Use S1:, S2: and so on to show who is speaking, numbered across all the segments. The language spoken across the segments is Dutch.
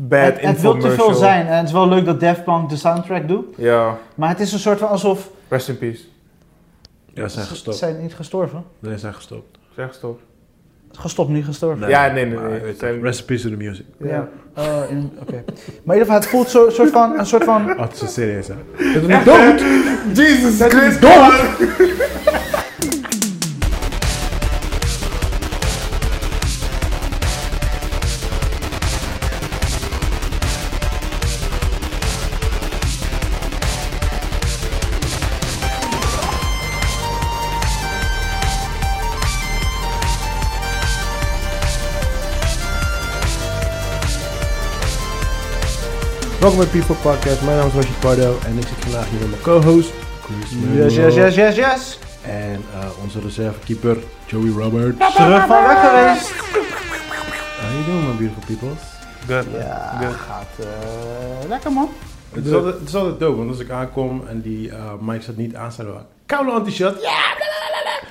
S1: bad
S2: het, het wil te veel
S1: infomercial.
S2: zijn. En het is wel leuk dat Daft Punk de soundtrack doet.
S1: Ja,
S2: Maar het is een soort van alsof...
S1: rest in peace.
S3: Ja, ze zijn
S2: Ze-
S3: gestopt.
S2: Zijn niet gestorven?
S3: Nee, ze zijn gestopt.
S1: Zeg stop.
S2: Gestopt, niet gestorven.
S1: Ja, nee, nee,
S3: maar,
S1: nee.
S3: weet je,
S1: Zijn-
S3: Rest in peace to the music.
S2: Ja. Eh, in- Oké. Maar in ieder geval, het voelt zo, soort van, een soort van...
S3: Ah, het is serieus, hè? Zit er niet dood?
S1: Jesus Christ!
S3: Welkom bij People Podcast. Mijn naam is Roger Pardo en ik zit vandaag hier met mijn co-host. Chris
S2: Yes, yes, yes, yes, yes.
S3: En eh, onze reservekeeper Joey Roberts.
S2: Terug van weg geweest.
S3: How you doing, my beautiful people?
S1: Good.
S2: Ja,
S1: Good.
S2: gaat eh, lekker man.
S3: Het is, altijd, het is altijd dope, want als ik aankom en die eh mic staat niet aan, zijn we koude anti-shot. Ja, blablabla.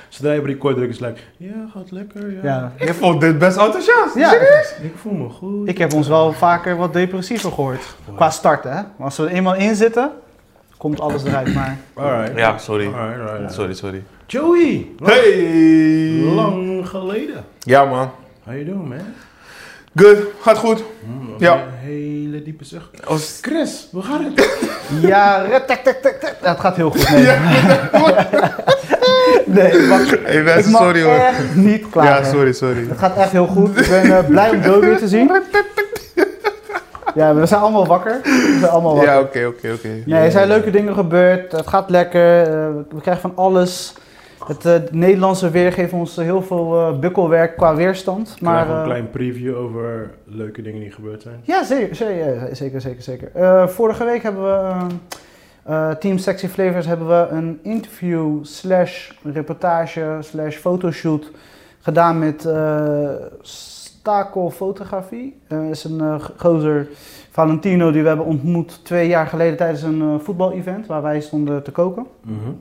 S3: Zodra je op record drukt, is het like, ja, gaat lekker, ja.
S2: Ja.
S1: Je vond dit best enthousiast.
S2: Ja.
S3: Ik voel me goed.
S2: Ik heb ons wel vaker wat depressiever gehoord. Qua starten, hè. Maar als we er eenmaal in zitten, komt alles eruit. Maar
S3: Alright.
S4: Ja, sorry.
S3: Alright, alright, alright.
S4: Sorry, sorry.
S3: Joey! wat
S1: Hey!
S3: Lang geleden.
S1: Ja, man.
S3: How you doing, man?
S1: Good. Gaat goed.
S3: Hm, wat
S1: Ja.
S3: Een hele diepe zucht.
S1: Als...
S3: Chris, hoe gaat het?
S2: ja, ret, tak, tak, tak, tak. dat gaat heel goed. Nee, nee ik mag,
S1: Hey,
S2: ik
S1: mensen,
S2: mag
S1: sorry hoor.
S2: echt niet klaar.
S1: Ja, sorry, sorry.
S2: Het gaat echt heel goed. Ik ben eh, blij om Joe weer te zien. Ja, we zijn allemaal wakker. We zijn allemaal wakker.
S1: Ja, oké, oké, oké.
S2: Nee, er zijn leuke dingen gebeurd. Het gaat lekker. eh, we krijgen van alles. Het eh, Nederlandse weer geeft ons heel veel eh, bukkelwerk qua weerstand. Maar,
S3: Maar een
S2: eh,
S3: klein preview over leuke dingen die gebeurd zijn.
S2: ja, zeker, zeker, zeker, zeker. zeker. Eh, vorige week hebben we, eh, eh, Team Sexy Flavors, hebben we een interview slash reportage slash fotoshoot gedaan met eh Stakel Fotografie. Dat is een eh, gozer, Valentino, die we hebben ontmoet twee jaar geleden tijdens een eh, voetbalevent waar wij stonden te koken.
S3: Mhm.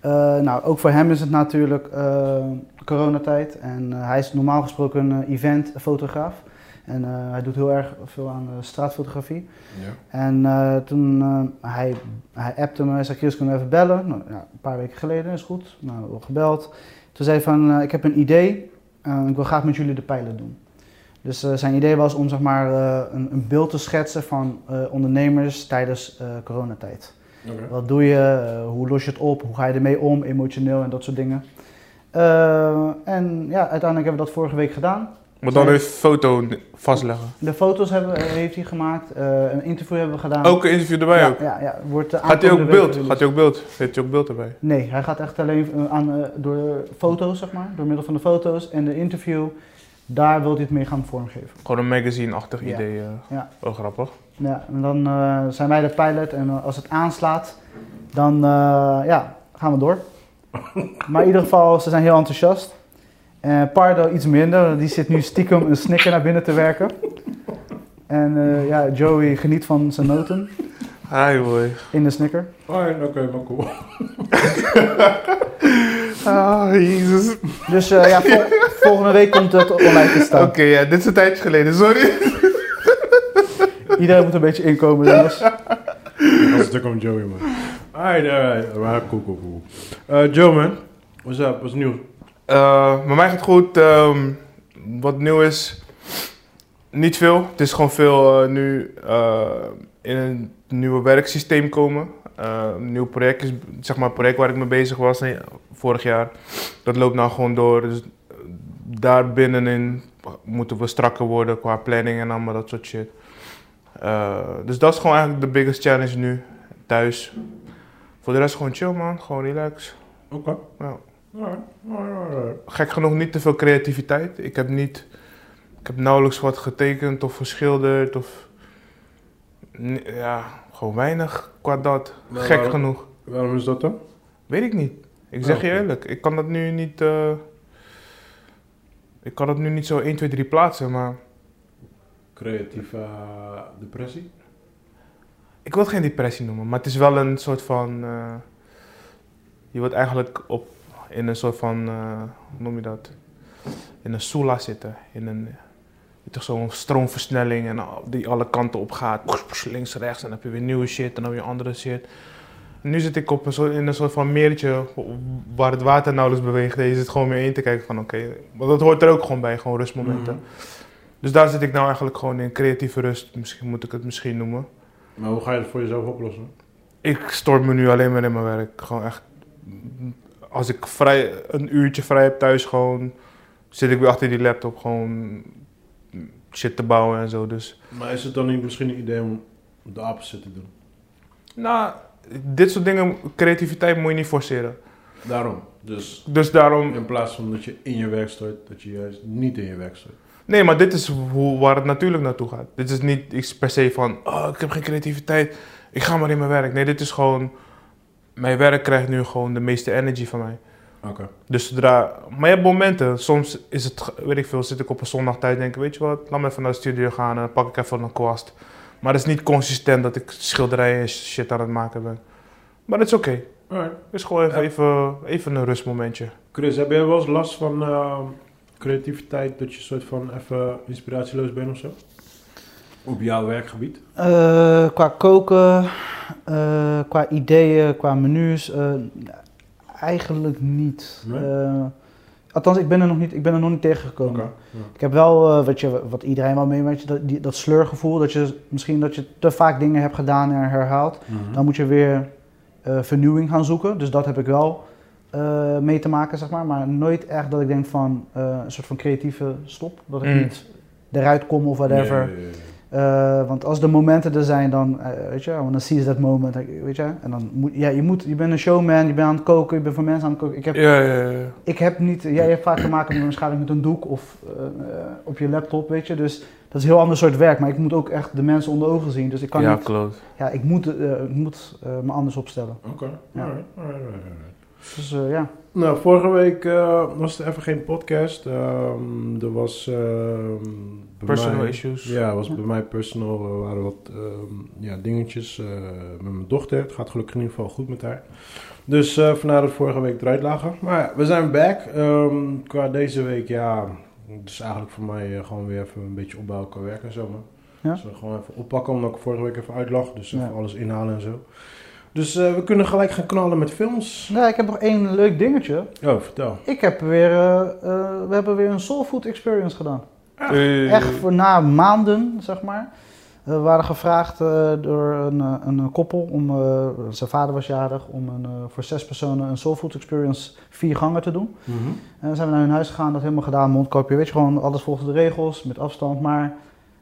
S2: Eh, nou, ook voor hem is het natuurlijk eh, coronatijd. En eh, hij is normaal gesproken een eh, eventfotograaf. En eh, hij doet heel erg veel aan eh, straatfotografie.
S3: Ja.
S2: En eh, toen eh, hij, hij appte me, hij zei, Chris, kunnen we even bellen? Nou, ja, een paar weken geleden, is goed. Nou, we gebeld. Toen zei hij van, eh, ik heb een idee. Eh, ik wil graag met jullie de pijlen doen. Dus eh, zijn idee was om zeg maar, eh, een, een beeld te schetsen van eh, ondernemers tijdens eh, coronatijd.
S3: Oké.
S2: Wat doe je? eh, Hoe los je het op? Hoe ga je ermee om? Emotioneel en dat soort dingen. Eh, en ja, uiteindelijk hebben we dat vorige week gedaan.
S1: Moet dan een foto vastleggen.
S2: De foto's hebben, eh, heeft hij gemaakt. eh, een interview hebben we gedaan.
S1: Ook een interview erbij
S2: ja,
S1: ook.
S2: ja, ja, wordt eh,
S1: Gaat hij
S2: aankomende
S1: ook
S2: week
S1: beeld?
S2: gereleased.
S1: Gaat hij ook beeld? Heeft hij ook beeld erbij?
S2: Nee, hij gaat echt alleen eh, aan, eh, door de foto's, zeg maar. Door middel van de foto's en de interview. Daar wil hij het mee gaan vormgeven.
S1: Gewoon een magazine-achtig
S2: Ja.
S1: idee. eh.
S2: Ja.
S1: Wel grappig.
S2: Ja, en dan eh, zijn wij de pilot en eh, als het aanslaat, dan eh, ja, gaan we door. Maar in ieder geval, ze zijn heel enthousiast. Eh, Pardo iets minder, want die zit nu stiekem een snikker naar binnen te werken. En eh, ja, Joey geniet van zijn noten
S1: Hi, boy.
S2: in de snicker.
S3: Alright, oké, maar cool.
S1: Ah, Jesus. Oké,
S2: Dus eh, ja, vol- volgende week komt het online te staan.
S1: ja, dit is een tijdje geleden, sorry.
S2: Iedereen moet een beetje inkomen, jongens.
S3: Dat is natuurlijk om Joey, man. Alright, alright, alright, cool, cool, cool. Eh, Joe, man. What's up? What's nieuw?
S1: Eh met mij gaat goed. Ehm, wat nieuw is, niet veel. Het is gewoon veel eh, nu eh, in een nieuwe werksysteem komen. Eh, een nieuw project is, zeg maar, het project waar ik mee bezig was nee, vorig jaar. Dat loopt nou gewoon door. Dus eh, daar binnenin moeten we strakker worden qua planning en allemaal dat soort shit. Eh, dus dat is gewoon eigenlijk de biggest challenge nu, thuis. Voor de rest gewoon chill man, gewoon relax.
S3: Oké.
S1: Ja.
S3: Alright, alright, alright.
S1: gek genoeg niet te veel creativiteit. Ik heb, niet, ik heb nauwelijks wat getekend of geschilderd of... N- Ja, gewoon weinig qua dat.
S3: Maar
S1: gek
S3: waarom-
S1: genoeg.
S3: Waarom is dat dan?
S1: Weet ik niet. Ik zeg
S3: Oh,
S1: je
S3: oké.
S1: eerlijk, ik kan dat nu niet... eh, ik kan dat nu niet zo 1, 2, 3 plaatsen, maar...
S3: Creatieve eh, depressie?
S1: Ik wil het geen depressie noemen, maar het is wel een soort van... eh, je wordt eigenlijk op, in een soort van... eh, hoe noem je dat? In een soela zitten. In een je toch zo'n stroomversnelling en al- die alle kanten op gaat. Links, rechts, en dan heb je weer nieuwe shit en dan weer andere shit. Nu zit ik op een soort, in een soort van meertje waar het water nauwelijks beweegt. En je zit gewoon mee in te kijken van oké, want dat hoort er ook gewoon bij, gewoon rustmomenten.
S3: Mhm.
S1: Dus daar zit ik nou eigenlijk gewoon in creatieve rust, misschien moet ik het misschien noemen.
S3: Mhm. Maar hoe ga je dat voor jezelf oplossen?
S1: Ik stoor me nu alleen maar in mijn werk. Gewoon echt. Als ik vrij, een uurtje vrij heb thuis, gewoon zit ik weer achter die laptop gewoon shit te bouwen en zo. Dus
S3: Maar is het dan niet misschien een idee om de opposite te doen?
S1: nou, dit soort dingen, creativiteit moet je niet forceren.
S3: Daarom. Dus
S1: Dus daarom,
S3: in plaats van dat je in je werk stort, dat je juist niet in je werk stort.
S1: nee, maar dit is hoe, waar het natuurlijk naartoe gaat. Dit is niet iets per se van, oh, ik heb geen creativiteit, ik ga maar in mijn werk. Nee, dit is gewoon, mijn werk krijgt nu gewoon de meeste energy van mij.
S3: Oké.
S1: Dus zodra, maar je hebt momenten, soms is het, weet ik veel, zit ik op een zondag tijd en denk ik, weet je wat, laat me even naar de studio gaan en dan pak ik even een kwast. Maar het is niet consistent dat ik schilderijen en shit aan het maken ben. Maar dat is oké.
S3: Alright.
S1: Het is gewoon even,
S3: Ja.
S1: even, even een rustmomentje.
S3: Chris, heb jij wel eens last van eh, creativiteit, dat je soort van even inspiratieloos bent of zo? Op jouw werkgebied?
S2: Eh, qua koken, eh, qua ideeën, qua menus, eh, eigenlijk niet.
S3: Nee?
S2: Eh, althans, ik ben er nog niet, ik ben er nog niet tegengekomen.
S3: Oké. Ja.
S2: Ik heb wel, eh, wat, je, wat iedereen wel meemaakt, dat, die- dat sleurgevoel. Dat je misschien dat je te vaak dingen hebt gedaan en herhaalt.
S3: Hm. Mhm.
S2: Dan moet je weer eh, vernieuwing gaan zoeken. Dus dat heb ik wel eh, mee te maken, zeg maar. Maar nooit echt dat ik denk van eh, een soort van creatieve stop. Dat ik
S1: Mm.
S2: niet eruit kom of whatever.
S3: Ja, ja, ja, ja.
S2: Eh, want als de momenten er zijn, dan, eh, weet je, I wanna seize that moment, eh, weet je. En dan moet, ja, je moet, je bent een showman, je bent aan het koken, je bent voor mensen aan het koken. Ik heb,
S1: Ja, ja, ja.
S2: ik heb niet, jij hebt vaak te maken met, waarschijnlijk met een doek of eh, eh, op je laptop, weet je. Dus dat is een heel ander soort werk, maar ik moet ook echt de mensen onder ogen zien. Dus ik kan
S1: ja,
S2: niet,
S1: klopt.
S2: ja, ik moet, eh, ik moet eh, me anders opstellen.
S3: Oké.
S2: Ja.
S3: Alright, alright, alright, alright.
S2: Dus eh, ja,
S3: Nou, vorige week eh, was er even geen podcast. Ehm, er was. ehm, bij
S1: Personal
S3: mij-
S1: issues.
S3: Ja, was bij mij personal. Er waren wat ehm, ja, dingetjes eh, met mijn dochter. Het gaat gelukkig in ieder geval goed met haar. Dus eh, vandaar dat vorige week eruit lagen. Maar ja, we zijn back. Ehm, qua deze week, ja. Het is eigenlijk voor mij eh, gewoon weer even een beetje opbouwen qua werk en zo. Man.
S2: Ja.
S3: Dus we gewoon even oppakken, omdat ik vorige week even uitlag. Dus even
S2: Ja.
S3: alles inhalen en zo. Dus eh, we kunnen gelijk gaan knallen met films.
S2: nou, ik heb nog één leuk dingetje.
S3: Oh, vertel.
S2: Ik heb weer, eh, eh, we hebben weer een soul food experience gedaan.
S1: Eh,
S2: Echt voor na maanden, zeg maar. Eh, We waren gevraagd eh, door een, eh, een koppel om, eh, zijn vader was jarig, om een, eh, voor zes personen een soul food experience vier gangen te doen. En dan zijn we naar hun huis gegaan, dat helemaal gedaan, mondkapje, weet je gewoon, alles volgens de regels, met afstand. Maar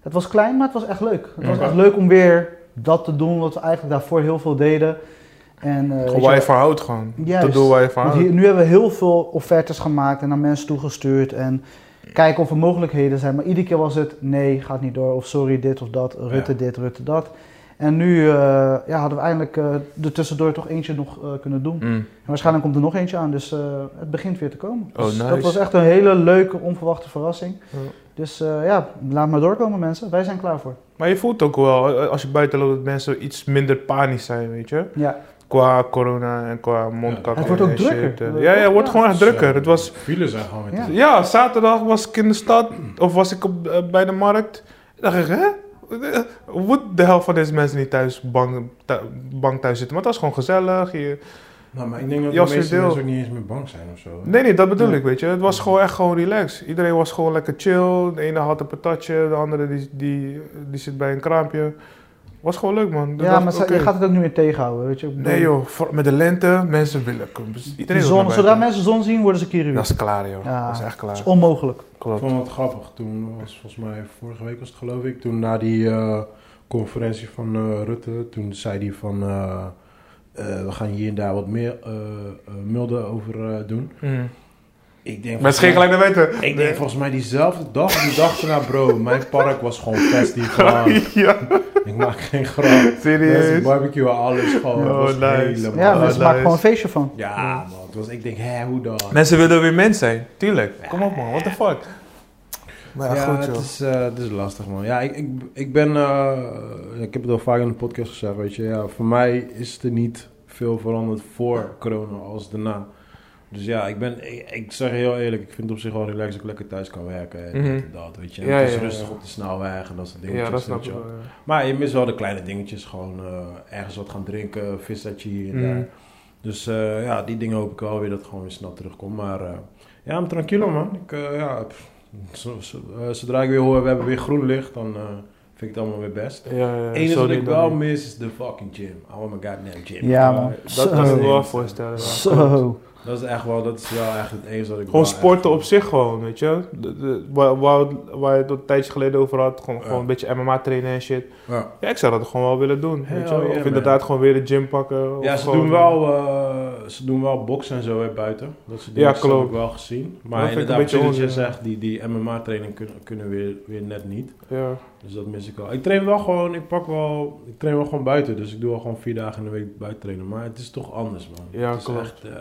S2: het was klein, maar het was echt leuk. Het was
S1: Ja.
S2: echt leuk om weer dat te doen wat we eigenlijk daarvoor heel veel deden. En, eh, weet je
S1: Gewoon waar je
S2: wel-
S1: van houdt gewoon.
S2: Juist.
S1: Dat doel waar je van
S2: want
S1: houdt.
S2: hier, nu hebben we heel veel offertes gemaakt en naar mensen toegestuurd. En kijken of er mogelijkheden zijn. Maar iedere keer was het nee, gaat niet door. Of sorry, dit of dat. Rutte
S3: Ja.
S2: dit, Rutte dat. En nu eh, ja, hadden we eindelijk eh er tussendoor toch eentje nog eh, kunnen doen.
S1: Mm.
S2: En waarschijnlijk komt er nog eentje aan. Dus eh, het begint weer te komen.
S1: Oh,
S2: Dus Dat
S1: nice.
S2: was echt een hele leuke, onverwachte verrassing.
S1: Ja.
S2: Dus eh, ja, laat maar doorkomen mensen. Wij zijn klaar voor.
S1: Maar je voelt ook wel, eh, als je buiten loopt, dat mensen iets minder panisch zijn, weet je.
S2: Ja,
S1: Qua corona en qua mondkapje.
S2: Het wordt ook
S1: en
S2: drukker.
S1: shit. eh. Ja, ja, het wordt
S2: Ja.
S1: gewoon echt Ah, drukker. Het was
S3: File zijn gewoon weer
S2: Ja.
S3: te-
S1: Ja, zaterdag was ik in de stad of was ik op, eh, bij de markt. dacht ik, hè? Eh, Moet de helft van deze mensen niet thuis bang, thu- bang thuis zitten? Maar het was gewoon gezellig. Je...
S3: Nou, maar ik denk dat de
S1: Jas
S3: meeste
S1: is deel.
S3: mensen ook niet eens meer bang zijn of zo.
S1: Nee, nee, dat bedoel
S2: Ja.
S1: ik, weet je. Het was gewoon echt gewoon relaxed. Iedereen was gewoon lekker chill. De ene had een patatje, de andere die, die, die zit bij een kraampje. Was gewoon leuk, man. Ik
S2: ja
S1: dacht,
S2: maar ze-
S1: oké.
S2: je gaat het ook niet meer tegenhouden. Weet je? Ik bedoel,
S1: Nee, joh. voor- met de lente, mensen willen... Iedereen
S2: die
S1: wil naar
S2: zon,
S1: buiten.
S2: zodra mensen zon zien, worden ze kiriwi.
S1: Dat is klaar, joh.
S2: Ja.
S1: Dat is echt
S2: Dat
S1: klaar.
S2: is onmogelijk.
S3: Ik
S1: Klopt.
S3: vond het grappig. Toen was volgens mij vorige week was het geloof ik. Toen na die eh, conferentie van eh, Rutte, toen zei hij van eh, eh, we gaan hier en daar wat meer eh, eh, milder over eh, doen.
S1: Mm.
S3: Ik denk.
S1: Maar
S3: volgens
S1: het ging
S3: mij-
S1: gelijk naar buiten.
S3: Ik denk volgens mij diezelfde dag, of die dag erna, bro. Mijn park was gewoon festive. man.
S1: Ja,
S3: Ik maak geen grap. Mensen
S1: serieus.
S3: barbecue alles gewoon. Het
S1: Oh,
S3: was
S1: nice.
S3: helemaal-
S2: Ja,
S1: Oh,
S2: mensen maken
S1: nice.
S2: gewoon een feestje van.
S3: Ja, man. Het was, ik denk, hè, hoe dan?
S1: Mensen willen weer mens zijn, tuurlijk. Kom op man, what the fuck.
S3: Ja, het, is, eh, het is lastig, man. Ja, ik, ik, ik ben... eh, ik heb het al vaak in de podcast gezegd, weet je. Ja, voor mij is er niet veel veranderd voor corona als daarna. Dus ja, ik, ben, ik, ik zeg je heel eerlijk, ik vind het op zich wel relaxed dat ik lekker thuis kan werken. En
S1: Mhm.
S3: dit en dat, weet je. En
S1: Ja,
S3: het is
S1: ja, ja.
S3: rustig op de snelweg en dat soort dingetjes.
S1: Ja, dat
S3: weet
S1: snap
S3: je
S1: ik
S3: wel.
S1: wel. ja.
S3: Maar je mist wel de kleine dingetjes. Gewoon eh, ergens wat gaan drinken, vissertje hier en
S1: Mm.
S3: daar. Dus eh, ja, die dingen hoop ik wel weer dat het gewoon weer snel terugkomt. Maar eh, ja, I'm tranquilo man. Ik, eh, ja, pff, zo- zo- eh, zodra ik weer hoor, we hebben weer groen licht, dan eh, vind ik het allemaal weer best.
S1: Ja, ja, ja,
S3: Het enige
S1: zo
S3: wat
S1: niet
S3: ik
S1: dan
S3: wel
S1: niet.
S3: mis is de fucking gym. I want my goddamn
S2: Ja,
S3: gym.
S1: Ja,
S2: man.
S1: dat kan ik
S2: Zo.
S1: me wel voorstellen. ja.
S2: Zo.
S3: Dat is echt wel, dat is wel echt het enige wat ik
S1: Gewoon
S3: wel
S1: sporten op
S3: echt-
S1: zich gewoon, weet je. De- de- waar, waar, waar je het een tijdje geleden over had. Gewoon,
S3: Ja.
S1: gewoon een beetje MMA trainen en shit.
S3: Ja,
S1: Ja, ik zou dat gewoon wel willen doen, weet je.
S3: Hell
S1: wel.
S3: yeah,
S1: Of inderdaad
S3: man.
S1: gewoon weer de gym pakken. of
S3: ja ze,
S1: gewoon-
S3: doen wel, eh, ze doen wel boksen en zo hè, buiten. Dat soort dingen
S1: Ja,
S3: dat heb ik
S1: klopt.
S3: wel gezien. Maar
S1: vind ik
S3: inderdaad,
S1: een beetje
S3: precies wat
S1: onzin,
S3: je
S1: ja.
S3: zegt, die, die MMA training kunnen, kunnen weer, weer net niet.
S1: Ja.
S3: Dus dat mis ik wel. Ik train wel gewoon, ik pak wel, ik train wel gewoon buiten. Dus ik doe wel gewoon vier dagen in de week buiten trainen. Maar het is toch anders man.
S1: Ja,
S3: het is
S1: klopt.
S3: echt, eh,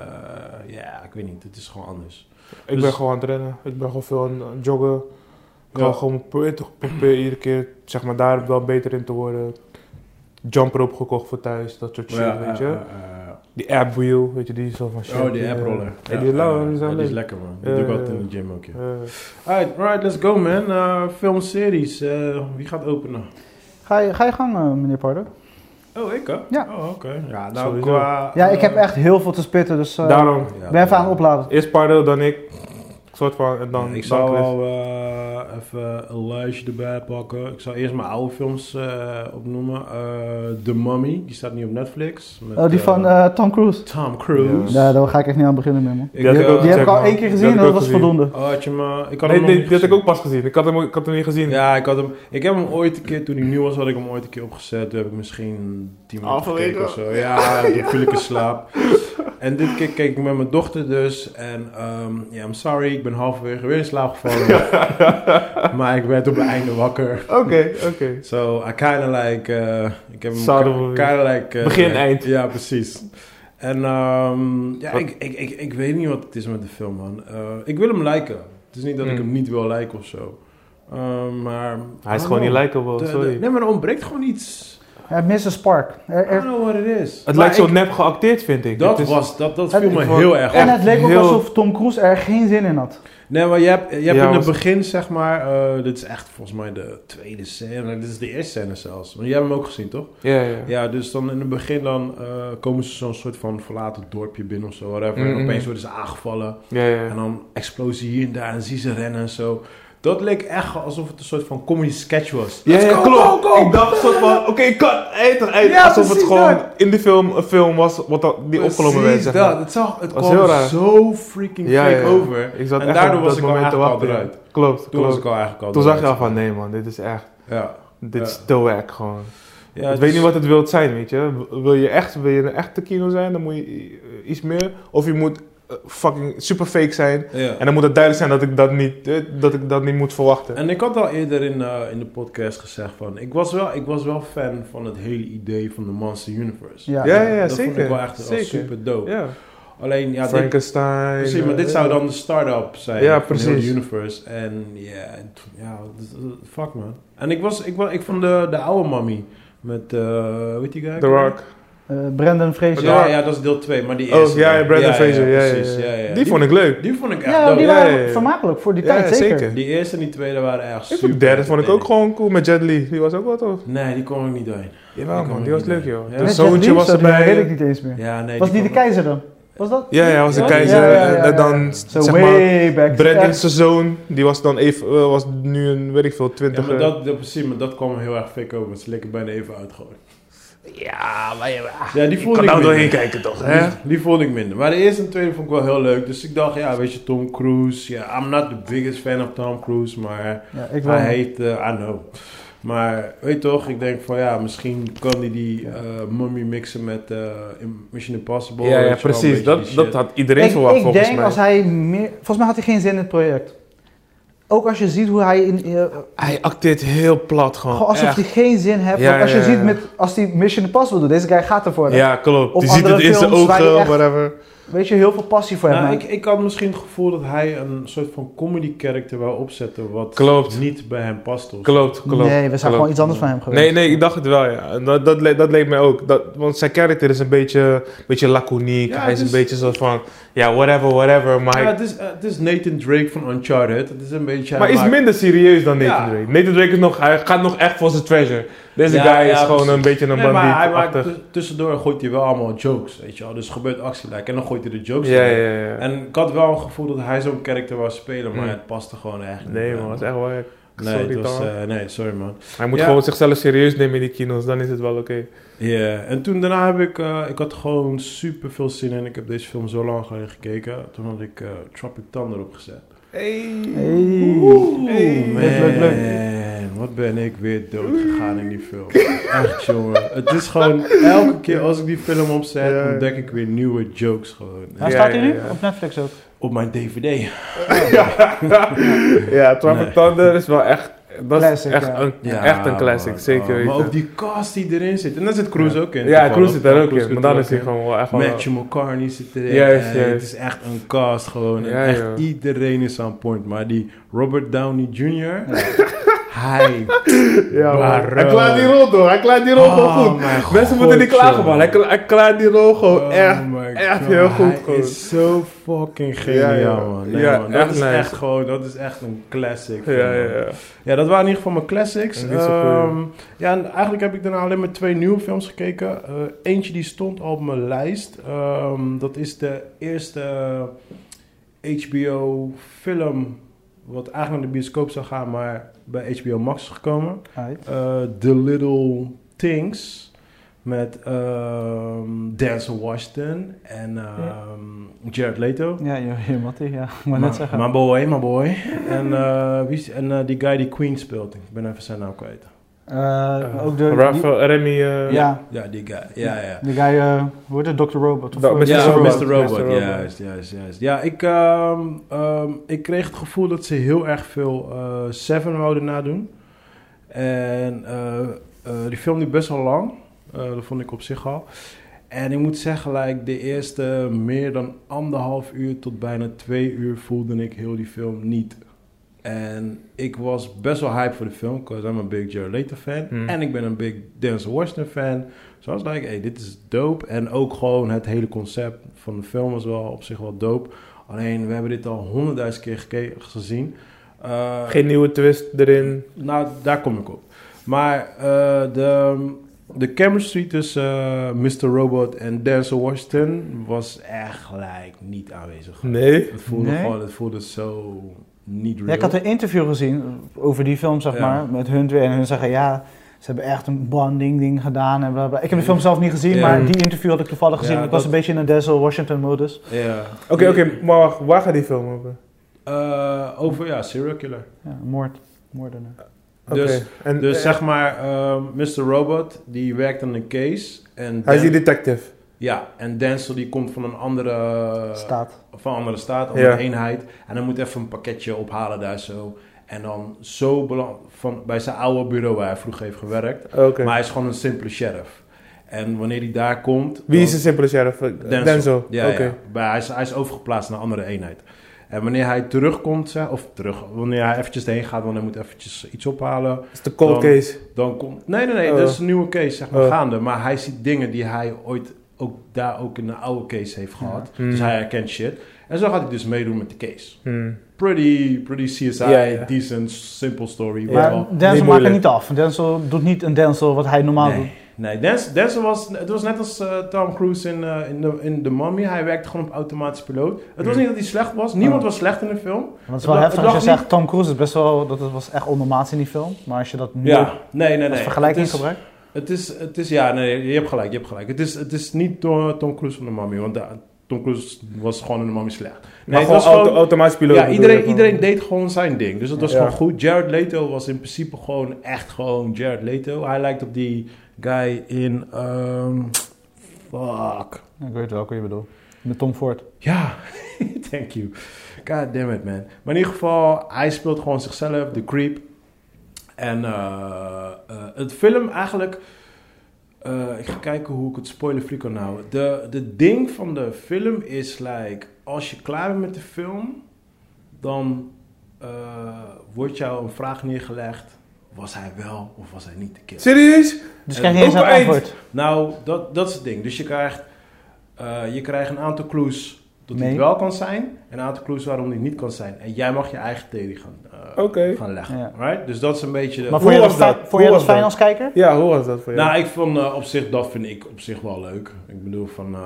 S3: ja, ik weet niet, het is gewoon anders.
S1: Ik
S3: Dus-
S1: ben gewoon aan het rennen. Ik ben gewoon veel aan het joggen. Ik
S3: Ja.
S1: wil gewoon proberen, te- proberen iedere keer zeg maar, daar wel beter in te worden. Jumper opgekocht voor thuis, dat soort shit, weet je.
S3: eh, eh, eh,
S1: Die app wheel, weet je, die is zo van shit.
S3: oh, die app-roller.
S1: Ja, die lauwe, die is wel
S3: eh, die is
S1: leuk.
S3: lekker man.
S1: Ja,
S3: Dat doe
S1: ja,
S3: ik altijd
S1: ja.
S3: in de gym ook ja.
S1: Eh,
S3: Alright, alright, let's go man. Eh filmseries, eh, wie gaat openen?
S2: Ga je, ga je gang, eh, meneer Pardo.
S3: Oh, ik hè?
S2: Ja.
S3: Oh, oké. Ja, nou
S1: Sowieso.
S3: qua...
S2: Ja, ik
S3: eh,
S2: heb echt heel veel te spitten, dus eh
S1: daarom,
S3: ja,
S2: ik ben even aan het opladen.
S1: eerst Pardo, dan ik. Soort van, en dan,
S3: Ja, ik
S1: dan
S3: zou
S1: Chris.
S3: wel eh, even een lijstje erbij pakken. Ik zou eerst mijn oude films eh, opnoemen. Eh The Mummy, die staat nu op Netflix. Met,
S2: Oh, die
S3: eh,
S2: van eh, Tom Cruise.
S3: Tom Cruise.
S1: Ja.
S2: Ja, daar ga ik echt niet aan beginnen meer, man.
S3: Ik,
S1: Die had ik
S3: eh,
S1: ook
S2: Die heb
S1: check,
S2: ik al
S1: man.
S2: één keer
S1: Die
S2: gezien
S1: had
S2: en
S1: ik
S2: dat
S1: ook
S2: was
S1: gezien.
S2: voldoende.
S3: Oh, had je me... Ik had
S1: Nee,
S3: hem
S1: nee,
S3: nog
S1: die had ik
S3: niet
S1: ook pas gezien. Ik had hem, ook- ik had hem niet gezien.
S3: gezien. Ja, ik had hem... Ik heb hem ooit een keer, toen hij nieuw was, had ik hem ooit een keer opgezet. Toen heb ik misschien 10 minuten
S1: Halverwege.
S3: gekeken of zo. Ja, toen viel ik in slaap. En dit keer keek ik met mijn dochter dus. En ehm ja, I'm sorry, ik ben halverwege weer in slaap gevallen. Oh, maar ik werd op het einde wakker.
S1: Oké, oké.
S3: So I kind of like, eh, ik heb
S1: Saddle-
S3: hem kind of like... eh,
S1: Begin, eind.
S3: Ja, precies. En ehm, ja,
S1: Wat-
S3: ik, ik, ik, ik weet niet wat het is met de film, man. Eh, ik wil hem liken. Het is niet dat ik
S1: Mm.
S3: hem niet wil liken of zo. Eh, maar...
S1: Hij is gewoon niet likable, Oh, sorry.
S3: Nee, maar er ontbreekt gewoon iets.
S2: Ja, Miss a Eh, Spark. Er-
S3: I
S2: er-
S3: don't know what it is.
S1: Het
S3: Maar
S1: lijkt zo
S3: ik-
S1: nep geacteerd, vind ik.
S3: Dat,
S1: Het is-
S3: was, dat, dat
S2: Het-
S3: viel me
S1: ik vond-
S3: heel erg
S2: en
S1: echt
S2: het leek ook
S1: heel-
S2: alsof Tom Cruise er geen zin in had.
S3: Nee, maar je hebt, je hebt
S1: Ja,
S3: in
S1: was-
S3: het begin, zeg maar, eh, dit is echt volgens mij de tweede scène. Dit is de eerste scène zelfs. Want jij hebt hem ook gezien, toch?
S1: Ja, ja.
S3: Ja, dus dan in het begin dan eh, komen ze zo'n soort van verlaten dorpje binnen of zo. Whatever. En
S1: Mm,
S3: opeens
S1: mm.
S3: worden ze aangevallen.
S1: ja, ja.
S3: En dan explosie hier en daar en zie ze rennen en zo. Dat leek echt alsof het een soort van comedy sketch was.
S1: Ja,
S3: Let's
S1: ja,
S3: go,
S1: klopt.
S3: go, go!
S1: Ik dacht zo van, oké, cut, eind toch eind.
S3: Ja,
S1: Alsof het
S3: precies
S1: gewoon
S3: dat.
S1: in de film een film was wat al- die
S3: Precies
S1: opgenomen werd, zeg
S3: dat.
S1: maar.
S3: Het, zag, het
S1: Was
S3: kwam
S1: heel raar.
S3: zo freaking
S1: Ja,
S3: fake
S1: ja, ja.
S3: over.
S1: Ik zat
S3: en
S1: echt
S3: daardoor
S1: op
S3: was
S1: dat
S3: ik al
S1: moment te
S3: eigenlijk al
S1: wachten, ja.
S3: eruit.
S1: Klopt,
S3: Toen was
S1: klopt.
S3: ik al eigenlijk al
S1: Toen zag je al
S3: eruit.
S1: van, nee man, dit is echt,
S3: Ja.
S1: dit
S3: Ja.
S1: is te wack gewoon.
S3: Ja, dus-
S1: ik
S3: het
S1: weet
S3: is-
S1: niet wat het wilt zijn, weet je. W- Wil je echt, wil je een echte kino zijn, dan moet je i- iets meer. Of je moet eh, fucking super fake zijn.
S3: Ja.
S1: En dan moet het duidelijk zijn dat ik dat niet, eh, dat ik dat niet moet verwachten.
S3: En ik had al eerder in, eh, in de podcast gezegd van... Ik was, wel, ik was wel fan van het hele idee van de Monster Universe.
S2: Ja.
S1: ja, ja,
S3: dat
S1: zeker.
S3: vond ik wel echt wel
S1: zeker.
S3: super dope.
S1: Ja.
S3: Alleen, ja, dit,
S1: Frankenstein.
S3: precies, maar dit
S1: eh,
S3: zou dan de start-up zijn
S1: Ja,
S3: van heel de
S1: precies.
S3: universe. En ja, het- ja, het- fuck man. En ik, was, ik, wa- ik vond de, de oude mummy met, eh weet die guy?
S1: The Rock.
S2: Eh, Brendan Fraser.
S3: Ja, ja, dat is deel 2, maar die eerste.
S1: Oh, ja, ja,
S3: dan.
S1: Brandon Fraser. Ja, ja,
S3: precies,
S1: ja.
S3: ja, ja.
S1: Die vond ik leuk.
S3: Die vond ik echt
S2: Ja,
S3: dope.
S2: die
S1: ja,
S2: waren
S1: ja, ja.
S2: vermakelijk voor die
S1: Ja,
S2: tijd, zeker.
S1: zeker.
S3: Die eerste en die tweede waren echt
S1: Ik
S3: super.
S1: vond de derde vond ik ook
S3: entertaining.
S1: gewoon cool met Jet Li. Die was ook wel tof.
S3: Nee, die kon ik niet doorheen.
S1: Jawel
S3: kan
S1: man,
S3: me
S1: die was
S3: niet
S1: leuk
S3: herinneren.
S1: joh.
S3: Ja.
S1: De
S2: Met
S1: zoontje
S2: Jeff
S1: was
S2: Bezos, Dat weet ik
S1: erbij.
S2: niet eens meer.
S3: Ja, nee.
S2: was die de
S3: kon ik-
S2: keizer dan? Was dat?
S1: Ja, ja, hij was de
S3: Ja,
S1: keizer.
S3: ja, ja,
S1: En- En
S2: ja, ja.
S1: dan,
S2: Zo
S1: zeg maar,
S2: way back.
S1: Brandon's
S2: Echt.
S1: zoon, die was dan even, eh, was nu een, weet ik veel,
S3: Ja,
S1: twintig. eh,
S3: maar dat, dat, precies, maar dat kwam heel erg fik over. Ze leken bijna even uitgooien.
S1: ja, maar ja,
S3: Ja, die
S1: je kan
S3: voelde ik
S1: nou
S3: minder.
S1: doorheen kijken toch, hè?
S3: Die, die vond ik minder. Maar de eerste en tweede vond ik wel heel leuk. Dus ik dacht, ja, weet je, Tom Cruise. Ja, I'm not the biggest fan of Tom Cruise, maar
S2: Ja, ik wel.
S1: Ah,
S3: hij heet, eh, I know. Maar weet je toch, ik denk van ja, misschien kan hij die eh mummy mixen met eh, in- Mission Impossible.
S1: Ja,
S3: weet
S1: ja
S3: je wel, een
S1: precies. Dat,
S3: beetje
S1: dat
S3: die
S1: had iedereen
S2: ik,
S1: verwacht
S2: ik
S1: volgens
S2: denk
S1: mij.
S2: als hij meer... Volgens mij had hij geen zin in het project. Ook als je ziet hoe hij... In, eh,
S1: Hij acteert heel plat gewoon.
S2: gewoon alsof
S1: Oh, echt.
S2: hij geen zin heeft.
S1: Ja,
S2: Want als je
S1: ja, ja.
S2: ziet met, als hij Mission Impossible doet. Deze guy gaat ervoor. hè.
S1: Ja, klopt.
S2: Op
S1: Je ziet
S2: eh, andere
S1: het in zijn
S2: films waar hij
S1: ogen,
S2: echt-
S1: whatever.
S2: weet je, heel veel passie voor hem.
S3: Nou,
S2: maar-
S3: ik, ik had misschien het gevoel dat hij een soort van comedy-character wou opzetten... wat
S1: Klopt.
S3: niet bij hem past. of zo.
S1: Klopt, klopt.
S2: nee, we zijn
S1: klopt.
S2: gewoon iets anders van hem geweest.
S1: Nee, nee, ik dacht het wel, ja. En Dat, dat, le- dat leek mij ook. Dat, want zijn karakter is een beetje, beetje laconiek.
S3: Ja,
S1: hij is
S3: dus-
S1: een beetje zo van, ja, whatever, whatever. Maar,
S3: Ja,
S1: hij-
S3: het, is, eh, het is Nathan Drake van Uncharted. Het is een beetje... hij
S1: maar is
S3: maakt-
S1: minder serieus dan Nathan
S3: Ja.
S1: Drake. Nathan Drake is nog, hij gaat nog echt voor zijn treasure. Deze
S3: Ja,
S1: guy
S3: ja,
S1: is gewoon
S3: precies.
S1: een beetje een
S3: Nee, maar hij maakt
S1: bandit
S3: tu- tussendoor gooit hij wel allemaal jokes, weet je wel. Dus er gebeurt actie like, en dan gooit hij de jokes
S1: Ja,
S3: erin.
S1: ja, ja.
S3: En ik had wel een gevoel dat hij zo'n karakter wou spelen, maar
S1: Hmm.
S3: het paste gewoon echt niet.
S1: Nee, man, dat is echt wel gek.
S3: Nee,
S1: Sorry,
S3: het was,
S1: Tom.
S3: eh, nee, sorry man.
S1: Hij moet
S3: ja.
S1: gewoon zichzelf serieus nemen in die kino's, dan is het wel oké.
S3: Ja, en toen daarna heb ik, eh, ik had gewoon super veel zin in. Ik heb deze film zo lang geleden gekeken. Toen had ik eh, Tropic Thunder opgezet.
S2: Hey.
S3: Oeh, man.
S2: Leuk, leuk,
S3: Wat ben ik weer dood gegaan in die film. Echt, jongen. Het is gewoon, elke keer als ik die film opzet,
S1: Ja.
S3: ontdek ik weer nieuwe jokes gewoon.
S2: Waar
S1: Ja,
S2: staat hij
S1: ja,
S2: nu?
S1: ja.
S2: Op Netflix ook.
S3: Op mijn DVD.
S1: ja, Tropic
S3: Nee.
S1: Thunder is wel echt, dat
S2: Classic,
S1: is echt,
S2: ja.
S1: een, echt een classic,
S3: man.
S1: zeker
S3: Oh,
S1: weten.
S3: maar ook die cast die erin zit. En daar zit Cruz
S1: Ja.
S3: ook in.
S1: Ja, Cruz zit daar ook
S3: Cruise
S1: in, maar
S3: zit er
S1: dan
S3: ook
S1: is hij
S3: in.
S1: gewoon wel echt wel...
S3: Matthew McCartney zit erin.
S1: Juist,
S3: Eh,
S1: juist.
S3: Het is echt een cast gewoon. En
S1: Ja,
S3: echt
S1: joh.
S3: iedereen is aan point. Maar die Robert Downey Jr. Hij.
S1: Ja, man.
S3: Maar,
S1: hij
S3: eh,
S1: klaart die rol door. Hij klaart die rol gewoon
S3: Oh,
S1: goed.
S3: mijn
S1: Mensen moeten
S3: God,
S1: niet klagen,
S3: jongen.
S1: man. Hij, kla- hij klaart die rol gewoon
S3: Oh
S1: echt,
S3: my
S1: echt
S3: God,
S1: heel goed.
S3: Hij
S1: Gewoon.
S3: is zo fucking
S1: Ja,
S3: geniaal,
S1: ja.
S3: man. Nee,
S1: Ja,
S3: man. Dat
S1: echt
S3: is
S1: nice.
S3: echt gewoon, dat is echt een classic.
S1: Ja,
S3: film,
S1: ja,
S3: man.
S1: ja.
S3: Ja, dat waren in ieder geval mijn classics.
S1: Niet zo goed,
S3: Ehm, ja, en eigenlijk heb ik daarna alleen maar twee nieuwe films gekeken. Eh, eentje die stond al op mijn lijst. Ehm, dat is de eerste HBO-film... wat eigenlijk naar de bioscoop zou gaan, maar bij HBO Max is gekomen.
S2: Alright.
S3: Eh, The Little Things met ehm Denzel Washington en ehm, Jared Leto.
S2: Ja, joh, hier, Mattie, ja. Ik wou
S3: Maar
S2: net zeggen.
S3: My boy, my boy. en eh, wie is, en eh, die guy die Queen speelt. Ik ben even zijn naam kwijt.
S2: Eh, ook de...
S1: Rafael, Remy...
S2: die-
S1: eh,
S2: ja,
S3: Ja, die guy. Ja, ja.
S2: de guy, eh, hoe heet het? Dr. Robot. of
S1: Da-
S2: zo?
S1: Mr.
S3: Ja,
S1: Robot.
S3: Mr. Robot.
S1: Mr. Robot.
S3: Juist, juist, juist. Ja, ik, ehm, ehm, ik kreeg het gevoel dat ze heel erg veel eh, Seven wouden nadoen. En eh, eh, die film liep best wel lang. Eh, dat vond ik op zich al. En ik moet zeggen, like, de eerste meer dan anderhalf uur tot bijna twee uur voelde ik heel die film niet. En ik was best wel hype voor de film, because I'm a big Jared Leto fan.
S1: Hmm.
S3: En ik ben een big Denzel Washington fan. So I was like, hey, dit is dope. En ook gewoon het hele concept van de film was wel op zich wel dope. Alleen, we hebben dit al honderdduizend keer geke- gezien. Eh,
S1: Geen nieuwe twist erin.
S3: nou, daar kom ik op. Maar eh, de, de chemistry tussen eh, Mr. Robot en Denzel Washington was echt gelijk niet aanwezig.
S1: Nee.
S3: Het voelde
S2: Nee?
S3: gewoon, het voelde zo niet real.
S2: Ja, ik had een interview gezien over die film, zeg
S3: Ja.
S2: maar, met hun twee. En hun zeggen, ja, ze hebben echt een bonding ding gedaan. En bla, bla. Ik heb de film zelf niet gezien,
S3: Ja.
S2: maar die interview had ik toevallig
S3: Ja,
S2: gezien. ik was
S3: dat-
S2: een beetje in een Denzel Washington-modus.
S3: Ja.
S1: Oké, oké, maar wacht, waar gaat die film over?
S3: Eh, over, ja, serial killer.
S2: Ja, moord. Moordenaar.
S1: Oké.
S3: Dus-
S1: en,
S3: Dus
S1: eh,
S3: zeg maar, eh, Mr. Robot, die werkt aan een case. En
S1: Hij is die
S3: Dan-
S1: detective.
S3: Ja, en Denzel die komt van een
S1: Eh,
S3: andere...
S2: Staat.
S3: van een andere staat, of
S1: Ja.
S3: een eenheid. En dan moet even een pakketje ophalen daar zo. En dan zo belang van, bij zijn oude bureau waar hij vroeger heeft gewerkt.
S1: Oké.
S3: Maar hij is gewoon een simpele sheriff. En wanneer hij daar komt...
S1: Wie is de
S3: dan-
S1: simpele sheriff? Eh,
S3: Denzel.
S1: Denzel.
S3: Ja,
S1: Oké.
S3: ja. Maar hij, is, hij is overgeplaatst naar een andere eenheid. En wanneer hij terugkomt, zeg- of terug, wanneer hij eventjes heen gaat, want hij moet eventjes iets ophalen,
S1: Dat is de cold
S3: Dan-
S1: case.
S3: dan komt... Nee, nee, nee,
S1: Oh.
S3: dat is een nieuwe case, zeg maar,
S1: Oh.
S3: gaande. Maar hij ziet dingen die hij ooit ook daar ook in de oude case heeft gehad.
S1: Ja.
S3: Dus
S1: Hmm.
S3: hij herkent shit. En zo gaat hij dus meedoen met de case
S1: Hmm.
S3: pretty, pretty CSI,
S1: Ja, ja.
S3: decent, simple story. weet
S2: Maar
S3: wel.
S1: Nee,
S2: Denzel maakt het
S1: moeilijk.
S2: niet af. Denzel doet niet een Denzel wat hij normaal
S3: nee,
S2: doet.
S3: nee Denzel, Denzel was, het was net als eh, Tom Cruise in, eh, in, de, in The Mummy. Hij werkte gewoon op automatisch piloot. Het was
S1: Hmm.
S3: niet dat hij slecht was. Niemand
S2: Oh.
S3: was slecht in de film.
S2: Want het is
S3: Het
S2: wel
S3: lag-
S2: heftig als je
S3: het lag
S2: zegt, Tom Cruise is best wel, dat het was echt ondermaats in die film. Maar als je dat nu
S3: Ja, nee, nee, nee.
S2: als vergelijking
S3: het is,
S2: gebruikt.
S3: het is, het is, ja, nee, je hebt gelijk, je hebt gelijk. Het is, het is niet Tom, Tom Cruise van The Mummy, want daar- Tom Cruise was gewoon in The Mummy slecht.
S1: maar
S3: het
S1: gewoon,
S3: was
S1: auto- automatisch piloot.
S3: Ja,
S1: bedoel je
S3: iedereen,
S1: gewoon.
S3: iedereen deed gewoon zijn ding. Dus dat was
S1: Ja.
S3: gewoon goed. Jared Leto was in principe gewoon echt gewoon Jared Leto. Hij lijkt op die guy in... ehm, fuck.
S2: Ik weet welke je bedoelt. Met Tom Ford.
S3: Ja, thank you. God damn it, man. Maar in ieder geval, hij speelt gewoon zichzelf, de creep. En eh, eh, het film eigenlijk... Eh, ik ga kijken hoe ik het spoilerfree kan houden. De, de ding van de film is, like, als je klaar bent met de film, dan eh, wordt jou een vraag neergelegd. Was hij wel of was hij niet de killer?
S1: Serieus?
S2: Dus
S3: Eh,
S2: krijg je eens een
S1: open eind.
S2: antwoord.
S3: Nou, dat, dat is het ding. Dus je krijgt, eh, je krijgt een aantal clues dat hij
S2: Nee.
S3: wel kan zijn. En een aantal clues waarom hij niet kan zijn. En jij mag je eigen theorie gaan, eh,
S1: Oké.
S3: gaan leggen.
S2: Ja.
S3: Right? Dus dat is een beetje... De...
S2: Maar vond
S1: Hoe
S2: je dat,
S1: was
S2: fijn-
S1: dat?
S2: vond je
S1: Hoe
S2: dat
S1: was
S2: fijn
S1: dat?
S2: als kijker?
S1: Ja, hoe was dat voor jou?
S3: Nou, ik vond eh, op zich, dat vind ik op zich wel leuk. Ik bedoel, van, eh,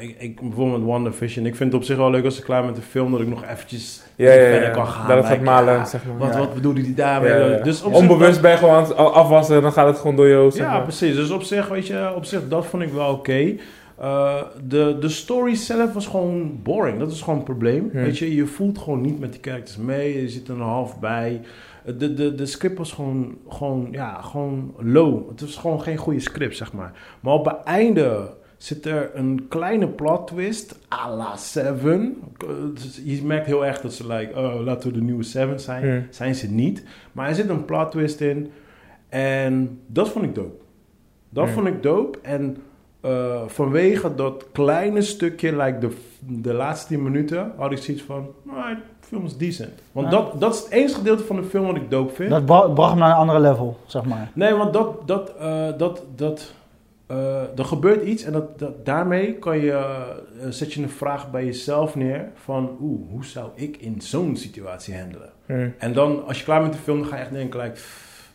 S3: eh, ik, ik, bijvoorbeeld met WandaVision. Ik vind het op zich wel leuk als ik klaar met de film, dat ik nog eventjes
S1: ja, ja, ja,
S3: verder kan gaan.
S1: Dat het
S3: like,
S1: gaat malen,
S3: ja,
S1: zeg maar.
S3: wat,
S1: Ja.
S3: wat bedoelde die daarmee?
S1: Ja, ja, ja.
S3: Dus op zich
S1: Onbewust ben je gewoon aan het afwassen en dan gaat het gewoon door je hoofd. zeg
S3: Ja,
S1: maar.
S3: precies. Dus op zich, weet je, op zich, dat vond ik wel oké. Eh, de, de story zelf was gewoon boring. Dat is gewoon een probleem.
S1: Hmm.
S3: Weet je, je voelt gewoon niet met die characters mee. Je zit er een half bij. Eh, De, de, de script was gewoon, gewoon, ja, gewoon low. Het was gewoon geen goede script, zeg maar. Maar op het einde zit er een kleine plot twist à la Seven. Eh, dus Je merkt heel erg dat ze like, oh, laten we de nieuwe Seven zijn.
S1: Hmm.
S3: Zijn ze niet. Maar er zit een plot twist in. En dat vond ik dope. Dat
S1: Hmm.
S3: vond ik dope. En eh, vanwege dat kleine stukje, like de, de laatste 10 minuten, had ik zoiets van, "Alright, de film is decent. Want
S2: Ja.
S3: dat, dat is het enige gedeelte van de film wat ik dope vind.
S2: Dat bra- bracht me naar een andere level, zeg maar.
S3: Nee, want dat, dat, eh, dat, dat, eh, er gebeurt iets en dat, dat, daarmee kan je, eh, zet je een vraag bij jezelf neer van, oeh, hoe zou ik in zo'n situatie handelen?
S1: Hmm.
S3: En dan, als je klaar bent met de film, dan ga je echt denken, like,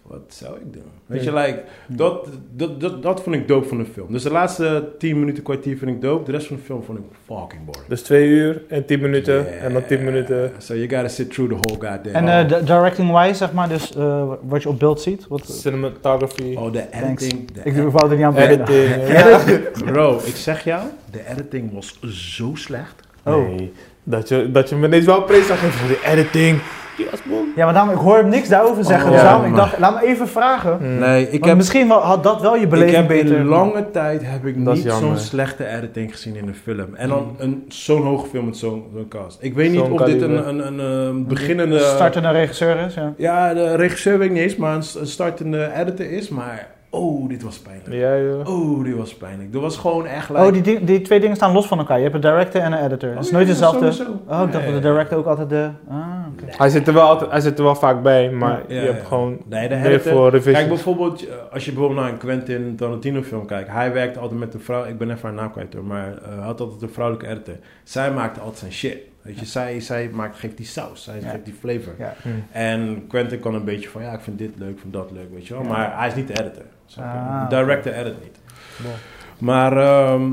S3: wat zou ik doen? Weet je,
S1: Ja.
S3: like, dat, dat, dat, dat vond ik dope van de film. Dus de laatste 10 minuten, kwartier vind ik dope. De rest van de film vond ik fucking boring.
S1: Dus twee uur en tien minuten en dan tien
S3: Yeah.
S1: minuten.
S3: So you gotta sit through the whole goddamn...
S2: En eh, de- directing-wise, zeg maar, dus eh, wat je op beeld ziet. Wat,
S1: Cinematography,
S3: oh, de editing. de
S2: ik wou er niet aan beginnen.
S1: editing.
S3: Bro, ik zeg jou, de editing was zo slecht.
S1: Oh. Dat, je, dat je me ineens wel prees zag geven voor die editing. Die was boom.
S2: Ja, maar daarom, ik hoor hem niks daarover zeggen.
S3: Oh,
S2: dus
S3: ja,
S2: daarom, ik
S3: maar-
S2: dacht, laat me even vragen.
S1: Hmm.
S3: Nee, ik
S2: Want
S3: heb,
S2: misschien wel- had dat wel je
S3: ik
S2: beleving
S3: heb
S2: beter.
S3: in lange tijd heb ik
S1: Dat is
S3: niet zo'n
S1: jammer.
S3: slechte editing gezien in een film.
S2: Hmm.
S3: En dan een, zo'n hoge film met zo'n zo'n cast. Ik weet niet
S1: Zo'n
S3: of dit een,
S1: kaliber.
S3: een, een, eh, beginnende...
S2: Startende
S3: eh,
S2: regisseur is, ja.
S3: Ja, de regisseur weet ik niet eens, maar een, s- een startende editor is. Maar, oh, dit was pijnlijk.
S1: Hm. Ja, joh.
S3: Oh, dit was pijnlijk. Dat was gewoon echt... like-
S2: Oh, die, di- die twee dingen staan los van elkaar. Je hebt een director en een editor. Het is nooit
S3: Ja,
S2: dezelfde.
S3: sowieso.
S2: Oh, ik dacht dat de
S3: Nee.
S2: director ook altijd de... Ah, oké.
S1: Hij, zit er wel altijd, hij zit er wel vaak bij, maar
S3: Ja,
S1: je hebt
S3: ja.
S1: gewoon
S3: Nee, de
S1: meer
S3: editor...
S1: voor revisie.
S3: Kijk bijvoorbeeld, eh, als je bijvoorbeeld naar een Quentin Tarantino film kijkt. Hij werkt altijd met een vrouw. Ik ben even haar naam kwijt hoor. Maar eh, hij had altijd een vrouwelijke editor. Zij maakte altijd zijn shit. Weet je, zij, zij maakt, geeft die saus. Zij
S2: Ja.
S3: geeft die flavor.
S2: Ja.
S1: Hmm.
S3: En Quentin kan een beetje van, ja, ik vind dit leuk, ik vind dat leuk, weet je wel.
S2: Ja.
S3: Maar hij is niet de editor. Snap je?
S2: Ah.
S3: Director edit niet.
S1: Wow.
S3: Maar, ehm,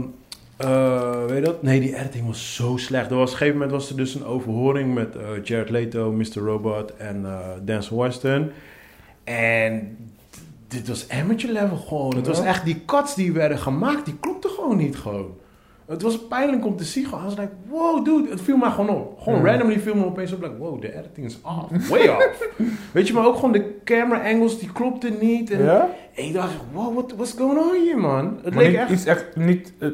S3: eh, weet je dat? Nee, die editing was zo slecht. Er was, op een gegeven moment was er dus een overhoring met eh, Jared Leto, Mr. Robot en eh Denzel Washington. En d- dit was amateur level gewoon. Het was
S1: Ja.
S3: echt, die cuts die werden gemaakt, die klopten gewoon niet gewoon. Het was pijnlijk om te zien. Gewoon. I was like, wow dude, het viel mij gewoon op. Gewoon
S1: Hmm.
S3: randomly viel me opeens op. Like, wow, de editing is off. Way off. Weet je, maar ook gewoon de camera angles, die klopten niet. En,
S1: Ja?
S3: en ik dacht, wow, what, what's going on here man? Het
S1: Maar
S3: leek
S1: niet,
S3: echt...
S1: iets echt, niet eh,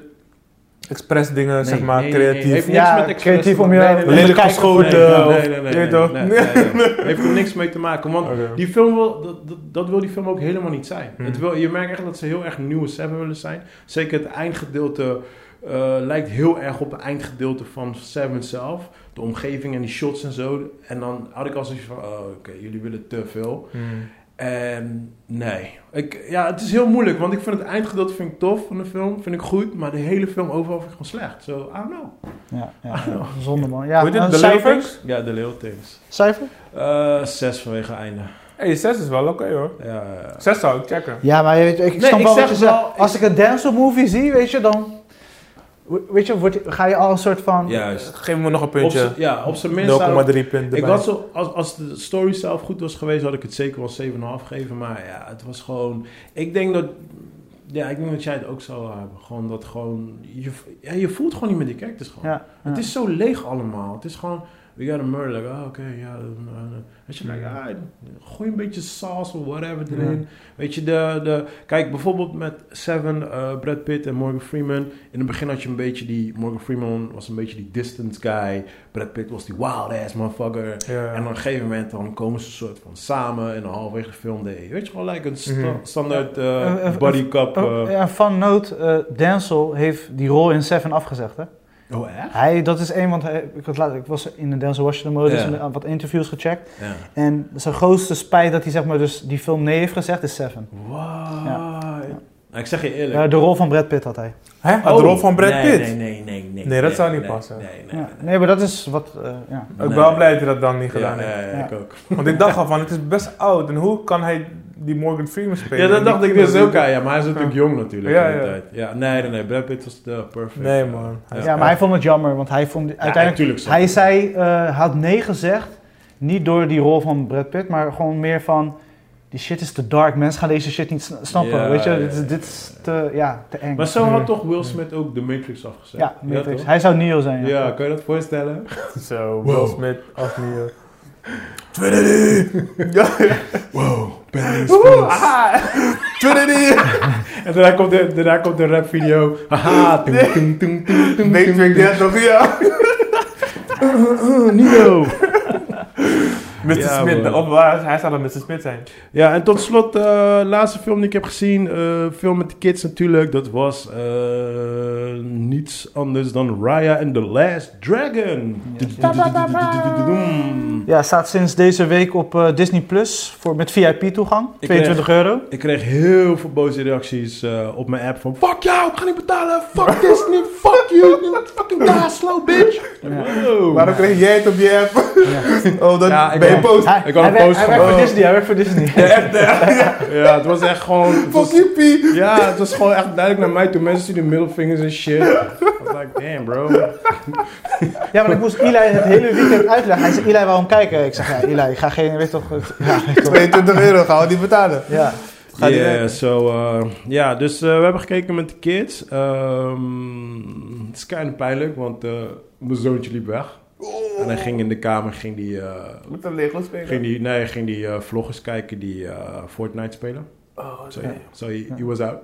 S1: expres dingen,
S3: Nee,
S1: zeg maar,
S3: nee, nee, nee.
S1: creatief.
S3: Heeft niks
S2: Ja,
S3: met expres
S2: creatief
S3: te
S2: om je-
S3: maken. Nee, nee,
S1: Lelijk
S2: Kijken-
S1: geschoten.
S3: Nee,
S1: of-
S3: nee, nee, nee,
S1: je
S3: nee,
S1: weet toch?
S3: nee, nee, nee. Heeft er niks mee te maken. Want
S1: Oké.
S3: die film wil, dat, dat, dat wil die film ook helemaal niet zijn.
S1: Hmm.
S3: Het wil, je merkt echt dat ze heel erg een nieuwe Seven willen zijn. Zeker het eindgedeelte eh, lijkt heel erg op het eindgedeelte van Seven zelf. De omgeving en die shots en zo. En dan had ik al zoiets van, oh, oké, jullie willen te veel.
S1: Hmm.
S3: En nee. Ik, ja, het is heel moeilijk, want ik vind het eindgedeelte vind ik tof van de film, vind ik goed, maar de hele film overal vind ik gewoon slecht. Zo, I don't know.
S2: Ja, ja, ja.
S3: Oh.
S2: Zonde man. Ja,
S1: Hoe heet
S2: en
S1: het? De
S2: cijfer?
S1: Lavers?
S3: Ja, de Leo Things.
S2: Cijfer?
S3: Eh zes vanwege einde.
S1: hey, 6 is wel oké hoor.
S3: Ja, ja.
S1: 6 zou ik checken.
S2: Ja, maar je weet, ik, ik
S3: Nee,
S2: snap
S3: ik
S2: wel
S3: zeg
S2: wat je zegt.
S3: wel- ik-
S2: Als ik een dance movie zie, weet je, dan... we- Weet je, word, je- ga je al een soort van...
S3: Juist.
S1: Geef me nog een
S3: Op z'n-
S1: puntje.
S3: ja, op zijn minst. zou ik-
S1: 0,3 punten.
S3: ik had zo, als, als de story zelf goed was geweest, had ik het zeker wel 7,5 gegeven. Maar ja, het was gewoon. Ik denk dat. Ja, ik denk dat jij het ook zou hebben. Gewoon dat gewoon. Je, ja, je voelt gewoon niet met die characters gewoon.
S2: Ja, ja.
S3: Het is zo leeg allemaal. Het is gewoon. we got a murder. Like, oh, oké, ja. eh, eh, Weet je, like, ah, gooi een beetje saus of whatever
S2: Ja.
S3: erin. Weet je, de, de, kijk, bijvoorbeeld met Seven, eh, Brad Pitt en Morgan Freeman. In het begin had je een beetje die, Morgan Freeman was een beetje die distance guy. Brad Pitt was die wild ass motherfucker.
S1: Ja.
S3: En op een gegeven moment dan komen ze soort van samen en dan halverwege de film deed. Weet je gewoon, like een sta-
S1: Mhm.
S3: standaard eh
S2: Eh, eh,
S3: buddy cup. eh.
S2: Oh, ja, van noot, eh Denzel heeft die rol in Seven afgezegd, hè?
S1: eh.
S3: Oh, echt?
S2: Hij, dat is één, want hij, ik, had laat, ik was in de Denzel Washington modus
S3: Ja.
S2: en eh, wat interviews gecheckt.
S3: Ja.
S2: En zijn grootste spijt dat hij zeg maar, dus die film nee heeft gezegd is Seven.
S3: Wow. Nou, ik zeg je eerlijk.
S2: Eh, de rol van Brad Pitt had hij.
S1: Hè?
S3: Oh,
S1: de rol van Brad
S3: nee,
S1: Pitt?
S3: Nee, nee, nee. Nee,
S1: Nee, dat zou niet passen.
S3: Nee, nee.
S2: Ja. Nee, maar dat is wat, eh, ja.
S1: Ik ben wel blij dat hij dat dan niet gedaan
S3: gedaan. Ja,
S1: heeft.
S3: ja,
S2: Ja.
S3: ik ook.
S1: Want ik dacht al van, het is best oud. En hoe kan hij die Morgan Freeman spelen?
S3: Ja, dat dacht ik dus ook aan. Ja, maar hij is natuurlijk
S1: Ja.
S3: jong natuurlijk
S1: Ja,
S3: in die
S1: ja.
S3: tijd. Ja, nee, nee, nee. Brad Pitt was de perfect.
S1: Nee, man.
S2: Ja,
S1: Ja.
S2: maar hij vond het jammer, want hij vond uiteindelijk...
S3: natuurlijk zo.
S2: hij zei, eh, had nee gezegd, niet door die rol van Brad Pitt, maar gewoon meer van... Die shit is te dark, mensen gaan deze shit niet sna- snappen,
S3: Ja,
S2: weet je?
S3: ja,
S2: dit,
S3: ja.
S2: is, dit is te, ja, te eng.
S3: Maar zo
S1: Ja.
S3: had toch Will Smith ook The Matrix afgezet?
S2: ja, Matrix.
S3: toch?
S2: hij zou Neo zijn, ja.
S3: Ja, kan je dat voorstellen?
S1: Zo, Will
S3: Wow.
S1: Smith als Neo.
S3: Trinity!
S1: Ja, ja.
S3: Wow, Benny
S1: Woehoe, aha. Trinity!
S3: En daarna komt de, daarna komt de rap video. Haha, tung, tung, tung, tung, tung,
S1: Nee,
S3: tung,
S1: ik denk dat ja.
S3: tung, Neo.
S1: Mr.
S3: Ja,
S1: Smith,
S3: man.
S1: op, waar- hij zou dan Mr. Smith zijn.
S3: Ja, en tot slot, de laatste film die ik heb gezien, eh, film met de kids natuurlijk, dat was eh, niets anders dan Raya and the Last Dragon.
S2: Ja, staat sinds deze week op eh, Disney Plus voor- met VIP-toegang.
S3: Ik eh,
S2: 22 euro.
S3: Ik kreeg heel veel boze reacties eh, op mijn app van Fuck jou, ik ga niet betalen, fuck Disney, fuck you, fucking daar, slow bitch. Wow.
S1: Waarom kreeg jij het op je app? Oh, dat
S3: Ja, ik
S1: ben je
S3: wou-
S1: post.
S2: Hij,
S3: Ik had
S2: hij
S3: een
S2: werkt-
S3: post
S2: hij
S3: van-
S2: werkt voor
S1: oh.
S2: Disney, hij werkt voor Disney.
S3: Ja, het was echt gewoon... het was-
S1: Fuck you, P.
S3: Ja, het was gewoon echt duidelijk naar mij toen mensen zien de middelvingers en shit. I was like, damn bro.
S2: Ja, maar ik moest Eli het hele weekend uitleggen. Hij zei, Eli, waarom kijken? Ik zeg, ja, Eli, ik ga geen, weet toch... het- Ja, weet toch.
S1: 22 euro, gaan we die betalen.
S2: ja.
S1: Ga die
S3: yeah,
S1: werken?
S3: so, eh, ja, dus eh, we hebben gekeken met de kids. Ehm, het is kind pijnlijk, want eh, mijn zoontje liep weg. En hij ging in de kamer, ging die, eh,
S1: Moet dan Lego
S3: ging
S1: spelen.
S3: die, nee, ging die eh, vloggers kijken die eh, Fortnite spelen.
S1: Oh,
S3: So, so he, he was out.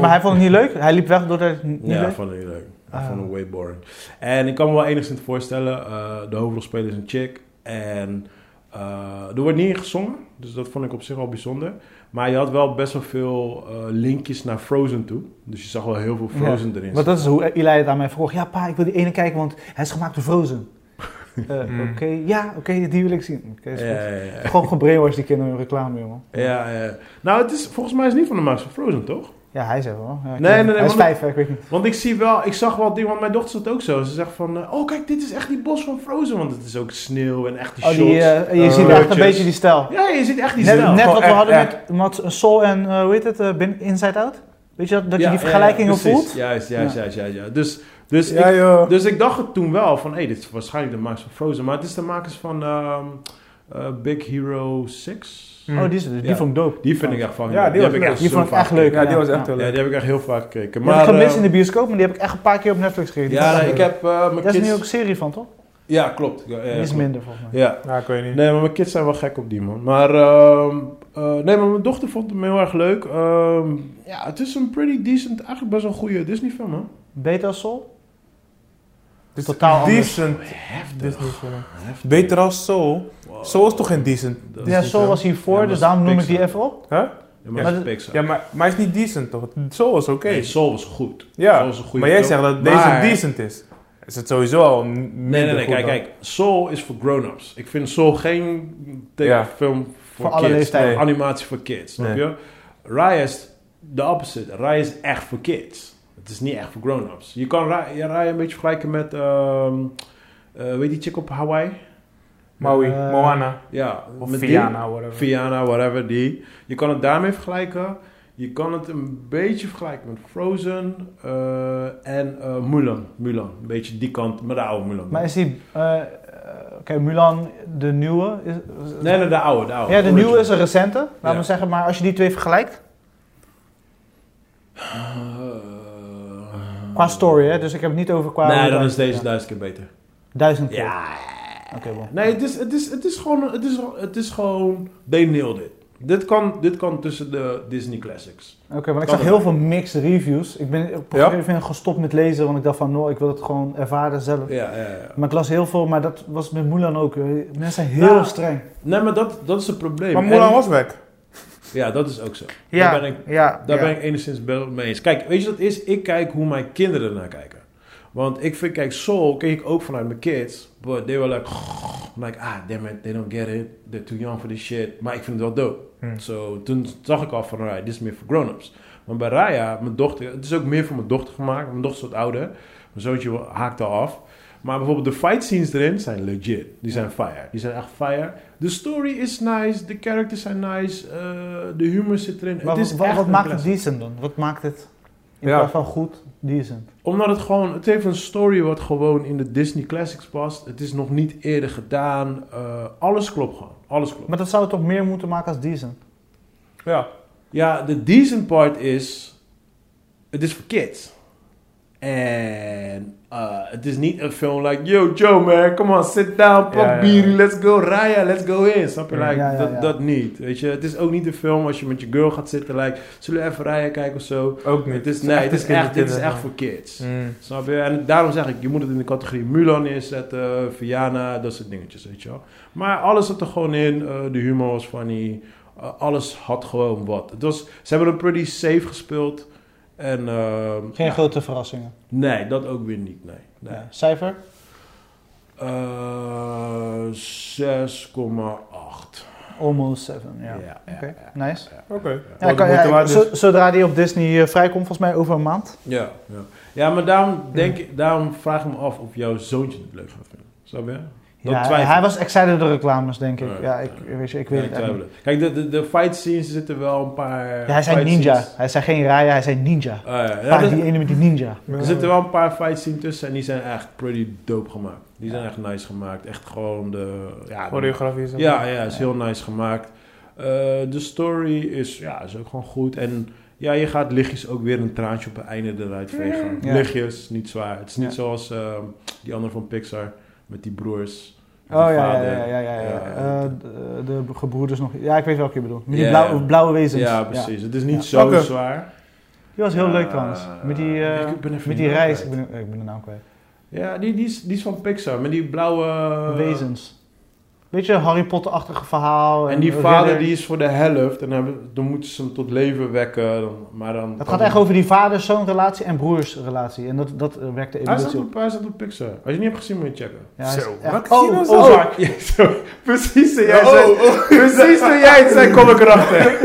S2: Maar hij vond het niet leuk? Hij liep weg doordat hij het niet
S3: Ja, ik
S2: leuk
S3: vond het niet leuk. Ik
S2: Ah.
S3: vond het way boring. En ik kan me wel enigszins voorstellen, eh, de hoofdrolspeler is een chick. En eh, er wordt niet in gezongen, dus dat vond ik op zich wel bijzonder. Maar je had wel best wel veel eh, linkjes naar Frozen toe. Dus je zag wel heel veel
S2: Ja.
S3: Frozen erin.
S2: Want dat is hoe Eli het aan mij vroeg. Ja, pa, ik wil die ene kijken, want hij is gemaakt door Frozen. Eh,
S1: Hmm.
S2: Oké, ja, oké, die wil ik zien. Oké, is
S3: ja,
S2: goed.
S3: ja, ja.
S2: Gewoon gebrainwashed die kinderen in reclame, jongen.
S3: Ja, ja. Nou, het is, volgens mij is het niet van de max van Frozen, toch?
S2: Ja, hij zei wel. Ja, ik weet
S3: Nee, nee,
S2: niet.
S3: nee,
S2: Hij is
S3: want-
S2: vijf, hè, ik weet niet.
S3: Want ik zie wel, ik zag wel dingen, want mijn dochter zat ook zo. Ze zegt van, eh, oh kijk, dit is echt die bos van Frozen. Want het is ook sneeuw en echt die
S2: Oh,
S3: shots.
S2: die, eh, je
S1: eh,
S2: ziet echt een
S3: kleurtjes.
S2: beetje die stijl.
S3: Ja, je ziet echt die
S2: Net,
S3: stijl.
S2: net wat we
S1: Gewoon
S2: hadden
S1: echt,
S2: met Mats- Soul en, eh, hoe heet het, eh, Bin- Inside Out? Weet je dat, dat je die vergelijkingen
S3: precies.
S2: voelt?
S3: Juist, juist,
S2: Ja.
S3: juist, juist, ja. Dus, dus,
S1: Ja,
S3: ik,
S1: joh.
S3: dus ik dacht het toen wel van, hé, dit is waarschijnlijk de makers van Frozen. Maar het is de makers van ehm, eh, Big Hero 6.
S1: Hm.
S2: Oh, die, is, die
S3: Ja.
S2: vond ik dope.
S3: Die vind ik echt van,
S1: Ja, die was
S3: heb ik
S1: leuk.
S3: echt
S2: Die
S3: zo
S2: vond ik
S3: vaak
S2: echt leuk.
S3: gekeken.
S1: Ja, die
S2: Ja,
S1: was
S2: ja.
S1: echt heel
S3: Ja,
S1: leuk.
S3: die heb ik echt heel vaak gekeken.
S2: Maar, die heb ik
S3: Maar,
S2: gemist
S3: ehm,
S2: in de bioscoop, maar die heb ik echt een paar keer op Netflix gekeken.
S3: ja,
S2: Dat
S3: nee,
S2: is
S3: ik
S2: echt
S3: heb eh,
S2: leuk.
S3: mijn
S2: Daar is
S3: kids...
S2: nu ook een serie van, toch?
S3: Ja, klopt. Ja, ja,
S2: die is
S3: klopt.
S2: minder, volgens mij.
S3: Ja.
S1: Ja, ik weet niet.
S3: Nee, maar mijn kids zijn wel gek op die man. Maar, ehm, eh, nee, maar mijn dochter vond hem heel erg leuk. Ehm, ja, het is een pretty decent, eigenlijk best wel een goede Disney film, man.
S2: Beter als Soul?
S1: Dit is
S2: Totaal anders.
S1: decent.
S3: Heftig.
S1: Disney film. Beter als Soul. Soul is toch geen decent?
S3: Dat
S2: Ja, Soul was hiervoor,
S3: Ja,
S2: dus
S3: maar
S2: daarom noem ik die
S3: Pixar.
S2: even op.
S1: Huh?
S3: Ja,
S2: Ja,
S3: maar dat is
S2: maar
S3: Pixar.
S1: Ja, maar, maar hij is niet decent toch? Soul is oké.
S3: Nee, Soul was goed.
S1: Ja,
S3: Soul was een goede
S1: maar jij
S3: film.
S1: zegt dat deze
S3: Maar-
S1: decent is. Is het sowieso al n-
S3: Nee, nee,
S1: minder
S3: nee,
S1: goed
S3: kijk,
S1: dan-
S3: kijk. Soul is voor grown-ups. Ik vind Soul geen tekenfilm voor,
S2: Voor alle
S3: kids.
S2: leeftijden.
S3: Nee, Animatie voor kids, snap
S1: Nee.
S3: je? Raya is de opposite. Raya is echt voor kids. Het is niet echt voor grown-ups. Je kan Ra- ja, Raya een beetje vergelijken met... ehm eh, weet je die chick op Hawaii?
S1: Maui,
S2: Eh,
S1: Moana
S3: Ja.
S1: of
S3: met die.
S1: Fiana, whatever.
S3: Viana, whatever, die. Je kan het daarmee vergelijken. Je kan het een beetje vergelijken met Frozen eh, en eh, Mulan. Mulan, een beetje die kant, maar de oude Mulan.
S2: Maar is die... eh, eh, Oké, Mulan, de nieuwe... Is, is-
S3: Nee, nee, de oude, de oude.
S2: ja, de
S3: Original.
S2: nieuwe is een recente, laten we
S3: Ja.
S2: zeggen. Maar als je die twee vergelijkt,
S3: Eh,
S2: qua story, hè. Dus ik heb het niet over qua...
S3: Eh, nee, dan is
S2: Ja.
S3: deze duizend keer beter.
S2: Duizend keer.
S3: Ja,
S2: Oké, bon.
S3: Nee, het is, het is, het is gewoon, het is, het is gewoon, they nailed it. Dit kan, dit kan tussen de Disney Classics.
S2: Oké, want ik
S3: Kan
S2: zag heel
S3: het.
S2: veel mixed reviews. Ik ben op een
S1: Ja?
S2: gegeven moment gestopt met lezen, want ik dacht van, no, ik wil het gewoon ervaren zelf.
S3: Ja, ja, ja.
S2: Maar ik las heel veel, maar dat was met Mulan ook. eh, Mensen zijn heel
S3: Nou,
S2: streng.
S3: Nee, maar dat, dat is het probleem.
S1: Maar Mulan
S3: En-
S1: was weg.
S3: Ja, dat is ook zo.
S2: Ja,
S3: Daar ben ik,
S2: ja,
S3: daar
S2: ja.
S3: ben ik enigszins wel mee eens. Kijk, weet je wat het is? Ik kijk hoe mijn kinderen ernaar kijken. Want ik vind, kijk, Soul keek ik ook vanuit mijn kids. But they were like, I'm like, ah, damn it, they don't get it. They're too young for this shit. Maar ik vind het wel dope.
S1: Hmm.
S3: So, toen zag ik al van, alright, dit is meer voor grown-ups. Maar bij Raya, mijn dochter, het is ook meer voor mijn dochter gemaakt. Mijn dochter is wat ouder. Mijn zoontje haakt al af. Maar bijvoorbeeld de fight scenes erin zijn legit. Die zijn fire. Die zijn echt fire. De story is nice. De characters zijn nice. eh, de humor zit erin.
S2: Maar
S3: het is
S2: wat,
S3: echt
S2: wat
S3: een
S2: maakt het
S3: classic.
S2: decent dan? Wat maakt het in
S3: Ja.
S2: plaats van goed decent?
S3: Omdat het gewoon, het heeft een story wat gewoon in de Disney Classics past. Het is nog niet eerder gedaan. Eh, alles klopt gewoon. Alles klopt.
S2: Maar dat zou het toch meer moeten maken als decent?
S1: Ja.
S3: Ja, de decent part is, het is voor kids. En eh, het is niet een film like, yo Joe man, come on, sit down, pak
S1: Ja, ja,
S3: bier,
S1: ja.
S3: let's go, Raya, let's go in. Snap je? Like,
S2: Ja, ja,
S3: dat,
S2: ja.
S3: dat niet. Weet je, het is ook niet een film als je met je girl gaat zitten, like, zullen we even Raya kijken of zo.
S1: Ook
S3: Het is, nee, het is echt, dit is echt voor kids.
S1: Hmm.
S3: Snap je? En daarom zeg ik, je moet het in de categorie Mulan neerzetten, Viana, dat soort dingetjes, weet je wel. Maar alles zat er gewoon in, eh, de humor was funny, eh, alles had gewoon wat. Het was, ze hebben het pretty safe gespeeld en ehm,
S2: Geen
S3: ja,
S2: grote verrassingen.
S3: Nee, dat ook weer niet, nee. nee.
S2: Ja. Cijfer?
S3: Eh, 6,8.
S2: Almost 7, ja.
S3: ja, ja,
S2: Oké,
S3: ja,
S2: nice.
S3: ja.
S1: Oké.
S2: Ja, ik kan-
S1: de
S2: ja,
S1: moeite waard is.
S3: dus-
S2: zo- zodra die op Disney eh, vrijkomt, volgens mij over een maand.
S3: Ja, ja. ja maar daarom, denk, ik- daarom vraag ik me af of jouw zoontje het leuk gaat vinden. Snap je? Dat
S2: Ja,
S3: twijfel.
S2: hij was excited door reclames, denk ik.
S3: Ja.
S2: Ja, ik, weet je, ik
S3: Ja,
S2: weet het
S3: ik
S2: echt
S3: twijfel
S2: niet.
S3: het. Kijk, de, de, de fight scenes zitten wel een paar.
S2: Ja, hij zei
S3: fight
S2: ninja.
S3: scenes-
S2: Hij zei geen Raya, hij zei ninja.
S3: Ah, ja.
S2: Ja,
S3: Ja, er-
S2: die ene met die ninja.
S3: er zitten wel een paar fight scenes tussen en die zijn echt pretty dope gemaakt. Die zijn echt nice gemaakt. Echt gewoon de. Ja, de-
S1: Choreografie is
S3: ja, ja, is heel nice gemaakt. Eh, de story is, ja, is ook gewoon goed. En ja, je gaat lichtjes ook weer een traantje op het einde eruit vegen.
S2: Ja.
S3: Lichtjes, niet zwaar. Het is niet
S2: Ja.
S3: zoals eh, die andere van Pixar met die broers.
S2: Oh
S3: met
S2: ja,
S3: die
S2: ja,
S3: vader.
S2: ja, ja, ja, ja.
S3: Ja.
S2: Eh, de, de gebroeders nog. Ja, ik weet welke je bedoelt. Met die
S3: Ja.
S2: blauwe, blauwe wezens.
S3: Ja, precies. Het is niet
S2: Ja.
S3: zo
S1: Oké.
S3: zwaar.
S2: Die was heel
S3: Ja.
S2: leuk trouwens. Met die, eh,
S3: Ik ben even
S2: met
S3: de
S2: die
S3: naam
S2: reis. Ik
S3: kwijt.
S2: ben, eh, ik ben de naam kwijt.
S3: Ja, die, die, is, die is van Pixar, met die blauwe...
S2: wezens. Beetje Harry Potter-achtige verhaal.
S3: En die
S2: een
S3: vader
S2: ridder.
S3: die is voor de helft. En hebben, dan moeten ze hem tot leven wekken. Dan, maar dan...
S2: Het gaat echt over die vader-zoon-relatie en broers-relatie. En dat, dat eh, werkt de
S3: Hij staat,
S2: evolutie op.
S3: op, hij staat op Pixar. Als je niet hebt gezien, moet je checken.
S2: Ja, hij is
S1: Zo,
S2: echt-
S1: wat
S2: oh,
S1: zie je nou zo?
S2: Ozark.
S3: Ja, zo, precies toen jij zei...
S1: Oh, oh,
S3: Precies toen jij het zei, kom ik erachter.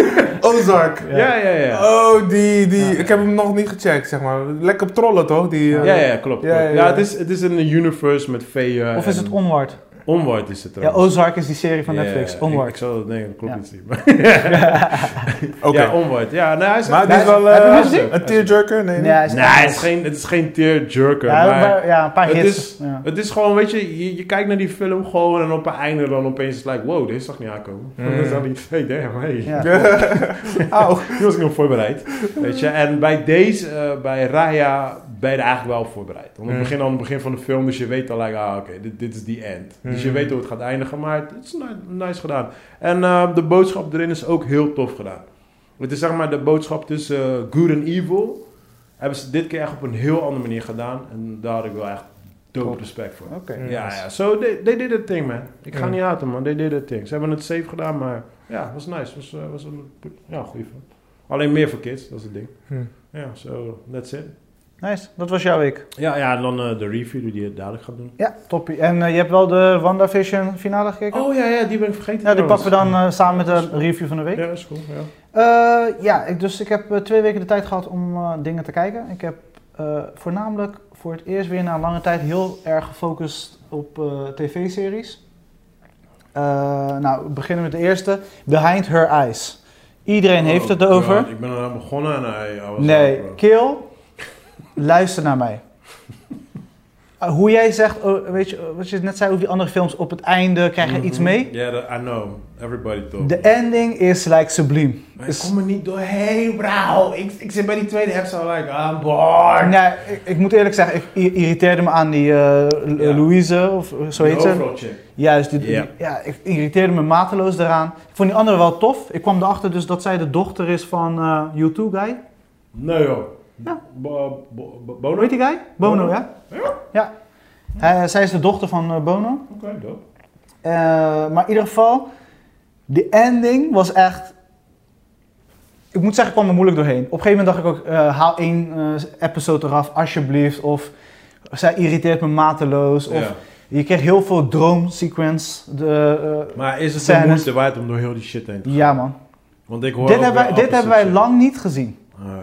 S1: Ozark.
S3: Ja, ja, ja.
S1: Oh, die, die. Ik heb hem nog niet gecheckt, zeg maar. Lekker op trollen, toch? Die, eh,
S3: Ja, ja, klopt.
S1: Ja,
S3: klopt.
S1: ja, ja.
S3: Ja, het is, het is een universe met veeën.
S2: Of is
S3: en-
S2: het Onward?
S3: Onward is het
S2: Ja,
S3: trouwens.
S2: Ozark is die serie van
S3: Ja,
S2: Netflix.
S3: ik-
S2: Onward.
S3: Ik, zal dat denken, dat klopt
S2: Ja.
S3: niet. maar-
S1: Oké.
S3: Ja, Onward. Ja, nou, hij is
S1: Maar die
S3: hij
S1: is wel
S2: heb je
S1: eh,
S2: hem gezien?
S1: een tearjerker? Nee,
S2: Nee,
S1: nee.
S2: hij is
S3: Nee,
S2: echt
S3: het is
S2: nice.
S3: geen, het is geen tearjerker.
S2: Ja,
S3: maar
S2: maar- ja, een paar
S3: het
S2: hits.
S3: is-
S2: ja.
S3: het is gewoon, weet je, je, je kijkt naar die film gewoon en op het einde dan opeens is het like, wow, deze zag ik niet aankomen.
S1: Mm.
S3: Dan is dat niet, hey damn, hey.
S2: Ja.
S1: Auw.
S3: Die was ik nog voorbereid. Weet je, en bij deze, eh, bij Raya, ben je er eigenlijk wel voorbereid. Want het
S1: Mm.
S3: begin aan het begin van de film, dus je weet al, like, ah, oké, dit, dit is die end. Dus je
S1: Mm.
S3: weet hoe het gaat eindigen, maar het is ni- nice gedaan. En eh, de boodschap erin is ook heel tof gedaan. Het is zeg maar de boodschap tussen eh, good en evil. Hebben ze dit keer echt op een heel andere manier gedaan. En daar had ik wel echt dope
S2: Top.
S3: respect voor.
S2: Oké.
S1: Mm.
S3: Ja, ja. So they, they did their thing, man. Ik ga
S1: Mm.
S3: niet haten, man. They did their thing. Ze hebben het safe gedaan, maar ja, was nice. Was, eh, was een goed- ja, goede film. Alleen meer voor kids, dat is het ding.
S1: Hm.
S3: Ja, so that's it.
S2: Nice, dat was jouw week.
S3: Ja, ja en dan eh, de review die je dadelijk gaat doen.
S2: Ja, toppie. En eh, je hebt wel de WandaVision finale gekeken?
S3: Oh ja, ja, die ben ik vergeten.
S2: ja, die
S3: trouwens.
S2: pakken we dan eh, samen met de review van de week.
S3: Oh. Ja, is cool. Ja.
S2: Eh, ja, ik, dus ik heb eh, twee weken de tijd gehad om eh, dingen te kijken. Ik heb eh, voornamelijk voor het eerst weer na een lange tijd heel erg gefocust op eh, tv-series. Eh, nou, we beginnen met de eerste. Behind Her Eyes. Iedereen heeft het
S3: Oh,
S2: erover.
S3: God, ik ben eraan begonnen en hij hij was
S2: Nee,
S3: al, bro.
S2: Keel, luister naar mij. Eh, eh, hoe jij zegt, oh, weet je, eh, wat je net zei over die andere films, op het einde krijg je iets mee.
S3: Mhm. Ja, dat- I know. Everybody told
S2: De
S3: me.
S2: ending is like subliem.
S3: Maar ik
S2: Is-
S3: kom er niet doorheen, bro. Ik, ik zit bij die tweede helft zo like, I'm bored.
S2: Nee, ik, ik moet eerlijk zeggen, ik i- irriteerde me aan die eh, L-
S3: Ja.
S2: Louise, of eh, zo
S3: Die
S2: heet ze.
S3: overall chick.
S2: Juist, die, die-
S3: Ja.
S2: ja, ik irriteerde me mateloos daaraan. Ik vond die andere wel tof. Ik kwam erachter dus dat zij de dochter is van eh U2-guy.
S3: Nee joh.
S2: Ja.
S3: Bo- bo- bo-
S2: Hoe
S3: Bono?
S2: heet die guy? Bono,
S3: Bono.
S2: ja? Ja. Eh, zij is de dochter van eh, Bono.
S3: Oké, dope.
S2: Eh, maar in ieder geval, de ending was echt. Ik moet zeggen, ik kwam er moeilijk doorheen. Op een gegeven moment dacht ik ook: eh, haal één eh, episode eraf, alsjeblieft. Of zij irriteert me mateloos. dus Of
S3: Ja.
S2: je kreeg heel veel droomsequence. De, eh,
S3: Maar is het de
S2: Scènes.
S3: moeite waard om door heel die shit heen te gaan?
S2: ja, man.
S3: Want ik hoor
S2: Dit
S3: ook
S2: hebben, wij,
S3: weer
S2: dit hebben wij
S3: opposite
S2: lang niet gezien.
S3: shit. Ah,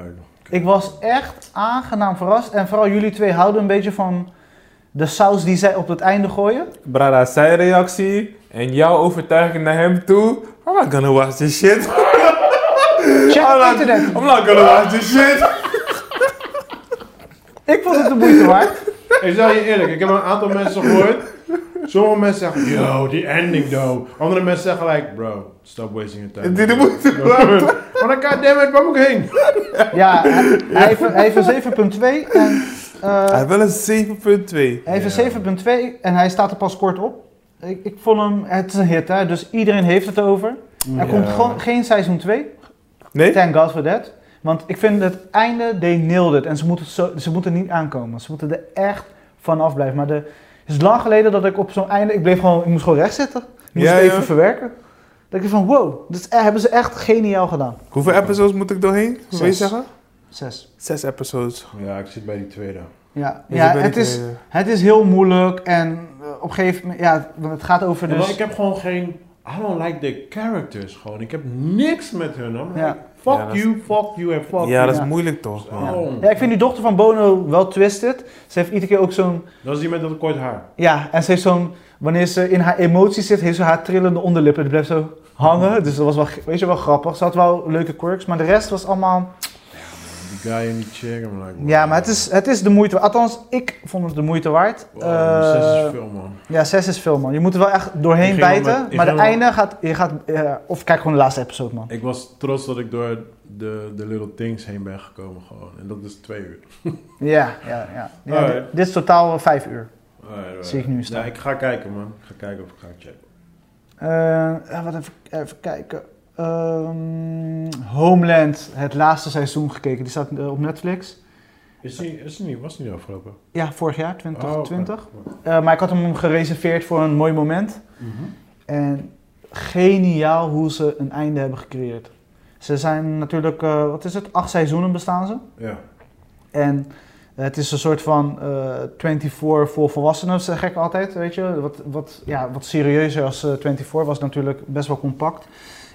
S2: Ik was echt aangenaam verrast. En vooral jullie twee houden een beetje van de saus die zij op het einde gooien.
S1: Brada, zijn reactie en jouw overtuiging naar hem toe. I'm not gonna watch this shit. I'm
S2: Check het
S1: not,
S2: internet.
S1: I'm not gonna watch this shit.
S2: Ik vond het de moeite waard.
S3: Ik zeg je eerlijk, ik heb een aantal mensen gehoord. Sommige mensen zeggen, yo, die ending though. Andere mensen zeggen like, bro, stop wasting your time.
S1: Dit moet je
S3: Maar dan goddammit, waar moet ik heen?
S2: Ja, hij, hij heeft, hij heeft een 7.2 en eh,
S1: Hij heeft wel een 7.2.
S2: hij heeft
S3: Ja.
S2: een 7.2 en hij staat er pas kort op. Ik, ik vond hem, het is een hit hè, dus iedereen heeft het over.
S1: Mm,
S2: Er komt gewoon geen seizoen 2,
S1: Nee?
S2: thank God for that. Want ik vind het einde, they nailed it en ze moeten, zo, ze moeten niet aankomen. Ze moeten er echt vanaf blijven. Maar de, het is lang geleden dat ik op zo'n einde, ik bleef gewoon, ik moest gewoon recht zitten. Ik moest
S1: Ja,
S2: het even
S1: ja.
S2: verwerken. Dat ik dacht van wow, dit is- hebben ze echt geniaal gedaan.
S1: Hoeveel episodes moet ik doorheen? Hoe wil je
S2: Zes.
S1: zeggen?
S2: Zes.
S1: Zes episodes.
S3: Ja, ik zit bij die tweede.
S2: Ja,
S1: Dus
S2: ja
S1: ik weet
S2: het
S1: niet,
S2: is...
S1: eh,
S2: Het is heel moeilijk en eh, op een gegeven moment, ja, het- want het gaat over
S3: Ja, maar ik
S2: dus...
S3: heb gewoon geen... I don't like the characters gewoon. Ik heb niks met hun. I'm like,
S2: Ja.
S3: fuck
S1: Ja, dat is-
S3: you, fuck you en fuck
S1: Ja,
S3: you.
S1: dat is
S2: Ja.
S1: moeilijk toch, man.
S3: Oh.
S2: Ja, ik vind die dochter van Bono wel twisted. Ze heeft iedere keer ook zo'n,
S3: Dat is die met dat kort haar.
S2: ja, en ze heeft zo'n, wanneer ze in haar emoties zit, heeft ze haar trillende onderlippen. Die blijft zo hangen, dus dat was wel, weet je, wel grappig. Ze had wel leuke quirks, maar de rest was allemaal...
S3: Die guy en die chick. I'm like,
S2: Ja, maar het is, het is de moeite waard. Althans, ik vond het de moeite waard.
S3: Wow,
S2: Eh,
S3: zes is veel, man.
S2: ja, zes is veel, man. Je moet er wel echt doorheen
S3: Ik ging wel
S2: bijten,
S3: met- ik
S2: maar de
S3: ging wel-
S2: einde gaat, je gaat, eh, of kijk gewoon de laatste episode, man.
S3: Ik was trots dat ik door de, de Little Things heen ben gekomen gewoon. En dat is twee uur.
S2: Ja, ja, ja. ja
S3: Alright.
S2: dit, dit is totaal eh, vijf uur.
S3: Alright, alright.
S2: Zie ik nu staan.
S3: Ja, ik ga kijken, man. Ik ga kijken of ik ga checken.
S2: Eh, eh, wat even, even kijken. Ehm, Homeland, het laatste seizoen gekeken. Die staat eh, op Netflix.
S3: Is die, is die niet, was die niet afgelopen?
S2: Ja, vorig jaar, 2020.
S3: Oh, oké.
S2: Eh, maar ik had hem gereserveerd voor een mooi moment.
S3: Mhm.
S2: En geniaal hoe ze een einde hebben gecreëerd. Ze zijn natuurlijk, eh, wat is het, acht seizoenen bestaan ze.
S3: Ja.
S2: En het is een soort van eh 24 voor volwassenen, zeg ik altijd, weet je. Wat, wat, ja, wat serieuzer als eh, 24 was natuurlijk best wel compact.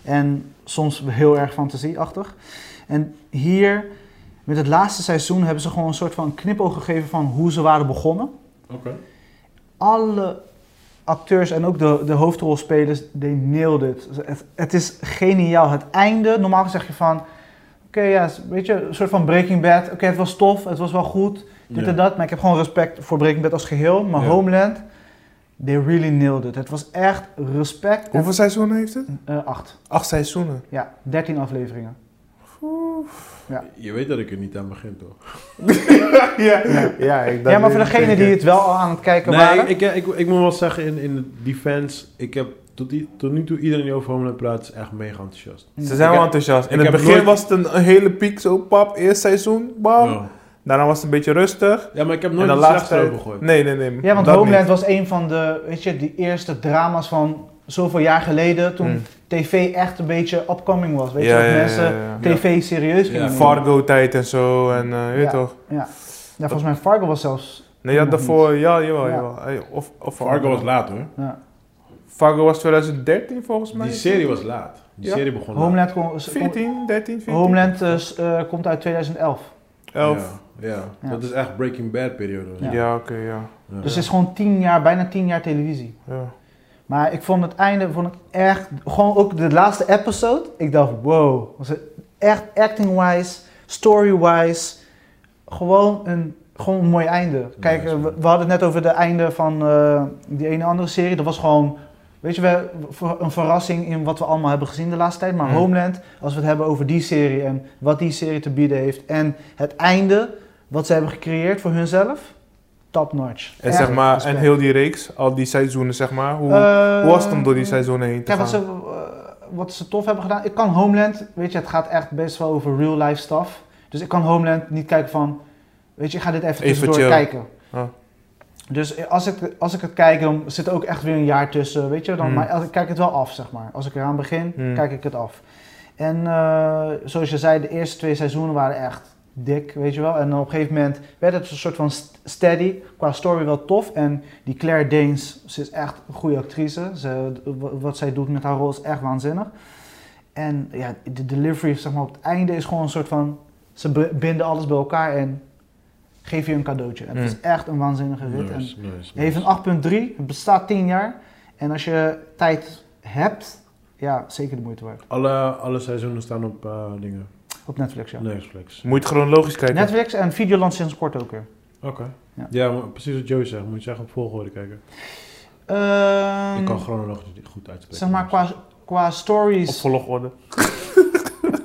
S2: En soms heel erg fantasieachtig. En hier, met het laatste seizoen, hebben ze gewoon een soort van knipoog gegeven van hoe ze waren begonnen.
S3: Oké.
S2: Alle acteurs en ook de, de hoofdrolspelers, they nailed it. Het, het is geniaal. Het einde, normaal zeg je van... Oké, ja, weet je, een soort van Breaking Bad. Oké, het was tof, het was wel goed dit
S3: Ja.
S2: en dat. Maar ik heb gewoon respect voor Breaking Bad als geheel. Maar
S3: Ja.
S2: Homeland, they really nailed it. Het was echt respect.
S1: Hoeveel seizoenen heeft het?
S2: En, eh, acht.
S1: Acht seizoenen.
S2: Ja, 13 afleveringen.
S3: Je weet dat ik er niet aan begin, toch?
S1: ja, ja, ik
S2: ja, maar voor degenen die het wel al aan het kijken
S3: Nee,
S2: waren.
S3: ik, ik, ik, ik moet wel zeggen, in, in de defense, ik heb tot, die, tot nu toe iedereen die over Homeland praat, is echt mega enthousiast.
S1: Ze zijn wel
S3: heb-
S1: enthousiast. In
S3: ik
S1: het
S3: heb
S1: begin
S3: nooit-
S1: was het een, een hele piek, zo pap, eerst seizoen,
S2: Oh.
S1: bam.
S3: Ja.
S1: Daarna was het een beetje rustig.
S3: Ja, maar ik heb
S1: en
S3: nooit
S1: de
S3: iets
S1: laatste
S3: slechts
S1: tijd...
S3: erover gegooid.
S1: Nee, nee, nee.
S2: Ja, want
S1: dat
S2: Homeland
S1: niet.
S2: was een van de, weet je, die eerste drama's van zoveel jaar geleden. Toen
S1: Mm.
S2: tv echt een beetje upcoming was. Weet je,
S1: Ja,
S2: dat
S1: ja, ja,
S2: mensen
S1: ja,
S3: ja.
S2: tv serieus gingen
S3: Ja.
S2: nemen.
S1: Fargo-tijd en zo, en eh, je weet
S2: Ja.
S1: toch.
S2: Ja, volgens mij Fargo was zelfs...
S1: Nee, ja,
S2: Nog
S1: daarvoor, ja, jawel,
S2: Ja.
S1: jawel. Hey, Of, of
S3: Fargo was laat, hoor.
S2: Ja.
S1: Fargo was 2013 volgens mij.
S3: Die serie was laat. Die
S1: Ja.
S3: serie begon laat.
S2: Homeland, kon-
S1: 14, 13, 14.
S2: Homeland eh, s- eh, komt uit 2011.
S1: 11.
S3: Ja, ja.
S2: Ja.
S3: dat is echt Breaking Bad periode.
S1: Ja,
S2: Ja.
S1: oké, ja.
S3: Ja.
S2: Dus het is gewoon tien jaar, bijna tien jaar televisie.
S1: ja.
S2: Maar ik vond het einde vond ik echt, gewoon ook de laatste episode. Ik dacht, wow, was het echt acting-wise, story-wise, gewoon een Gewoon een mooi einde. Kijk,
S3: Nice,
S2: eh, we,
S3: man.
S2: we hadden het net over de einde van eh, die ene andere serie. Dat was gewoon, weet je, we, voor- een verrassing in wat we allemaal hebben gezien de laatste tijd. Maar
S1: Mhm.
S2: Homeland, als we het hebben over die serie en wat die serie te bieden heeft. En het einde wat ze hebben gecreëerd voor hunzelf. Top notch.
S1: En, zeg maar, en heel die reeks, al die seizoenen, zeg maar. Hoe, hoe was het om door die seizoenen heen te
S2: Eh, Ja, wat ze,
S1: gaan?
S2: eh, wat ze tof hebben gedaan. Ik kan Homeland, weet je, het gaat echt best wel over real life stuff. Dus ik kan Homeland niet kijken van, weet je, ik ga dit even
S1: Even
S2: tussendoor
S1: chill.
S2: kijken.
S1: Ah.
S2: Dus als ik, als ik het kijk, dan zit er ook echt weer een jaar tussen, weet je. Dan,
S1: Hmm.
S2: Maar als- ik kijk het wel af, zeg maar. Als ik eraan begin,
S1: Hmm.
S2: kijk ik het af. En eh, zoals je zei, de eerste twee seizoenen waren echt dik, weet je wel. En op een gegeven moment werd het een soort van st- steady, qua story wel tof. En die Claire Danes, ze is echt een goede actrice. Ze, w- wat zij doet met haar rol is echt waanzinnig. En ja, de delivery zeg maar, op het einde is gewoon een soort van... Ze be- binden alles bij elkaar en geven je een cadeautje. En het
S1: Mm.
S2: is echt een waanzinnige rit.
S3: Nice,
S2: En
S3: nice, nice.
S2: het heeft een 8.3, het bestaat 10 jaar. En als je tijd hebt, ja, zeker de moeite waard.
S3: Alle, alle seizoenen staan op eh, dingen.
S2: Op Netflix, ja.
S3: Netflix.
S1: Moet je het chronologisch kijken?
S2: Netflix en Videoland sinds kort ook weer.
S3: Oké.
S2: Ja.
S3: Ja, maar precies wat Joey zegt. Moet je echt op volgorde kijken.
S2: Ehm,
S1: Mm.
S3: Ik kan chronologisch niet goed uitspreken.
S2: zeg maar, qua, qua
S1: Op
S2: stories,
S1: volgorde.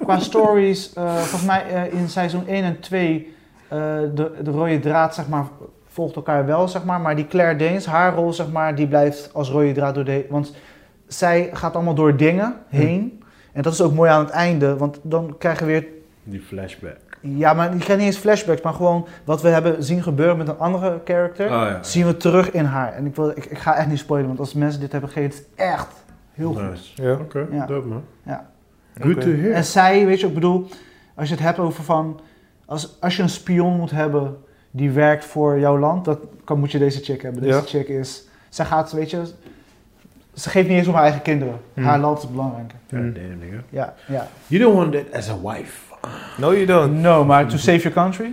S2: qua stories eh, volgens mij eh, in seizoen 1 en 2, eh, de, de rode draad, zeg maar, volgt elkaar wel, zeg maar. Maar die Claire Danes, haar rol, zeg maar, die blijft als rode draad door de... Want zij gaat allemaal door dingen heen. En dat is ook mooi aan het einde, want dan krijg je weer
S3: Die flashback.
S2: Ja, maar je krijgt niet eens flashbacks, maar gewoon wat we hebben zien gebeuren met een andere character,
S3: Ah, ja.
S2: zien we terug in haar. En ik, wil, ik, ik ga echt niet spoilen, want als mensen dit hebben gegeven, het is echt heel goed.
S3: nice.
S1: Ja.
S3: Oké,
S2: Ja.
S3: dope man.
S2: Ja.
S3: Good to
S1: Oké.
S3: hear.
S2: En zij, weet je, ik bedoel, als je het hebt over van, als, als je een spion moet hebben die werkt voor jouw land, dan kan, moet je deze chick hebben. Deze
S1: Ja.
S2: chick is, zij gaat, weet je, ze geeft niet eens om haar eigen kinderen.
S1: Hmm.
S2: Haar land is belangrijker.
S3: God damn, nigga.
S2: Ja, ja.
S3: You don't want that as a wife.
S1: No, you don't.
S2: No, maar to save your country.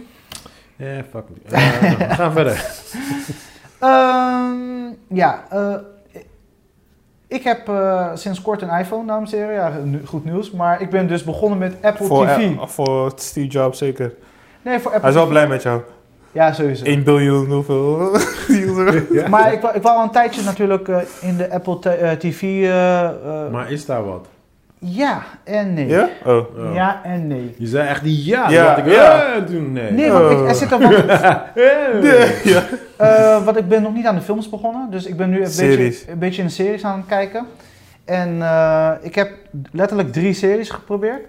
S3: Eh, fuck it. Eh, we gaan verder.
S2: Ehm, ja, eh, ik heb eh, sinds kort een iPhone, dames en heren. Ja, nu- goed nieuws. Maar ik ben dus begonnen met Apple
S1: Voor,
S2: TV.
S1: eh, voor Steve Jobs zeker.
S2: nee, voor Apple
S1: Hij is wel
S2: TV.
S1: blij met jou.
S2: Ja, sowieso.
S1: 1 biljoen, hoeveel? user.
S2: Maar ik, wou- ik wou al een tijdje natuurlijk eh, in de Apple t- eh, TV... eh, eh,
S3: Maar is daar wat?
S2: Ja en nee.
S1: Ja? Oh.
S3: Oh.
S2: Ja en nee.
S3: Je zei echt die ja.
S1: Ja,
S3: Ja, ik,
S1: ja.
S3: eh, doen. Nee.
S2: Nee, want
S1: Oh.
S2: ik, er zit er wat...
S3: Eh.
S1: Nee, Ja.
S2: Eh, want ik ben nog niet aan de films begonnen, dus ik ben nu een,
S1: Series.
S2: beetje, een beetje in de series aan het kijken. En eh, ik heb letterlijk drie series geprobeerd.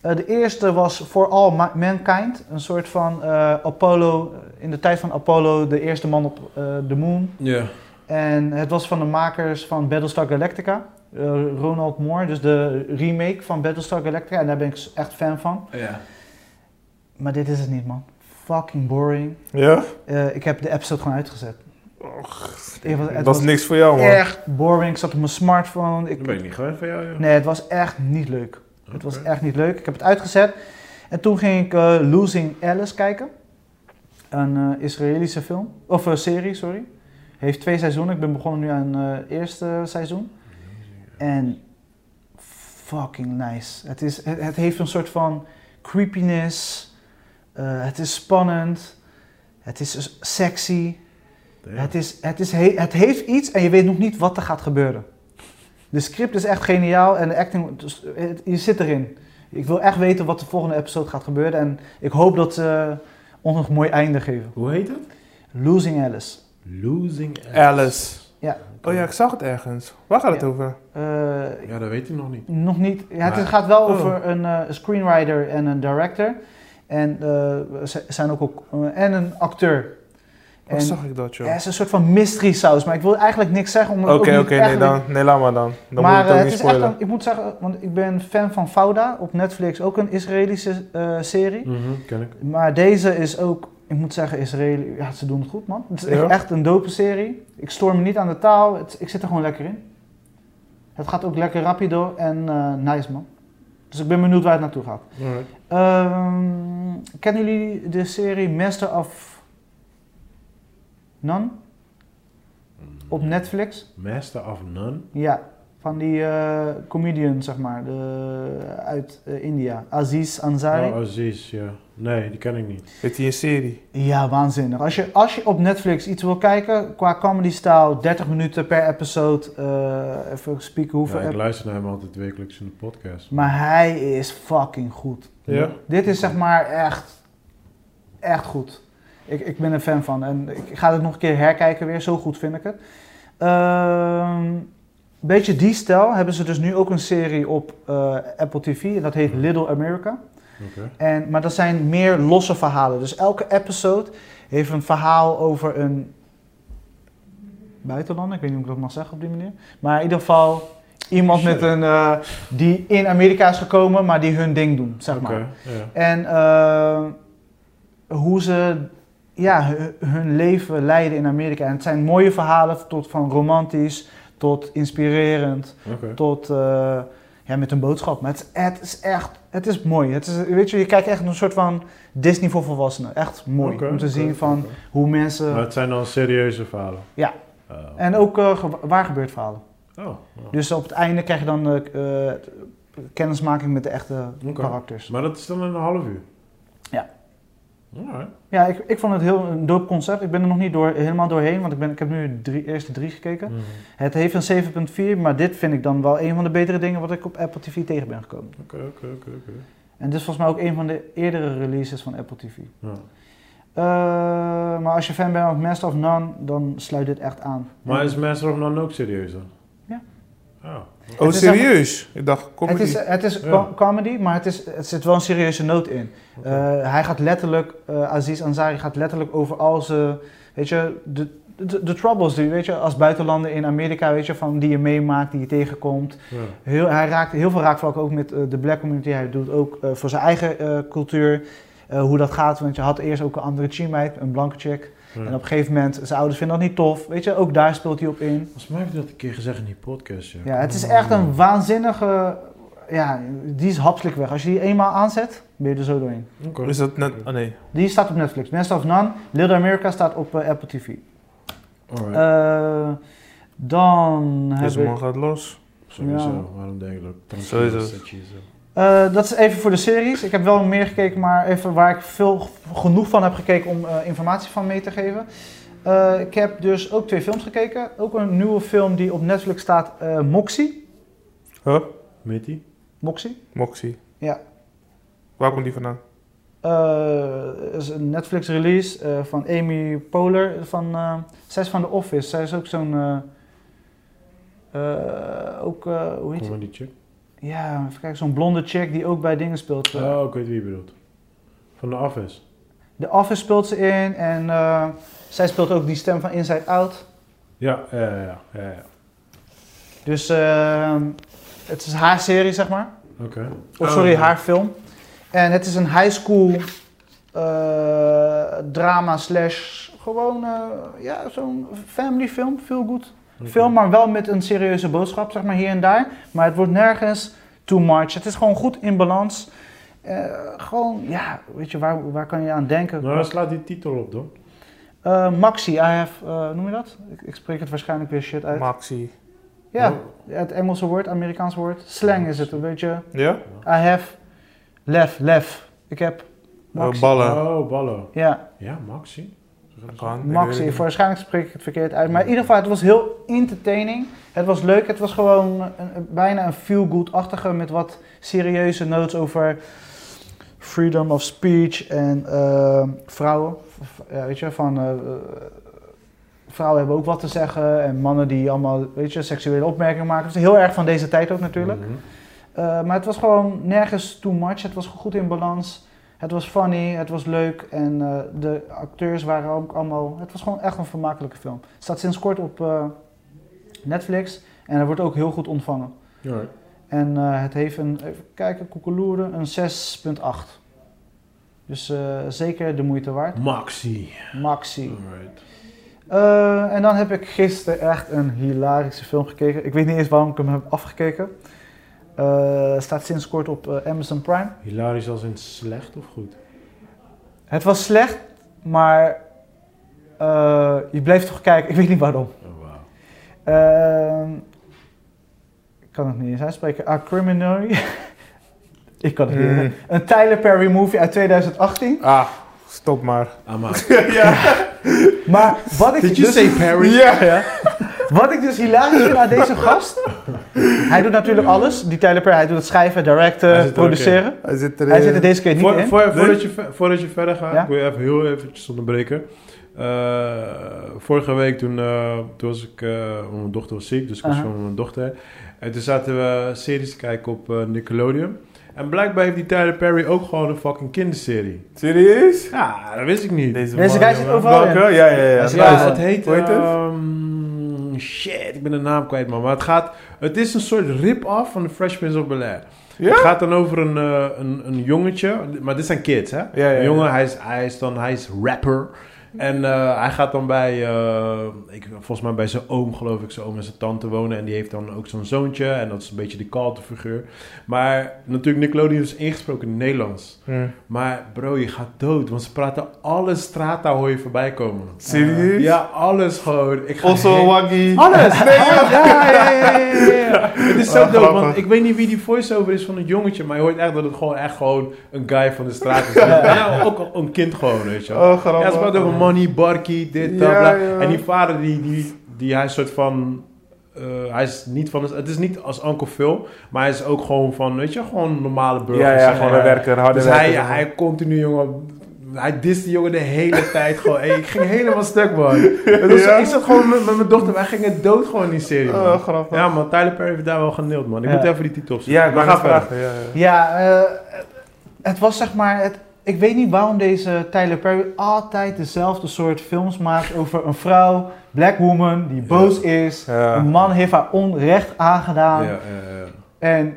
S2: Eh, de eerste was For All Ma- Mankind, een soort van eh, Apollo, in de tijd van Apollo, de eerste man op eh, de moon.
S3: Ja.
S2: En het was van de makers van Battlestar Galactica, eh, Ronald Moore, dus de remake van Battlestar Galactica. En daar ben ik s- echt fan van.
S3: Ja.
S2: Maar dit is het niet, man. Fucking boring.
S1: Ja?
S2: Eh, ik heb de episode gewoon uitgezet. Het was- het
S1: Dat
S2: was-
S1: is niks voor jou, man.
S2: echt boring. Ik zat op mijn smartphone.
S3: Dat ben ik
S2: Ik,
S3: niet gewend van jou, joh.
S2: nee, het was echt niet leuk. Het was
S3: Oké.
S2: echt niet leuk. Ik heb het uitgezet. En toen ging ik eh, Losing Alice kijken. Een eh, Israëlische film. Of eh, serie, sorry. Heeft twee seizoenen. Ik ben begonnen nu aan het eerste seizoen. En fucking nice. Het, is, het, het heeft een soort van creepiness. Eh, het is spannend. Het is sexy.
S3: Damn.
S2: Het, is, het, is he- het heeft iets en je weet nog niet wat er gaat gebeuren. De script is echt geniaal en de acting, dus, het- je zit erin. Ik wil echt weten wat de volgende episode gaat gebeuren en ik hoop dat ze ons nog een mooi einde geven.
S3: Hoe heet het?
S2: Losing Alice.
S3: Losing
S1: Alice.
S2: Ja.
S1: Oh ja, ik zag het ergens. Waar gaat het
S2: Ja.
S1: over?
S2: Eh,
S3: Ja, dat weet hij nog niet.
S2: nog niet. ja, het
S3: Maar-
S2: gaat wel
S1: Oh.
S2: over een eh, screenwriter en een director. En eh, ze zijn ook, ook eh, en een acteur.
S1: Waar
S2: En-
S1: zag ik dat,
S2: ja,
S1: joh?
S2: het is een soort van mystery saus, maar ik wil eigenlijk niks zeggen omdat
S1: Oké,
S2: ik ook
S1: oké,
S2: niet echt
S1: nee,
S2: weet-
S1: dan, nee, laat maar dan. Dan
S2: maar
S1: moet je
S2: eh,
S1: het ook niet
S2: het is echt,
S1: spoilen.
S2: een- ik moet zeggen, want ik ben fan van Fauda op Netflix, ook een Israëlische eh, serie.
S1: Mhm,
S3: Ken ik.
S2: Maar deze is ook, ik moet zeggen, Israëli, ja, ze doen het goed man. Het is
S1: Ja.
S2: echt een dope serie. Ik stoor me niet aan de taal, het- ik zit er gewoon lekker in. Het gaat ook lekker rapido en eh, nice man. Dus ik ben benieuwd waar het naartoe gaat.
S3: Alright.
S2: Ehm, kennen jullie de serie Master of None op Netflix?
S1: Mm.
S3: Master of None.
S2: Ja, Van die eh, comedian, zeg maar, de, uit eh, India. Aziz Ansari.
S3: Oh, Aziz, ja. Nee, die ken ik niet.
S1: Heeft hij een serie?
S2: Ja, waanzinnig. Als je, als je op Netflix iets wil kijken, qua comedy style, 30 minuten per episode, eh, even spieken hoeveel...
S3: Ja, ik
S2: ep-
S3: luister naar hem altijd wekelijks in de podcast.
S2: maar hij is fucking goed.
S3: Ja?
S2: Dit is zeg maar echt, echt goed. Ik, ik ben een fan van en ik ga het nog een keer herkijken weer, zo goed vind ik het. Ehm beetje die stijl hebben ze dus nu ook een serie op eh, Apple TV en dat heet Little America.
S3: Oké.
S2: En, maar dat zijn meer losse verhalen. Dus elke episode heeft een verhaal over een buitenlander. Ik weet niet hoe ik dat mag zeggen op die manier. Maar in ieder geval iemand met
S3: Sure.
S2: een, eh, die in Amerika is gekomen, maar die hun ding doen, zeg maar.
S3: Oké, ja.
S2: En eh, hoe ze ja, hu- hun leven leiden in Amerika. En het zijn mooie verhalen, tot van romantisch tot inspirerend,
S3: Oké.
S2: tot eh, ja, met een boodschap. Maar het, is- het is echt, het is mooi. Het is, weet je, je kijkt echt een soort van Disney voor volwassenen. Echt mooi
S3: Oké,
S2: om te
S3: oké,
S2: zien van
S3: oké.
S2: hoe mensen...
S3: Maar het zijn dan serieuze verhalen?
S2: Ja.
S3: Oh.
S2: En ook eh, ge- waar gebeurt verhalen.
S3: Oh, oh.
S2: Dus op het einde krijg je dan eh, eh, kennismaking met de echte
S3: Oké.
S2: karakters.
S3: Maar dat is dan een half uur?
S2: Ja.
S3: Alright.
S2: Ja, ik, ik vond het heel een dope concept. Ik ben er nog niet door, helemaal doorheen, want ik, ben, ik heb nu de drie, eerste drie gekeken.
S3: Mhm.
S2: Het heeft een 7.4, maar dit vind ik dan wel een van de betere dingen wat ik op Apple TV tegen ben gekomen.
S3: Oké, oké, oké, oké.
S2: En dit is volgens mij ook een van de eerdere releases van Apple TV.
S3: Ja.
S2: Eh, maar als je fan bent van Master of None, dan sluit dit echt aan.
S3: Maar is Master of None ook serieus dan?
S2: Ja.
S3: Oh.
S1: Oh,
S2: Het is
S1: serieus? Ik dacht,
S2: het
S1: comedy.
S2: is, het is
S3: Ja.
S2: co- comedy, maar het, is, het zit wel een serieuze noot in.
S3: Oké.
S2: Eh, hij gaat letterlijk, eh, Aziz Ansari gaat letterlijk over al zijn, weet je, de, de, de troubles die, weet je, als buitenlander in Amerika, weet je, van die je meemaakt, die je tegenkomt.
S3: Ja.
S2: Heel, hij raakt heel veel raakvlakken ook met eh, de black community. Hij doet ook eh, voor zijn eigen eh, cultuur eh, hoe dat gaat, want je had eerst ook een andere chinmeid, een blanke chick.
S3: Ja.
S2: En op een gegeven moment, zijn ouders vinden dat niet tof, weet je, ook daar speelt hij op in.
S3: Volgens mij heb je dat een keer gezegd in die podcast. Ja,
S2: Ja, het is echt een waanzinnige, ja, die is hapselijk weg. Als je die eenmaal aanzet, ben je er zo doorheen.
S3: Oké.
S1: Is dat net... Oh nee.
S2: Die staat op Netflix. Master of None. Little America staat op eh, Apple TV.
S3: Alright.
S2: Eh, dan heb
S1: Deze
S2: ik...
S1: man gaat los.
S3: Sowieso,
S2: Eh, ja.
S3: waarom denk ik dat? Dank
S1: Sowieso.
S3: je wel, dat je zo-
S2: Eh, dat is even voor de series. Ik heb wel meer gekeken, maar even waar ik veel g- genoeg van heb gekeken om eh, informatie van mee te geven. Eh, ik heb dus ook twee films gekeken. Ook een nieuwe film die op Netflix staat, eh, Moxie.
S1: Huh?
S3: Mitty?
S2: Moxie.
S1: Moxie.
S2: Ja.
S1: Waar komt die vandaan?
S2: Eh, is een Netflix release eh, van Amy Poehler. Van, eh, zij is van The Office. Zij is ook zo'n... eh, eh, ook, eh, hoe heet
S3: Comedy chick?
S2: Ja, even kijken, zo'n blonde chick die ook bij dingen speelt. eh.
S3: Oh, ik weet wie je bedoelt. Van de Office.
S2: The Office speelt ze in en eh, zij speelt ook die stem van Inside Out.
S3: Ja, ja, ja, ja, ja. ja.
S2: Dus eh, het is haar serie, zeg maar.
S3: Oké.
S2: Of
S1: Oh,
S2: sorry,
S1: ja.
S2: haar film. En het is een high school eh, drama slash gewoon eh, ja, zo'n family film, veel goed.
S3: Oké.
S2: Film, maar wel met een serieuze boodschap, zeg maar, hier en daar. Maar het wordt nergens too much. Het is gewoon goed in balans. Eh, gewoon, ja, weet je, waar, waar kan je aan denken?
S3: Nou, slaat die titel op dan.
S2: Eh, Maxi, I have, eh, noem je dat? Ik, ik spreek het waarschijnlijk weer shit uit.
S1: Maxi.
S2: ja,
S3: Oh.
S2: het Engelse woord, Amerikaans woord. Slang is het, een beetje.
S1: Ja?
S2: I have lef, lef. Ik heb Maxi.
S1: Eh, ballen.
S3: Oh, ballen.
S2: ja,
S3: Ja, Maxi.
S1: Kan, ik weet
S2: Maxi.
S1: het niet.
S2: Waarschijnlijk spreek ik het verkeerd uit. Maar in ieder geval, het was heel entertaining. Het was leuk. Het was gewoon een, een- bijna een feel-good-achtige met wat serieuze notes over freedom of speech en eh, vrouwen. V- ja, weet je, van... eh, eh, Vrouwen hebben ook wat te zeggen en mannen die allemaal, weet je, seksuele opmerkingen maken. Het is heel erg van deze tijd ook natuurlijk.
S3: Mhm.
S2: Eh, maar het was gewoon nergens too much. Het was goed in balans. Het was funny, het was leuk en eh, de acteurs waren ook allemaal. Het was gewoon echt een vermakelijke film. Het staat sinds kort op eh, Netflix en het wordt ook heel goed ontvangen.
S3: Alright.
S2: En eh, het heeft een, even kijken, koekeloeren, een 6,8. Dus eh, zeker de moeite waard.
S3: Maxi.
S2: Maxi.
S3: Alright.
S2: Eh, en dan heb ik gisteren echt een hilarische film gekeken. Ik weet niet eens waarom ik hem heb afgekeken. Eh, staat sinds kort op eh, Amazon Prime.
S3: Hilarisch als in slecht of goed?
S2: Het was slecht, maar eh, je bleef toch kijken. Ik weet niet waarom.
S3: Oh, wauw.
S2: Ehm, kan het niet eens uitspreken. Acriminary. ik kan het niet.
S3: Eh.
S2: eens- Een Tyler Perry movie uit 2018.
S1: Ah, stop maar.
S3: Ah, maar.
S1: ja.
S2: Maar wat ik
S3: Did you
S2: dus-
S3: say Perry?
S1: Ja.
S2: Wat ik dus hilarisch vind aan deze gast. Hij doet natuurlijk alles. Die Tyler Perry, hij doet het schrijven,
S3: Hij
S2: directen,
S3: zit er ook in. Eh,
S2: produceren.
S1: Hij zit er
S2: Hij zit er deze keer niet
S3: Voor,
S2: in.
S3: voor- voordat, je, ver- voordat je verder gaat,
S2: Ja?
S3: ik wil je even heel eventjes onderbreken. Eh, vorige week toen, eh, toen was ik, eh, want mijn dochter was ziek, dus ik was
S2: Aha.
S3: van mijn dochter. En toen zaten we series te kijken op eh, Nickelodeon. En blijkbaar heeft die Tyler Perry ook gewoon een fucking kinderserie.
S1: Serieus?
S3: Ja, dat wist ik niet. Dus
S2: Deze guy zit overal in.
S1: Welke? Ja, ja, ja.
S2: Hij zit
S3: Ja,
S2: Ja,
S3: het heet...
S1: hoe heet het?
S3: ehm, shit, ik ben de naam kwijt, man. Maar het gaat... Het is een soort rip-off van The Fresh Prince of Bel-Air.
S1: Ja?
S3: Het gaat dan over een, eh, een, een jongetje. Maar dit zijn kids, hè?
S1: ja, ja.
S3: Een jongen, hij is, hij is dan... Hij is rapper. En eh, hij gaat dan bij... eh, ik, volgens mij bij zijn oom, geloof ik. Zijn oom en zijn tante wonen. En die heeft dan ook zo'n zoontje. En dat is een beetje de kalte figuur. Maar natuurlijk, Nickelodeon is ingesproken in het Nederlands.
S1: Hm.
S3: Maar bro, je gaat dood. Want ze praten alle strata hoor je voorbij komen.
S1: Serieus?
S3: Ja, alles gewoon. Ik ga
S1: Osso,
S3: heen-
S1: Waggy.
S3: Alles! Nee, ja, ja, ja, ja, ja, ja. Het is zo
S1: Ah,
S3: dood, want
S1: grappig.
S3: ik weet niet wie die voice-over is van het jongetje, maar je hoort echt dat het gewoon echt gewoon een guy van de straat is. Ja, ook een- een kind gewoon, weet je wel.
S1: Oh,
S3: Ja, ze
S1: grappig.
S3: praten over money, barkie, dit, dat,
S1: Ja,
S3: bla.
S1: ja.
S3: En die vader, die, die, die hij is soort van... eh, hij is niet van... Het is niet als Uncle Phil, maar hij is ook gewoon van, weet je, gewoon een normale burger.
S1: ja, ja, gewoon een werker, harde
S3: Dus
S1: werker.
S3: hij, hij continu, jongen. Hij dist die jongen de hele tijd gewoon. Hey, ik ging helemaal stuk, man. Het was-
S1: Ja?
S3: Ik zat gewoon met, met mijn dochter, wij gingen dood gewoon in die serie, man.
S1: Oh, grappig.
S3: ja, man, Tyler Perry heeft daar wel geneeld, man. Ik
S2: Ja.
S3: moet even die titel opzoeken.
S1: Ja, ik
S3: Maar
S1: wou
S3: ga
S1: net vragen. Ja, ja.
S2: Ja, eh, het was zeg maar. Het, ik weet niet waarom deze Tyler Perry altijd dezelfde soort films maakt over een vrouw, black woman, die boos is.
S1: Ja.
S2: Een man heeft haar onrecht aangedaan.
S3: Ja, ja, ja.
S2: En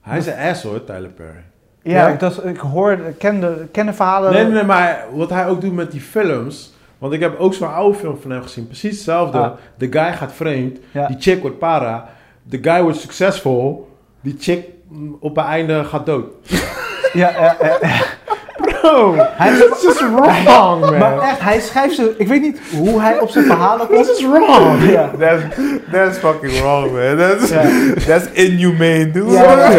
S3: Hij is een ass, hoor, Tyler Perry.
S2: ja,
S1: Ja?
S2: Ik, dat, ik hoorde, ik kende, kende verhalen.
S3: Nee, nee, nee, maar wat hij ook doet met die films... Want ik heb ook zo'n oude film van hem gezien. Precies hetzelfde.
S2: Ah.
S3: De guy gaat vreemd.
S2: Ja.
S3: Die chick wordt para. De guy wordt succesvol. Die chick mm, op het einde gaat dood.
S2: Ja, ja, ja, ja.
S3: Bro,
S2: Hij-
S3: this is wrong, man.
S2: Maar echt, hij schrijft ze. Ik weet niet hoe hij op zijn verhalen komt.
S3: is wrong.
S2: Ja.
S1: That's, that's fucking wrong, man. That's,
S2: Ja.
S1: that's inhumane, dude.
S2: Ja,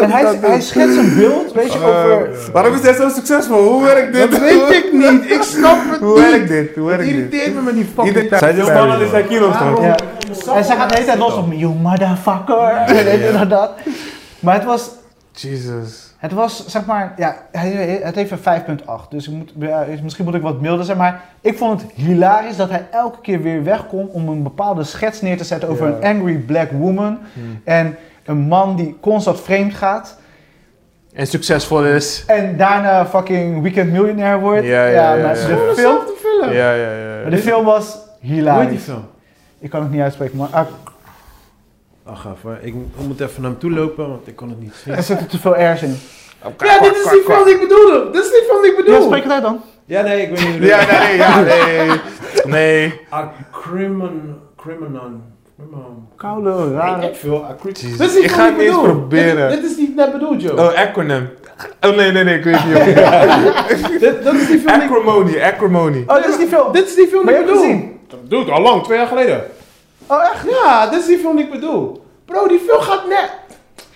S2: En hij, hij schetst een beeld, weet je, over.
S1: Eh, waarom is dat zo succesvol? Hoe werkt dit?
S3: Dat weet ik niet. Ik snap het
S1: Hoe werkt
S3: niet.
S1: dit? Hoe
S3: Het
S1: werkt dit?
S3: irriteert me met die
S1: Iedere
S3: fucking
S1: tijd
S3: Tyler
S1: is
S3: Perry,
S1: spannend is
S3: man.
S1: hij kilo's toch?
S2: Ja. En zij gaat de hele tijd los op me, you motherfucker. En dit en dat, dat. Maar het was,
S1: Jesus.
S2: het was zeg maar, ja, hij- het heeft een 5,8. Dus ik moet, ja, misschien moet ik wat milder zijn. Maar ik vond het hilarisch dat hij elke keer weer wegkomt om een bepaalde schets neer te zetten over
S1: Ja.
S2: een angry black woman.
S1: Hmm.
S2: En een man die constant vreemd gaat.
S1: En succesvol is.
S2: En daarna fucking weekend millionaire wordt.
S1: Ja, ja, ja,
S2: maar
S1: ja.
S2: De, film,
S3: Dezelfde film.
S1: Ja, ja, ja.
S2: maar de film was
S3: Hoe heet die
S2: hilarisch.
S3: film?
S2: Ik kan het niet uitspreken, maar ah,
S3: Ach, even. Ik ik moet even naar hem toe lopen, want ik kon het niet zien. Oh,
S2: er zitten te veel R's in.
S3: Ja, dit is die film die ik bedoelde. Dit is die film die ik
S2: Ja,
S3: bedoel.
S2: spreek het uit dan.
S3: Ja, nee, ik weet niet.
S1: Ja, nee, ja, nee. Nee.
S3: A crimin... Criminon. Criminon.
S2: Koude,
S3: Weet
S2: rare.
S3: ik veel. A cri-
S1: Jezus.
S3: Dit is die
S1: Ik
S3: film
S1: ga
S3: die
S1: het eens
S3: bedoel.
S1: proberen.
S3: Dit, dit is die ik net bedoel, Joe.
S1: Oh, acronym. Oh, nee, nee, nee, ik weet niet. joh.
S3: Dit, dat is die film die ik...
S1: Acrimony, acrimony.
S2: Oh, dit is die film.
S3: Dit is die film
S2: Maar
S3: die
S2: je
S3: ik
S2: hebt het
S3: bedoel.
S2: gezien.
S3: Dude, al lang, twee jaar geleden.
S2: Oh, echt?
S3: Ja, dit is die film die ik bedoel. Bro, die film gaat net.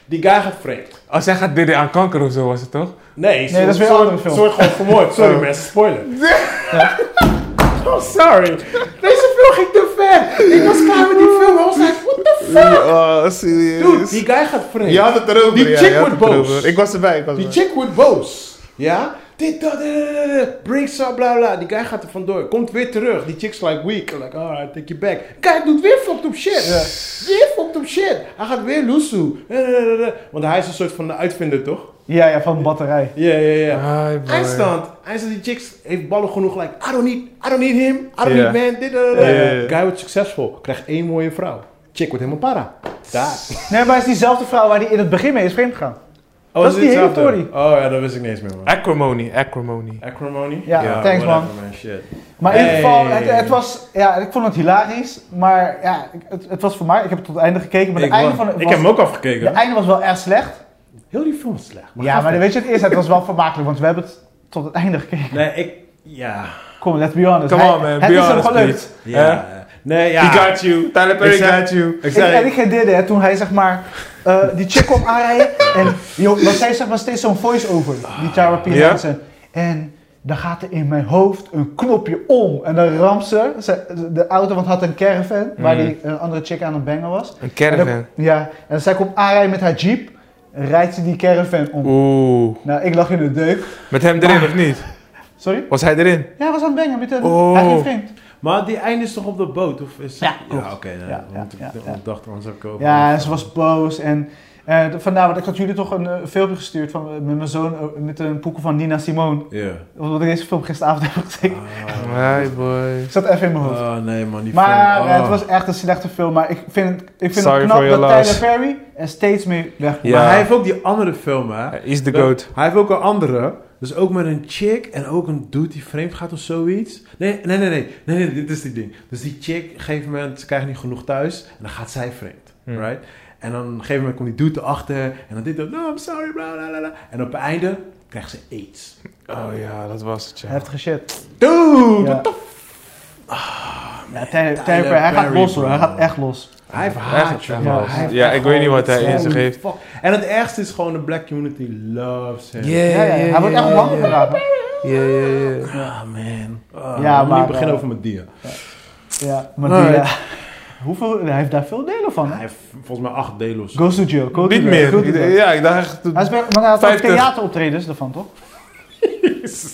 S3: Die guy gaat vreemd.
S1: Als hij gaat bidden aan kanker of zo was het toch?
S3: Nee, ze-
S2: dat is weer
S3: ze-
S2: een andere film.
S3: Ze wordt gewoon vermoord. Sorry
S1: Oh.
S3: mensen, spoiler. Oh, sorry. Deze film ging te ver. Ik was klaar met die film. Ik was like, what the fuck?
S1: Oh,
S3: Dude,
S1: serieus.
S3: die guy gaat vreemd.
S1: Je had het erover.
S3: Die
S1: ja,
S3: chick
S1: je had het
S3: wordt boos.
S1: erover. Ik was erbij, ik was
S3: Die
S1: erbij.
S3: chick wordt boos. Ja? Dit, dat, breaks up, bla bla. Die guy gaat er vandoor. Komt weer terug. Die chick's like weak. Like, alright, take you back. Guy doet weer fucked up shit. Weer fucked up shit. Hij gaat weer loesoe. Eh, eh, eh, eh. Want hij is een soort van de uitvinder, toch?
S2: Ja, ja, van de batterij.
S3: Ja, ja, ja.
S1: Hi, boy.
S3: Eindstand. Eindstand, die chicks heeft ballen genoeg. Like, I don't need, I don't need him. I don't
S1: Ja.
S3: need man. Dit, dat, dat.
S1: Ja, ja, ja.
S3: Guy wordt succesvol. Krijgt één mooie vrouw. Chick wordt helemaal para. Daar.
S2: Nee, maar het is diezelfde vrouw waar die in het begin mee is vreemd gegaan.
S3: Oh,
S2: Dat is die hele
S3: hetzelfde?
S2: story.
S3: Oh ja, dat wist ik niet eens meer, man.
S1: Acrimony, acrimony.
S3: Acrimony?
S2: Ja, thanks, man.
S3: whatever, Shit.
S2: Maar in ieder geval,
S3: Hey.
S2: het, het was, ja, ik vond het hilarisch. Maar ja, ik- het, het was voor mij, ik heb het tot het einde gekeken. Maar
S3: Ik,
S2: het einde van
S3: won.
S2: het
S3: ik
S2: was,
S3: heb hem ook afgekeken.
S2: de einde was wel echt slecht.
S3: Heel die film is slecht.
S2: Ja,
S3: ga
S2: maar
S3: verder.
S2: weet je, het eerst, het was wel vermakelijk, want we hebben het tot het einde gekeken.
S3: Nee, ik... Ja.
S2: Kom, let's be honest.
S1: Come
S2: Hij-
S1: on, man,
S2: Het
S1: be
S2: is hem
S1: honest,
S2: gelukt.
S1: please.
S3: ja. Nee,
S5: He
S3: ja.
S5: got you. Tyler Perry
S3: Ik zei-
S5: got you.
S3: Ik
S2: Ik, en
S3: zei,
S2: ik redeerde hè, toen hij zeg maar eh, die chick kwam aanrijden en joh, want zij zeg maar steeds zo'n voice-over, die Tara P.
S5: Ja.
S2: Henson. En dan gaat er in mijn hoofd een knopje om en dan ramt ze, ze- de auto, want had een caravan waar
S5: Mhm.
S2: die een andere chick aan het bangen was.
S5: Een
S2: En dan-
S5: caravan.
S2: ja, en zij komt aanrijden met haar jeep, en rijdt ze die caravan
S5: Oh.
S2: om.
S5: Oeh.
S2: Nou, ik lag in de deuk.
S5: Met hem erin of niet?
S2: Sorry?
S5: Was hij erin?
S2: Ja, hij was aan het bangen met de,
S5: Oh.
S2: hij ging vreemd.
S3: maar die einde is toch op de boot? Of is
S2: Ja,
S3: ja
S2: klopt.
S3: oké. nee,
S2: Ja, ja,
S3: want ik
S2: ja,
S3: want
S2: ja.
S3: ik dacht, anders heb ik ook.
S2: Ja, en ze was boos. En eh, vandaar, want ik had jullie toch een eh, filmpje gestuurd van, met mijn zoon, eh, met een poeken van Nina Simone.
S3: Ja.
S2: Omdat ik deze film gisteravond heb gekeken.
S3: Ah.
S5: Hi boy.
S2: Ik zat even in mijn hoofd.
S3: Ah, nee, man. Die
S2: maar
S3: film,
S2: eh,
S3: ah.
S2: het was echt een slechte film. Maar ik vind het, ik vind
S5: Sorry
S2: het knap
S5: for
S2: dat
S5: your
S2: Tyler
S5: loss.
S2: Perry er steeds meer weg
S5: Ja.
S3: Maar hij heeft ook die andere film, hè?
S5: Hij is de
S3: Dat-
S5: goat.
S3: Hij heeft ook een andere. Dus ook met een chick en ook een dude die vreemd gaat of zoiets. Nee, nee, nee, nee. nee, nee, dit is die ding. Dus die chick, op een gegeven moment, ze krijgt niet genoeg thuis. En dan gaat zij vreemd,
S5: Hmm.
S3: right? En dan op een gegeven moment komt die dude erachter. En dan dit, dan, no, I'm sorry, bla, bla, bla, bla. En op het einde krijgt ze aids.
S5: Oh ja, dat was het ja.
S2: Heftige shit.
S3: Dude!
S2: Ja.
S3: what the-
S2: Ja, Tyler, Tyler
S3: Ah, Tyler
S2: Perry, hij gaat
S3: Perry,
S2: los hoor. Hij
S3: bro.
S2: gaat echt los.
S3: Hij heeft
S5: Echt,
S3: haat,
S5: echt
S2: wel.
S3: jongen. Hij heeft
S5: Ja,
S3: echt
S5: ik weet niet
S3: gewoon-
S5: wat hij in zich heeft.
S3: Fuck. En het ergste is gewoon de black community loves hem.
S5: Yeah,
S2: Ja, ja,
S5: yeah,
S2: hij wordt
S5: yeah,
S2: echt bang
S5: yeah.
S2: gedaan. hè.
S5: Ja, ja, ja.
S3: Ah, man. Ah,
S2: Ja,
S3: ja, maar...
S2: maar,
S3: Niet beginnen
S2: eh,
S3: over mijn dier.
S2: Ja, maar die,
S3: Alright.
S2: ja, hoeveel, hij heeft daar veel delen van.
S3: Hij
S2: hè?
S3: heeft volgens mij acht delen of zo.
S2: Goes to jail. go to
S5: Niet
S2: jail, go
S5: meer.
S2: to
S5: Ik-
S2: jail.
S5: Ja, ik dacht
S2: Hij
S5: echt...
S2: is bij, maar hij had ook
S5: 50.
S2: theateroptredens ervan, toch?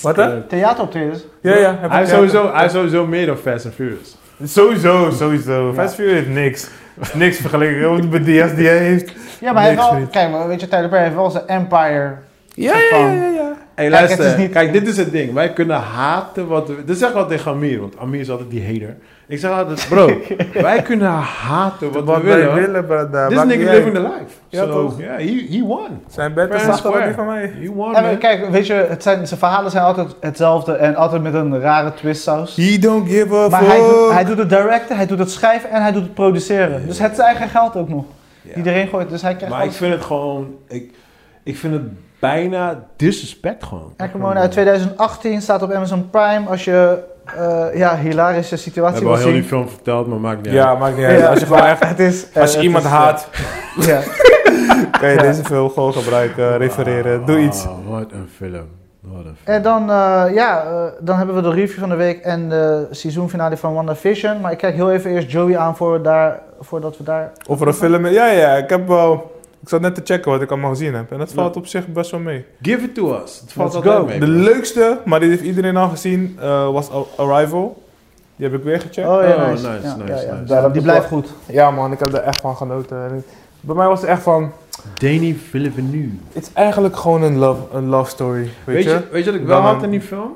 S5: Wat hè?
S2: Theateroptredens.
S5: Ja, ja. heb
S3: Hij
S5: ik-
S3: heeft, sowieso, hij heeft sowieso meer dan Fast and Furious.
S5: Sowieso, sowieso. Fast Fury heeft niks. Niks vergeleken met die die hij heeft.
S2: Ja, maar hij heeft
S5: Niks
S2: wel,
S5: niet.
S2: kijk, maar weet je, Tyler Perry heeft wel zijn empire.
S5: Ja,
S2: ja, ja,
S3: Hey,
S2: Kijk,
S3: luister.
S2: het is
S3: Kijk,
S2: niet-
S3: dit is het ding. Wij kunnen haten wat... we- Dit zeg ik altijd tegen Amir, want Amir is altijd die hater. Ik zeg altijd, bro, wij kunnen haten wat, we willen.
S5: brada.
S3: This
S5: Maakt
S3: nigga
S5: niet
S3: living
S5: uit.
S3: the life.
S5: Ja,
S3: so,
S5: toch?
S3: yeah, he, he won.
S5: Zijn bed is
S3: Fair and
S5: zachter dan die
S3: square.
S5: van mij.
S3: He won,
S2: En we-
S3: man.
S2: kijk, weet je, het zijn, zijn verhalen zijn altijd hetzelfde en altijd met een rare twistsaus.
S5: He don't give a
S2: Maar hij doet,
S5: fuck.
S2: hij doet het directen, hij doet het schrijven en hij doet het produceren. Dus het zijn eigen geld ook nog.
S3: Ja.
S2: Die erin gooit, dus hij krijgt
S3: Maar ik
S2: alles.
S3: vind het gewoon... Ik, ik vind het bijna disrespect gewoon.
S2: Acrimony uit 2018 staat op Amazon Prime. Als je eh, ja, hilarische
S3: We
S2: situatie
S3: hebben al
S2: wil
S3: heel die
S2: zien.
S3: film verteld, maar maakt niet
S5: Ja,
S3: uit.
S5: maakt niet uit. Als je, gewoon echt-
S2: het is, eh,
S5: als je
S2: het
S5: iemand
S2: is, eh,
S5: haat,
S2: ja.
S5: kan je deze film gewoon gebruiken, refereren. Doe iets.
S3: Ah, wat een film. Wat een film.
S2: En dan, eh, ja, eh, dan hebben we de review van de week en de seizoenfinale van WandaVision. Maar ik kijk heel even eerst Joey aan voor daar, voordat we daar...
S5: Of er een film is. Ja, ja, ik heb wel... Ik zat net te checken wat ik allemaal gezien heb. En dat valt op zich best wel mee.
S3: Give it to us. Het valt
S2: Let's
S3: altijd
S2: go.
S3: mee.
S5: De leukste, maar die heeft iedereen al gezien, eh, was Ar- Arrival. Die heb ik weer gecheckt.
S2: Oh ja,
S3: Oh,
S2: nice.
S3: nice,
S2: Ja,
S3: nice,
S2: ja, ja.
S3: nice.
S5: Ja, dat
S2: Die
S5: is
S2: blijft goed.
S5: Ja man, ik heb er echt van genoten. En Bij mij was het echt van...
S3: Danny Villeneuve.
S5: Het is eigenlijk gewoon een love, een love story, weet,
S3: Weet
S5: je?
S3: je, weet je wat ik wel
S5: Dan
S3: had
S5: een-
S3: in die film?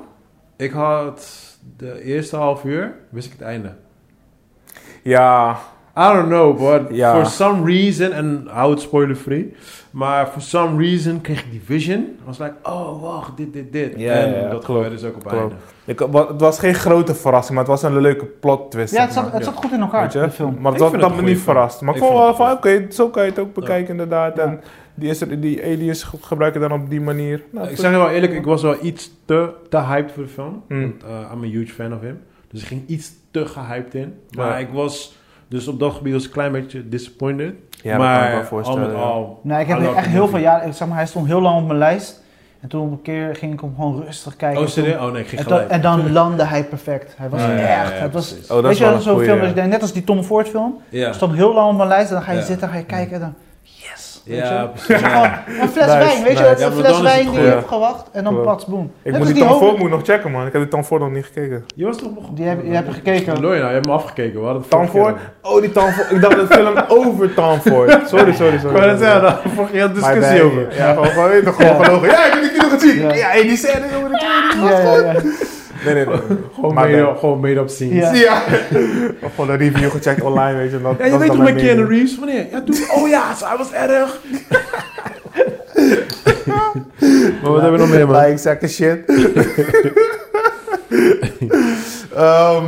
S3: Ik had de eerste half uur, wist ik het einde.
S5: Ja,
S3: I don't know, but
S5: Ja.
S3: for some reason, en hou het spoiler free, maar for some reason kreeg ik die vision. I was like, oh wacht, dit, dit, dit.
S5: Ja,
S3: en
S5: ja, ja,
S3: dat
S5: klopt.
S3: gebeurde dus ook op het
S5: Klopt.
S3: einde.
S5: ik, wa- het was geen grote verrassing, maar het was een leuke plot twist.
S2: Ja, het
S5: zeg
S2: zat,
S5: maar.
S2: het zat goed in elkaar,
S5: Weet je?
S2: de film.
S5: Maar het
S3: Ik
S5: was
S3: vind het
S5: dat
S3: een
S5: me
S3: goeie
S5: niet
S3: film.
S5: verrast. Maar ik
S3: Ik
S5: vond
S3: vind
S5: wel
S3: het
S5: van,
S3: een
S5: oké, zo kan je het ook bekijken inderdaad.
S2: Ja.
S5: En die, is er, die aliens ge- gebruiken dan op die manier. Nou,
S3: ik
S5: dat-
S3: zeg je wel eerlijk, ik was wel iets te, te hyped voor de film.
S5: Hmm.
S3: Want eh, I'm a huge fan of him. Dus ik ging iets te gehyped in. Maar
S5: Ja.
S3: ik was, dus op dat gebied was ik een klein beetje disappointed.
S5: ja, dat kan ik
S3: maar
S5: me voorstellen.
S3: al met
S5: ja.
S3: al...
S2: Nou, ik
S3: I
S2: heb
S3: love
S2: echt
S3: the
S2: heel
S3: movie.
S2: veel jaren... Zeg maar, hij stond heel lang op mijn lijst. En toen op een keer ging ik hem gewoon rustig kijken.
S3: Oh,
S2: En toen-
S3: serieus? Oh nee, ik ging
S2: en, dan,
S3: gelijk.
S2: en dan landde hij perfect. Hij was
S3: Ja, ja, Ah, ja,
S2: echt...
S3: ja,
S2: het was,
S3: precies.
S5: Oh, dat
S2: weet
S5: is
S2: je,
S5: wel
S2: wel,
S5: een
S2: zo'n
S5: goeie,
S2: film,
S5: ja.
S2: dat je denkt, net als die Tom Ford film.
S3: Ja.
S2: stond heel lang op mijn lijst en dan ga je
S3: Ja.
S2: zitten, ga je kijken en dan yes. weet
S3: Ja,
S2: je.
S3: precies.
S2: Gewoon een fles
S5: Nice,
S2: wijn, weet je,
S5: nice.
S2: dat is
S3: Ja,
S2: een
S3: maar
S2: fles
S3: dan is het
S2: wijn die je
S5: goed.
S2: hebt gewacht en dan
S5: Klopt.
S2: plats, boom.
S5: Ik
S2: Net
S5: moet
S2: als
S5: die Tom
S2: homo-
S5: Ford moet ik nog checken man. Ik heb die Tom Ford nog niet gekeken.
S3: Je was toch begonnen?
S2: Die heb, die heb je gekeken.
S3: Lorena, nou, je hebt me afgekeken. We hadden het
S5: Tom
S3: vorige
S5: Ford? Oh, die Tom Ford. Ik dacht dat de film over Tom Ford. Sorry, sorry,
S3: keer
S5: sorry.
S3: over. Ik wou net zeggen, daar hadden we vorige keer een discussie over.
S5: Ja, gewoon, gewoon, weet je, gewoon
S2: Ja.
S5: gelogen. Ja, ik heb die nog gezien.
S2: Ja.
S5: Ja, en die scène, jongen, dat
S2: Ja, ja, ja.
S5: Nee, nee, nee. nee.
S3: Gewoon
S5: Maar
S3: made
S5: nee.
S3: up- Gewoon made-up scenes.
S2: Ja.
S3: Ja,
S5: Ja. Of gewoon een review gecheckt online, weet je. en Dat,
S3: je
S5: dat is
S3: weet
S5: dan
S3: toch met
S5: mijn
S3: Keanu
S5: mening.
S3: Reeves? Wanneer? Ja, toen. Oh ja, hij was erg. maar wat hebben we nog meer, man?
S5: Like, zakken shit. Ehm,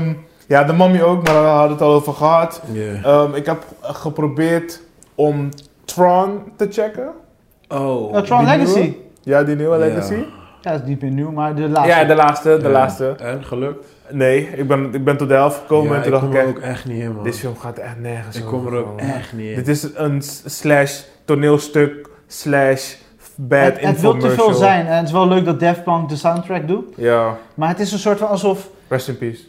S5: ja, de mommy ook, maar daar hadden we het al over gehad.
S3: Ja.
S5: Ehm, ik heb geprobeerd om Tron te checken.
S3: Oh.
S2: Nou, Tron
S5: Die
S1: Oh.
S2: Legacy.
S5: nieuwe? Ja, die nieuwe
S3: Ja.
S5: Legacy.
S2: Ja, dat is niet meer nieuw, maar de laatste.
S1: Ja, de laatste, de
S3: Ja.
S1: laatste.
S3: En gelukt.
S1: Nee, ik ben, ik ben tot de helft gekomen
S3: Ja,
S1: en toen
S3: ik
S1: dacht
S3: kom
S1: ik,
S3: er
S1: echt,
S3: ook echt niet in, man.
S1: dit film gaat echt nergens
S3: ik kom er
S1: over,
S3: ook
S1: man.
S3: echt niet in.
S1: Dit is een s- slash toneelstuk slash bad
S2: het, het wil te
S1: infomercial.
S2: veel zijn. En het is wel leuk dat Daft Punk de soundtrack doet.
S1: Ja,
S2: Maar het is een soort van alsof...
S1: rest in peace.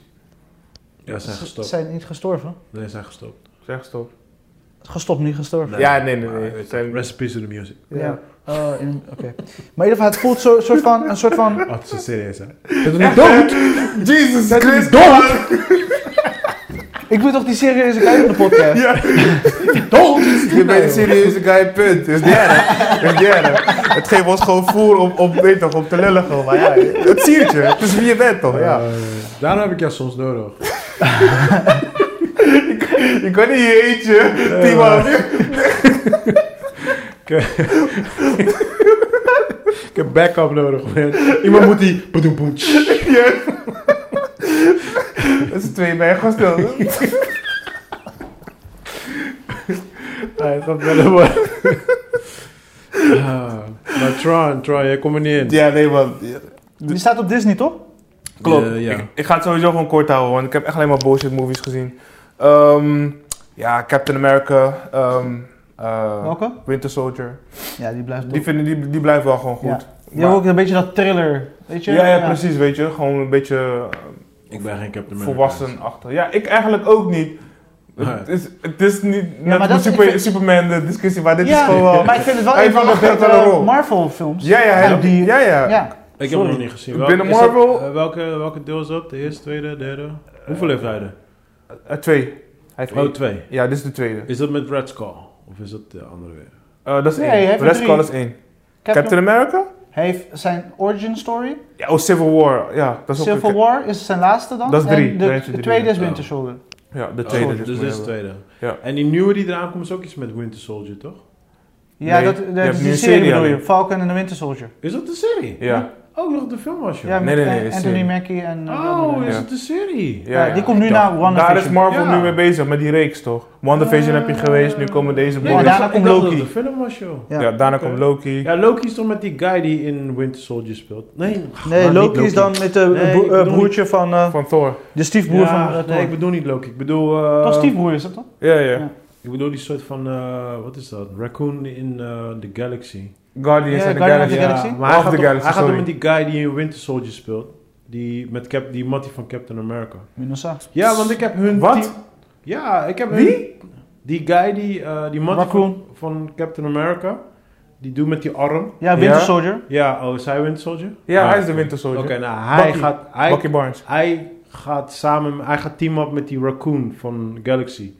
S3: Ja, ze zijn
S2: Ze
S3: gestopt.
S2: zijn niet gestorven.
S3: Nee, ze zijn gestopt.
S1: Zeg stop.
S2: Gestopt, niet gestorven.
S1: Ja, nee, nee, nee.
S3: maar, weet je,
S1: Zijn-
S3: Rest in peace in the music.
S2: Ja. Oh, in- Oké. Maar in ieder geval, het voelt zo, soort van, een soort van...
S3: Oh, het is serieus, hè? Is het niet dood?
S1: Jesus Christ!
S3: Dood!
S2: Ik wil toch die serieuze kijk op de podcast?
S1: Ja.
S3: Dood!
S1: Je bent een serieuze guy, punt. Is derde. Is derde. Het geeft ons gewoon voer om, om, weet toch, om te lullen gewoon. Maar ja, het ziet je. Het is wie je bent toch, Oh, ja.
S3: Eh, daarom heb ik jou soms nodig.
S1: Je kan niet je eentje, tien man.
S3: Ik heb backup nodig, man. Iemand moet die... Boedoem, boem, tsch.
S1: Dat is twee bij gewoon stil. hè?
S3: Ja, het gaat wel door. Ah, Maar Tron, Tron, jij komt er niet in.
S1: Ja, nee man. Ja,
S2: Die staat op Disney, toch?
S1: Klopt.
S3: Eh, ja.
S1: Ik, ik ga het sowieso gewoon kort houden, want ik heb echt alleen maar bullshit movies gezien. Ehm, ja, Captain America. ehm, eh,
S2: Welke?
S1: Winter Soldier.
S2: Ja, die blijft
S1: Die,
S2: die,
S1: vinden, die, die blijven wel gewoon goed.
S2: die hebben ook een beetje dat thriller, weet je?
S1: Ja, ja, precies, weet je. Gewoon een beetje eh,
S3: Ik ben geen Captain America. Ah,
S1: volwassen achter. Ja, ik eigenlijk ook niet.
S3: Nee.
S1: Het is, het is niet net
S2: maar
S1: met
S2: dat-
S1: super,
S2: ik vind-
S1: Superman de discussie, maar dit
S2: Ja,
S1: is gewoon wel...
S2: maar ik vind het wel
S1: Hij
S2: een van de
S1: heeft wel een betere
S2: betere
S1: rol.
S2: Marvel films.
S1: Ja, ja, ja,
S2: Ja, die-
S1: ja, ja.
S2: Ja.
S3: Ik heb
S1: Sorry.
S3: hem nog niet gezien.
S1: Binnen
S3: is dat-
S1: Marvel-
S3: eh, welke, welke deel is dat? De eerste, tweede, derde? Hoeveel heeft hij er?
S1: Eh, twee. Hij heeft
S3: Oh,
S1: één.
S3: twee.
S1: Ja, dit is de tweede.
S3: Is dat met Red Skull? Of is dat de andere weer?
S1: Eh, dat is
S2: Nee, hij
S1: één.
S2: heeft er
S1: Red Skull
S2: drie.
S1: is één.
S2: Captain,
S1: Captain America?
S2: Hij heeft zijn origin story.
S1: Ja, oh, Civil War. Ja, dat is ook...
S2: Civil War is zijn laatste dan.
S1: Dat is drie.
S2: En
S1: Dan
S2: de,
S1: heeft je
S2: de
S1: drie,
S2: tweede is
S3: ja.
S2: Winter Soldier.
S1: Ja, de
S3: Oh,
S1: tweede.
S3: dus
S1: moet
S3: dit
S1: je
S3: is de
S1: hebben.
S3: tweede.
S1: Ja.
S3: En die nieuwe die eraan komt is ook iets met Winter Soldier, toch?
S2: Ja,
S1: Nee,
S2: dat,
S1: je
S2: dat,
S1: hebt
S2: is
S1: nu
S2: die
S1: een
S2: serie
S1: serie
S2: bedoel je.
S1: alleen.
S2: Falcon en de Winter Soldier.
S3: Is dat de serie?
S1: Ja.
S3: Ook nog de film was, joh.
S2: Ja,
S1: Nee,
S2: met
S1: nee, nee, is
S2: Anthony
S1: serie.
S2: Mackie en... eh,
S3: Oh,
S2: Robin.
S3: is
S1: Ja.
S3: het de serie?
S1: Ja,
S2: Ja,
S1: ja.
S2: die komt nu na
S1: Daar is
S2: WandaVision.
S1: Marvel
S3: Ja.
S1: nu mee bezig, met die reeks toch? WandaVision heb je geweest, nu komen deze
S3: Nee,
S1: boys.
S2: maar
S1: ja,
S3: ik
S2: daar-
S3: dacht-
S2: daarna
S3: ik
S2: komt
S3: dacht
S2: Loki.
S3: dat het een film was, joh.
S2: Ja.
S1: daarna
S3: Oké.
S1: komt Loki.
S3: Ja, Loki is toch met die guy die in Winter Soldier speelt? Nee,
S2: Nee,
S3: maar niet
S2: Loki is dan met de
S3: Nee,
S2: bro-
S3: ik
S2: eh,
S3: bedoel
S2: broertje van... eh,
S1: Van Thor.
S2: de stiefbroer
S3: Ja,
S2: van...
S3: nee, ik bedoel niet Loki. Ik bedoel... eh,
S2: Toch stiefbroer is dat toch?
S1: Ja, ja.
S2: Ja.
S3: Ik bedoel die soort van... eh, wat is dat? Raccoon in eh, The Galaxy.
S1: Guardians
S2: Ja,
S1: of the
S2: Guardians of
S1: Galaxy.
S2: the Galaxy?
S3: maar hij
S1: Of
S3: gaat,
S1: the
S3: toch-
S1: Galaxy,
S3: hij gaat toch
S1: sorry.
S3: met die guy die in Winter Soldier speelt. Die, met Cap, die mattie van Captain America.
S2: Minosa.
S3: Ja, want ik heb hun...
S1: Wat?
S3: team- ja, ik heb
S1: Wie?
S3: hun- Die guy die... eh, die mattie van,
S2: Raccoon.
S3: van Captain America. Die doet met die arm.
S2: Ja, Winter
S1: Ja.
S2: Soldier.
S3: Ja, oh, is hij Winter Soldier?
S1: Ja,
S3: Ah,
S1: hij is de Winter Soldier.
S3: Oké, nou, hij
S1: Bucky.
S3: gaat... Hij,
S1: Bucky Barnes.
S3: Hij gaat samen, hij gaat team up met die raccoon van Galaxy.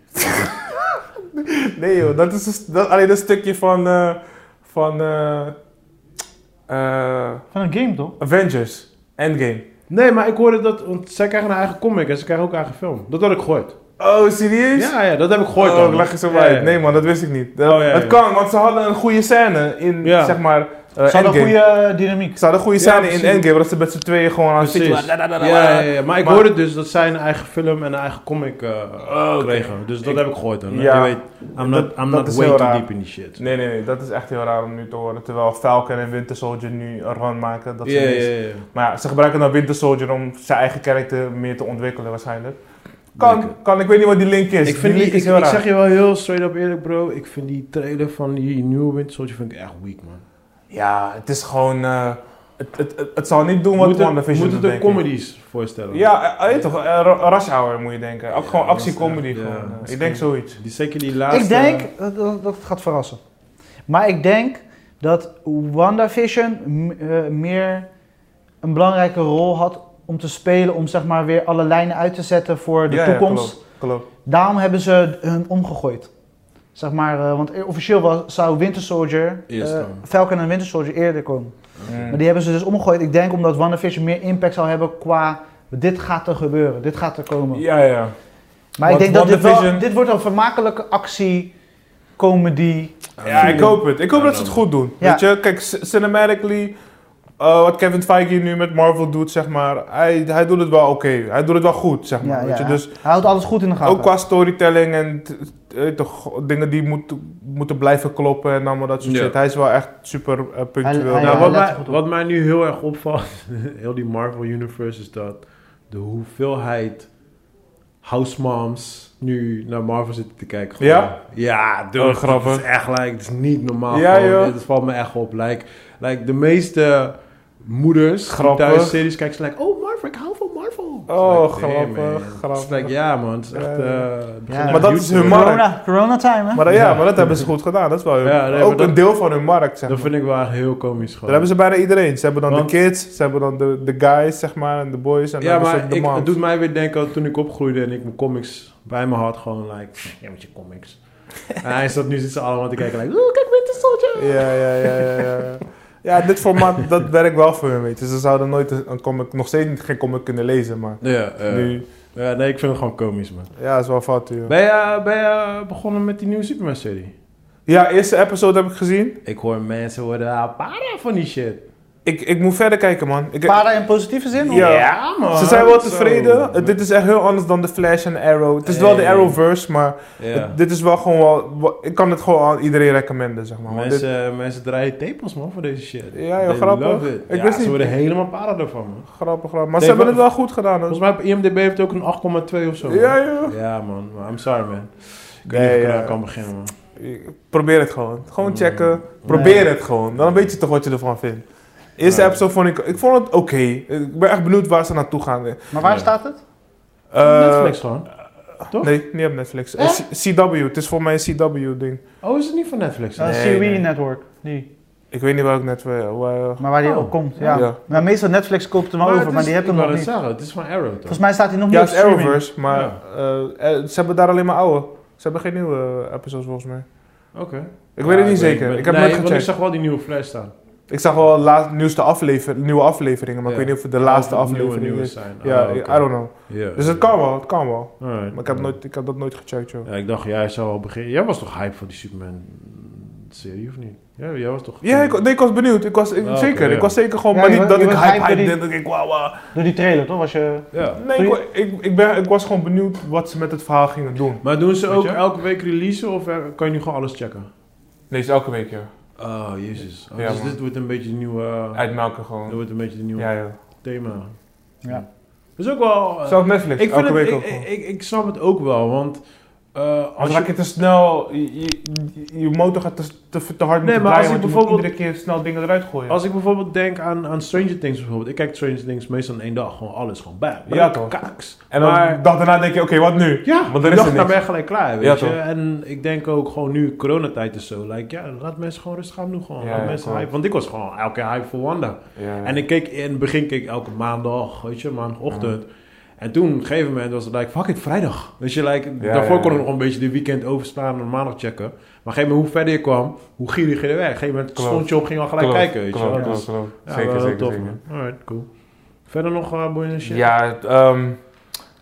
S1: Nee joh, dat is een st- dat, alleen dat stukje van, eh, van eh, eh,
S2: Van een game toch?
S1: Avengers Endgame.
S3: Nee, maar ik hoorde dat, want zij krijgen een eigen comic en ze krijgen ook een eigen film. Dat had ik gehoord.
S1: Oh, serieus?
S3: Ja, ja, dat heb ik gehoord.
S1: oh,
S3: dan.
S1: ik leg je zo
S3: Ja,
S1: uit.
S3: ja.
S1: Nee man, dat wist ik niet. Dat,
S3: Oh, ja, ja.
S1: Het kan, want ze hadden een goede scène in,
S3: Ja.
S1: zeg maar, eh,
S2: Ze hadden
S1: Endgame.
S2: een goede eh, dynamiek.
S1: Ze hadden een goede
S3: Ja,
S1: scène in
S3: precies.
S1: Endgame, dat ze met z'n tweeën gewoon aan het
S3: Precies.
S1: zitten waren.
S3: Ja, ja, ja, maar ik
S1: Maar- Oh,
S3: hoorde dus dat zij een eigen film en een eigen comic eh, kregen. Dus dat heb ik gehoord dan. hè.
S1: Ja.
S3: Je weet, I'm not, I'm
S1: dat
S3: not
S1: is
S3: way
S1: heel
S3: too
S1: raar.
S3: deep in die shit.
S1: Nee, nee, nee, dat is echt heel raar om nu te horen. Terwijl Falcon en Winter Soldier nu een run maken. Dat ze
S3: Ja,
S1: ineens-
S3: ja, ja.
S1: Maar ja, ze gebruiken dan Winter Soldier om zijn eigen karakter meer te ontwikkelen waarschijnlijk. Kan,
S3: Lekker.
S1: kan, ik weet niet wat die link is.
S3: Ik, vind die,
S1: link
S3: ik,
S1: is heel
S3: ik
S1: raar.
S3: zeg je wel heel straight up eerlijk, bro. Ik vind die trailer van die nieuwe Winter Soldier vind ik echt weak, man.
S1: Ja, het is gewoon... eh, het, het, het, het zal niet doen wat
S3: Moet het-
S1: WandaVision
S3: Moet
S1: doet,
S3: het een
S1: denk ik.
S3: comedies voorstellen?
S1: Ja, eh, weet je toch, eh, Ru- Rush Hour moet je denken. Ook gewoon
S3: Ja,
S1: actiecomedy
S3: Rush Hour,
S1: gewoon.
S3: ja.
S1: Eh, ik denk zoiets.
S3: Die, zeker die laatste...
S2: ik denk, dat, dat, dat gaat verrassen. Maar ik denk dat WandaVision m- eh, meer een belangrijke rol had om te spelen. Om zeg maar weer alle lijnen uit te zetten voor de
S1: Ja, ja,
S2: toekomst.
S1: klopt, klopt.
S2: Daarom hebben ze hun omgegooid. Zeg maar, eh, want e- officieel was, zou Winter Soldier,
S3: Eerst
S2: eh,
S3: komen.
S2: Falcon en Winter Soldier eerder komen.
S1: Mm.
S2: Maar die hebben ze dus omgegooid. Ik denk omdat WandaVision meer impact zal hebben qua dit gaat er gebeuren, dit gaat er komen.
S1: Ja, ja.
S2: Maar
S1: Want
S2: ik denk dat dit, wel,
S1: WandaVision-
S2: dit wordt een vermakelijke actie, comedy.
S1: Ja, ik hoop het. Ik hoop
S3: Ja,
S1: dat ze het
S3: dan-
S1: goed doen.
S2: Ja.
S1: Weet je, kijk, c- cinematically, eh, wat Kevin Feige nu met Marvel doet, zeg maar, hij, hij doet het wel oké. Hij doet het wel goed, zeg maar.
S2: Ja,
S1: weet
S2: ja.
S1: Je? Dus
S2: Hij houdt alles goed in de gaten.
S1: ook qua storytelling en t- t- eh, toch, dingen die moet, moeten blijven kloppen en allemaal dat soort
S3: Ja.
S1: shit. Hij is wel echt super eh, punctueel.
S2: hij-
S1: Ja,
S3: nou,
S2: hij-
S1: wat-
S3: wat,
S2: let er
S3: mij,
S2: goed op.
S3: wat mij nu heel erg opvalt, heel die Marvel Universe, is dat de hoeveelheid housemoms nu naar Marvel zitten te kijken. gewoon.
S1: Ja?
S3: Ja, dude,
S1: Oh,
S3: het
S1: grappig.
S3: is echt, like, het is niet normaal.
S1: Ja,
S3: gewoon.
S1: joh.
S3: Dit valt me echt op. Like, like de meeste moeders
S1: Grappig.
S3: die thuis series kijken, zijn like, oh Marvel, ik hou van Marvel.
S1: Oh,
S3: It's like, damn,
S1: grappig,
S3: man. It's
S1: grappig.
S3: like, ja man, het is echt...
S1: Ja.
S3: eh, het begint
S2: Ja.
S1: Maar dat
S3: echt
S1: is
S3: duur te
S1: hun
S3: worden.
S1: markt.
S2: Corona, corona time, hè?
S1: maar, dat- ja,
S3: Ja.
S1: maar dat hebben ze goed gedaan. Dat is wel hun-
S3: Ja, nee, maar
S1: ook
S3: dat-
S1: een deel van hun markt, zeg
S3: Dat
S1: maar.
S3: vind ik wel echt heel komisch
S1: Dat
S3: gewoon.
S1: hebben ze bijna iedereen. Ze hebben dan
S3: Want-
S1: de kids, ze hebben dan de, de guys, zeg maar, en de boys. En
S3: Ja,
S1: dan hebben ze ook
S3: maar
S1: de
S3: ik,
S1: moms.
S3: het doet mij weer denken aan toen ik opgroeide en ik mijn comics bij me had. Gewoon like, ja met je comics. en hij staat nu zitten ze allemaal te kijken like, oeh kijk Winter Soldier.
S1: Ja, ja, ja, ja, ja. ja. Ja, dit formaat, dat werkt wel voor hun, weet je. Ze zouden nooit een een comic, nog steeds niet- geen comic kunnen lezen, maar
S3: Ja, eh,
S1: nu...
S3: ja, nee, ik vind het gewoon komisch man.
S1: Ja, is wel fout, joh.
S3: Ben je, eh, ben je eh, begonnen met die nieuwe Superman serie?
S1: Ja, eerste episode heb ik gezien.
S3: Ik hoor mensen worden ah, para van die shit.
S1: Ik, ik moet verder kijken, man. Ik,
S2: Para in positieve zin? of-
S1: Ja.
S3: man.
S1: ze zijn wel
S3: Zo.
S1: tevreden. Eh, dit is echt heel anders dan de Flash en Arrow. Het is wel de
S3: Hey.
S1: Arrowverse, maar
S3: Ja.
S1: het- dit is wel gewoon wel... wa- Ik kan het gewoon aan iedereen recommenden, zeg maar. want dit-
S3: Mensen, mensen draaien tepels man voor deze shit.
S1: Ja, joh,
S3: They
S1: grappig.
S3: love it.
S1: Ik
S3: ja,
S1: wist
S3: ze
S1: niet.
S3: worden helemaal para ervan man.
S1: Grappig, grappig. Maar ze
S3: Nee,
S1: hebben
S3: maar-
S1: het wel goed gedaan, hoor.
S3: Volgens mij op IMDb heeft het ook een 8,2 of zo. man.
S1: Ja, joh.
S3: Ja, man. Maar I'm sorry, man. Ik weet
S1: Nee,
S3: niet of ik
S1: ja.
S3: eraan kan beginnen, man.
S1: Probeer het gewoon. Gewoon
S3: Mm.
S1: checken. Probeer het gewoon. Dan weet je toch wat je ervan vindt. Eerste
S3: Ja.
S1: episode vond ik... Ik vond het oké. Ik ben echt benieuwd waar ze naartoe gaan. Eh,
S2: Maar waar
S3: Ja.
S2: staat het?
S3: Netflix gewoon. toch?
S1: Nee, niet op Netflix. Eh, C- CW. Het is voor mij een CW-ding.
S3: Oh, is het niet van Netflix?
S2: Uh,
S1: Nee,
S2: CW
S1: nee.
S2: Network, die.
S1: Ik weet niet waar ik net... eh, Waar, waar-
S2: Maar waar die
S3: Oh.
S2: op komt, ja.
S1: Ja.
S2: Maar meestal Netflix koopt hem over, maar die
S3: heb
S2: hebben hem nog niet.
S3: zeggen, het is van Arrow, toch?
S2: Volgens mij staat hij nog
S1: ja,
S2: niet
S1: het
S2: op
S1: is
S2: streaming.
S1: Arrowverse. Maar
S3: Ja.
S1: eh, eh, ze hebben daar alleen maar oude. Ze hebben geen nieuwe eh, episodes volgens mij.
S3: Oké.
S1: Ik weet het niet zeker. Ik heb
S3: nee,
S1: nooit
S3: want
S1: gecheckt.
S3: ik zag wel die nieuwe Flash staan.
S1: Ik zag wel laat, nieuwste aflever, nieuwe afleveringen, maar
S3: Ja.
S1: ik weet niet of het de laatste
S3: Of het nieuwe
S1: aflevering
S3: nieuwe
S1: is.
S3: zijn.
S1: Ja,
S3: Ah, oké.
S1: I don't know.
S3: Ja.
S1: Dus het kan wel, het kan wel.
S3: Alright.
S1: Maar ik heb, nooit, ik heb dat nooit gecheckt, joh.
S3: Ja, ik dacht, jij zou al beginnen. Jij was toch hype voor die Superman-serie, of niet? Ja, jij was toch...
S1: Ja, ik, nee, ik was benieuwd. Ik was, ik-
S3: Ah, oké,
S1: zeker.
S3: ja.
S1: Ik was zeker gewoon,
S2: Ja,
S1: maar
S2: je
S1: niet
S2: wa-
S1: dat ik
S2: je was
S1: hype
S2: hype
S1: hype
S2: door
S1: deed, dat ik wauw, wauw.
S2: Door die trailer, toch? Was je...
S3: Ja.
S1: Nee, ik, wa- ik, ik, ben, ik was gewoon benieuwd wat ze met het verhaal gingen doen.
S3: Maar doen ze
S1: Weet
S3: ook
S1: je?
S3: elke week releasen, of eh, kan je nu gewoon alles checken?
S1: Nee, is elke week, ja.
S3: Oh, jezus. Oh,
S1: Ja,
S3: dus
S1: man.
S3: dit wordt een beetje de nieuwe...
S1: Uitmelken
S3: Dat
S1: gewoon.
S3: wordt een beetje de nieuwe
S1: Ja, ja.
S3: thema.
S2: Ja.
S3: Dat is ook wel... eh,
S1: Zelfs Netflix,
S3: ik,
S1: elke
S3: vind het,
S1: week
S3: ik,
S1: ook gewoon.
S3: ik, ik, ik snap het ook wel, want... eh
S1: Als
S3: als
S1: raak
S3: je,
S1: je te snel, je, je- je- je motor gaat te, te, te hard
S3: Nee,
S1: moeten draaien,
S3: maar als ik
S1: want je moet
S3: bijvoorbeeld-
S1: iedere keer snel dingen eruit gooien.
S3: als ik bijvoorbeeld denk aan, aan Stranger Things bijvoorbeeld. Ik kijk Stranger Things meestal in één dag. Gewoon alles, gewoon bam.
S1: Ja, toch.
S3: Kaaks.
S1: en dan
S3: maar-
S1: de dag daarna denk je, oké, wat nu?
S3: Ja,
S1: Want
S3: want
S1: dan
S3: dan
S1: is
S3: dacht,
S1: er
S3: dan
S1: niks.
S3: ben je gelijk klaar, weet
S1: Ja,
S3: je.
S1: toch.
S3: En ik denk ook gewoon nu coronatijd is zo. Like, ja, laat mensen gewoon rustig aan doen. Gewoon.
S1: Ja,
S3: laat
S1: ja,
S3: mensen
S1: klopt.
S3: hype. Want ik was gewoon elke keer hype voor Wanda.
S1: Ja.
S3: En ik keek, in het begin keek ik elke maandag, weet je, maandagochtend. En toen, op een gegeven moment, was het like, fuck it, vrijdag. Weet je, like,
S1: Ja,
S3: daarvoor
S1: ja, ja.
S3: kon ik nog een beetje de weekend overslaan en maandag checken. Maar op een gegeven moment, hoe verder je kwam, hoe gieriger je werd. Op een gegeven moment
S1: Klopt.
S3: stond je op, ging je al gelijk
S1: Klopt,
S3: kijken, weet je
S1: klopt,
S3: wel.
S1: klopt,
S3: Dus,
S1: klopt.
S3: ja,
S1: zeker,
S3: wel
S1: zeker,
S3: tof,
S1: zeker.
S3: man. Alright, cool. Verder nog uh, boeiende shit?
S1: Ja, ehm,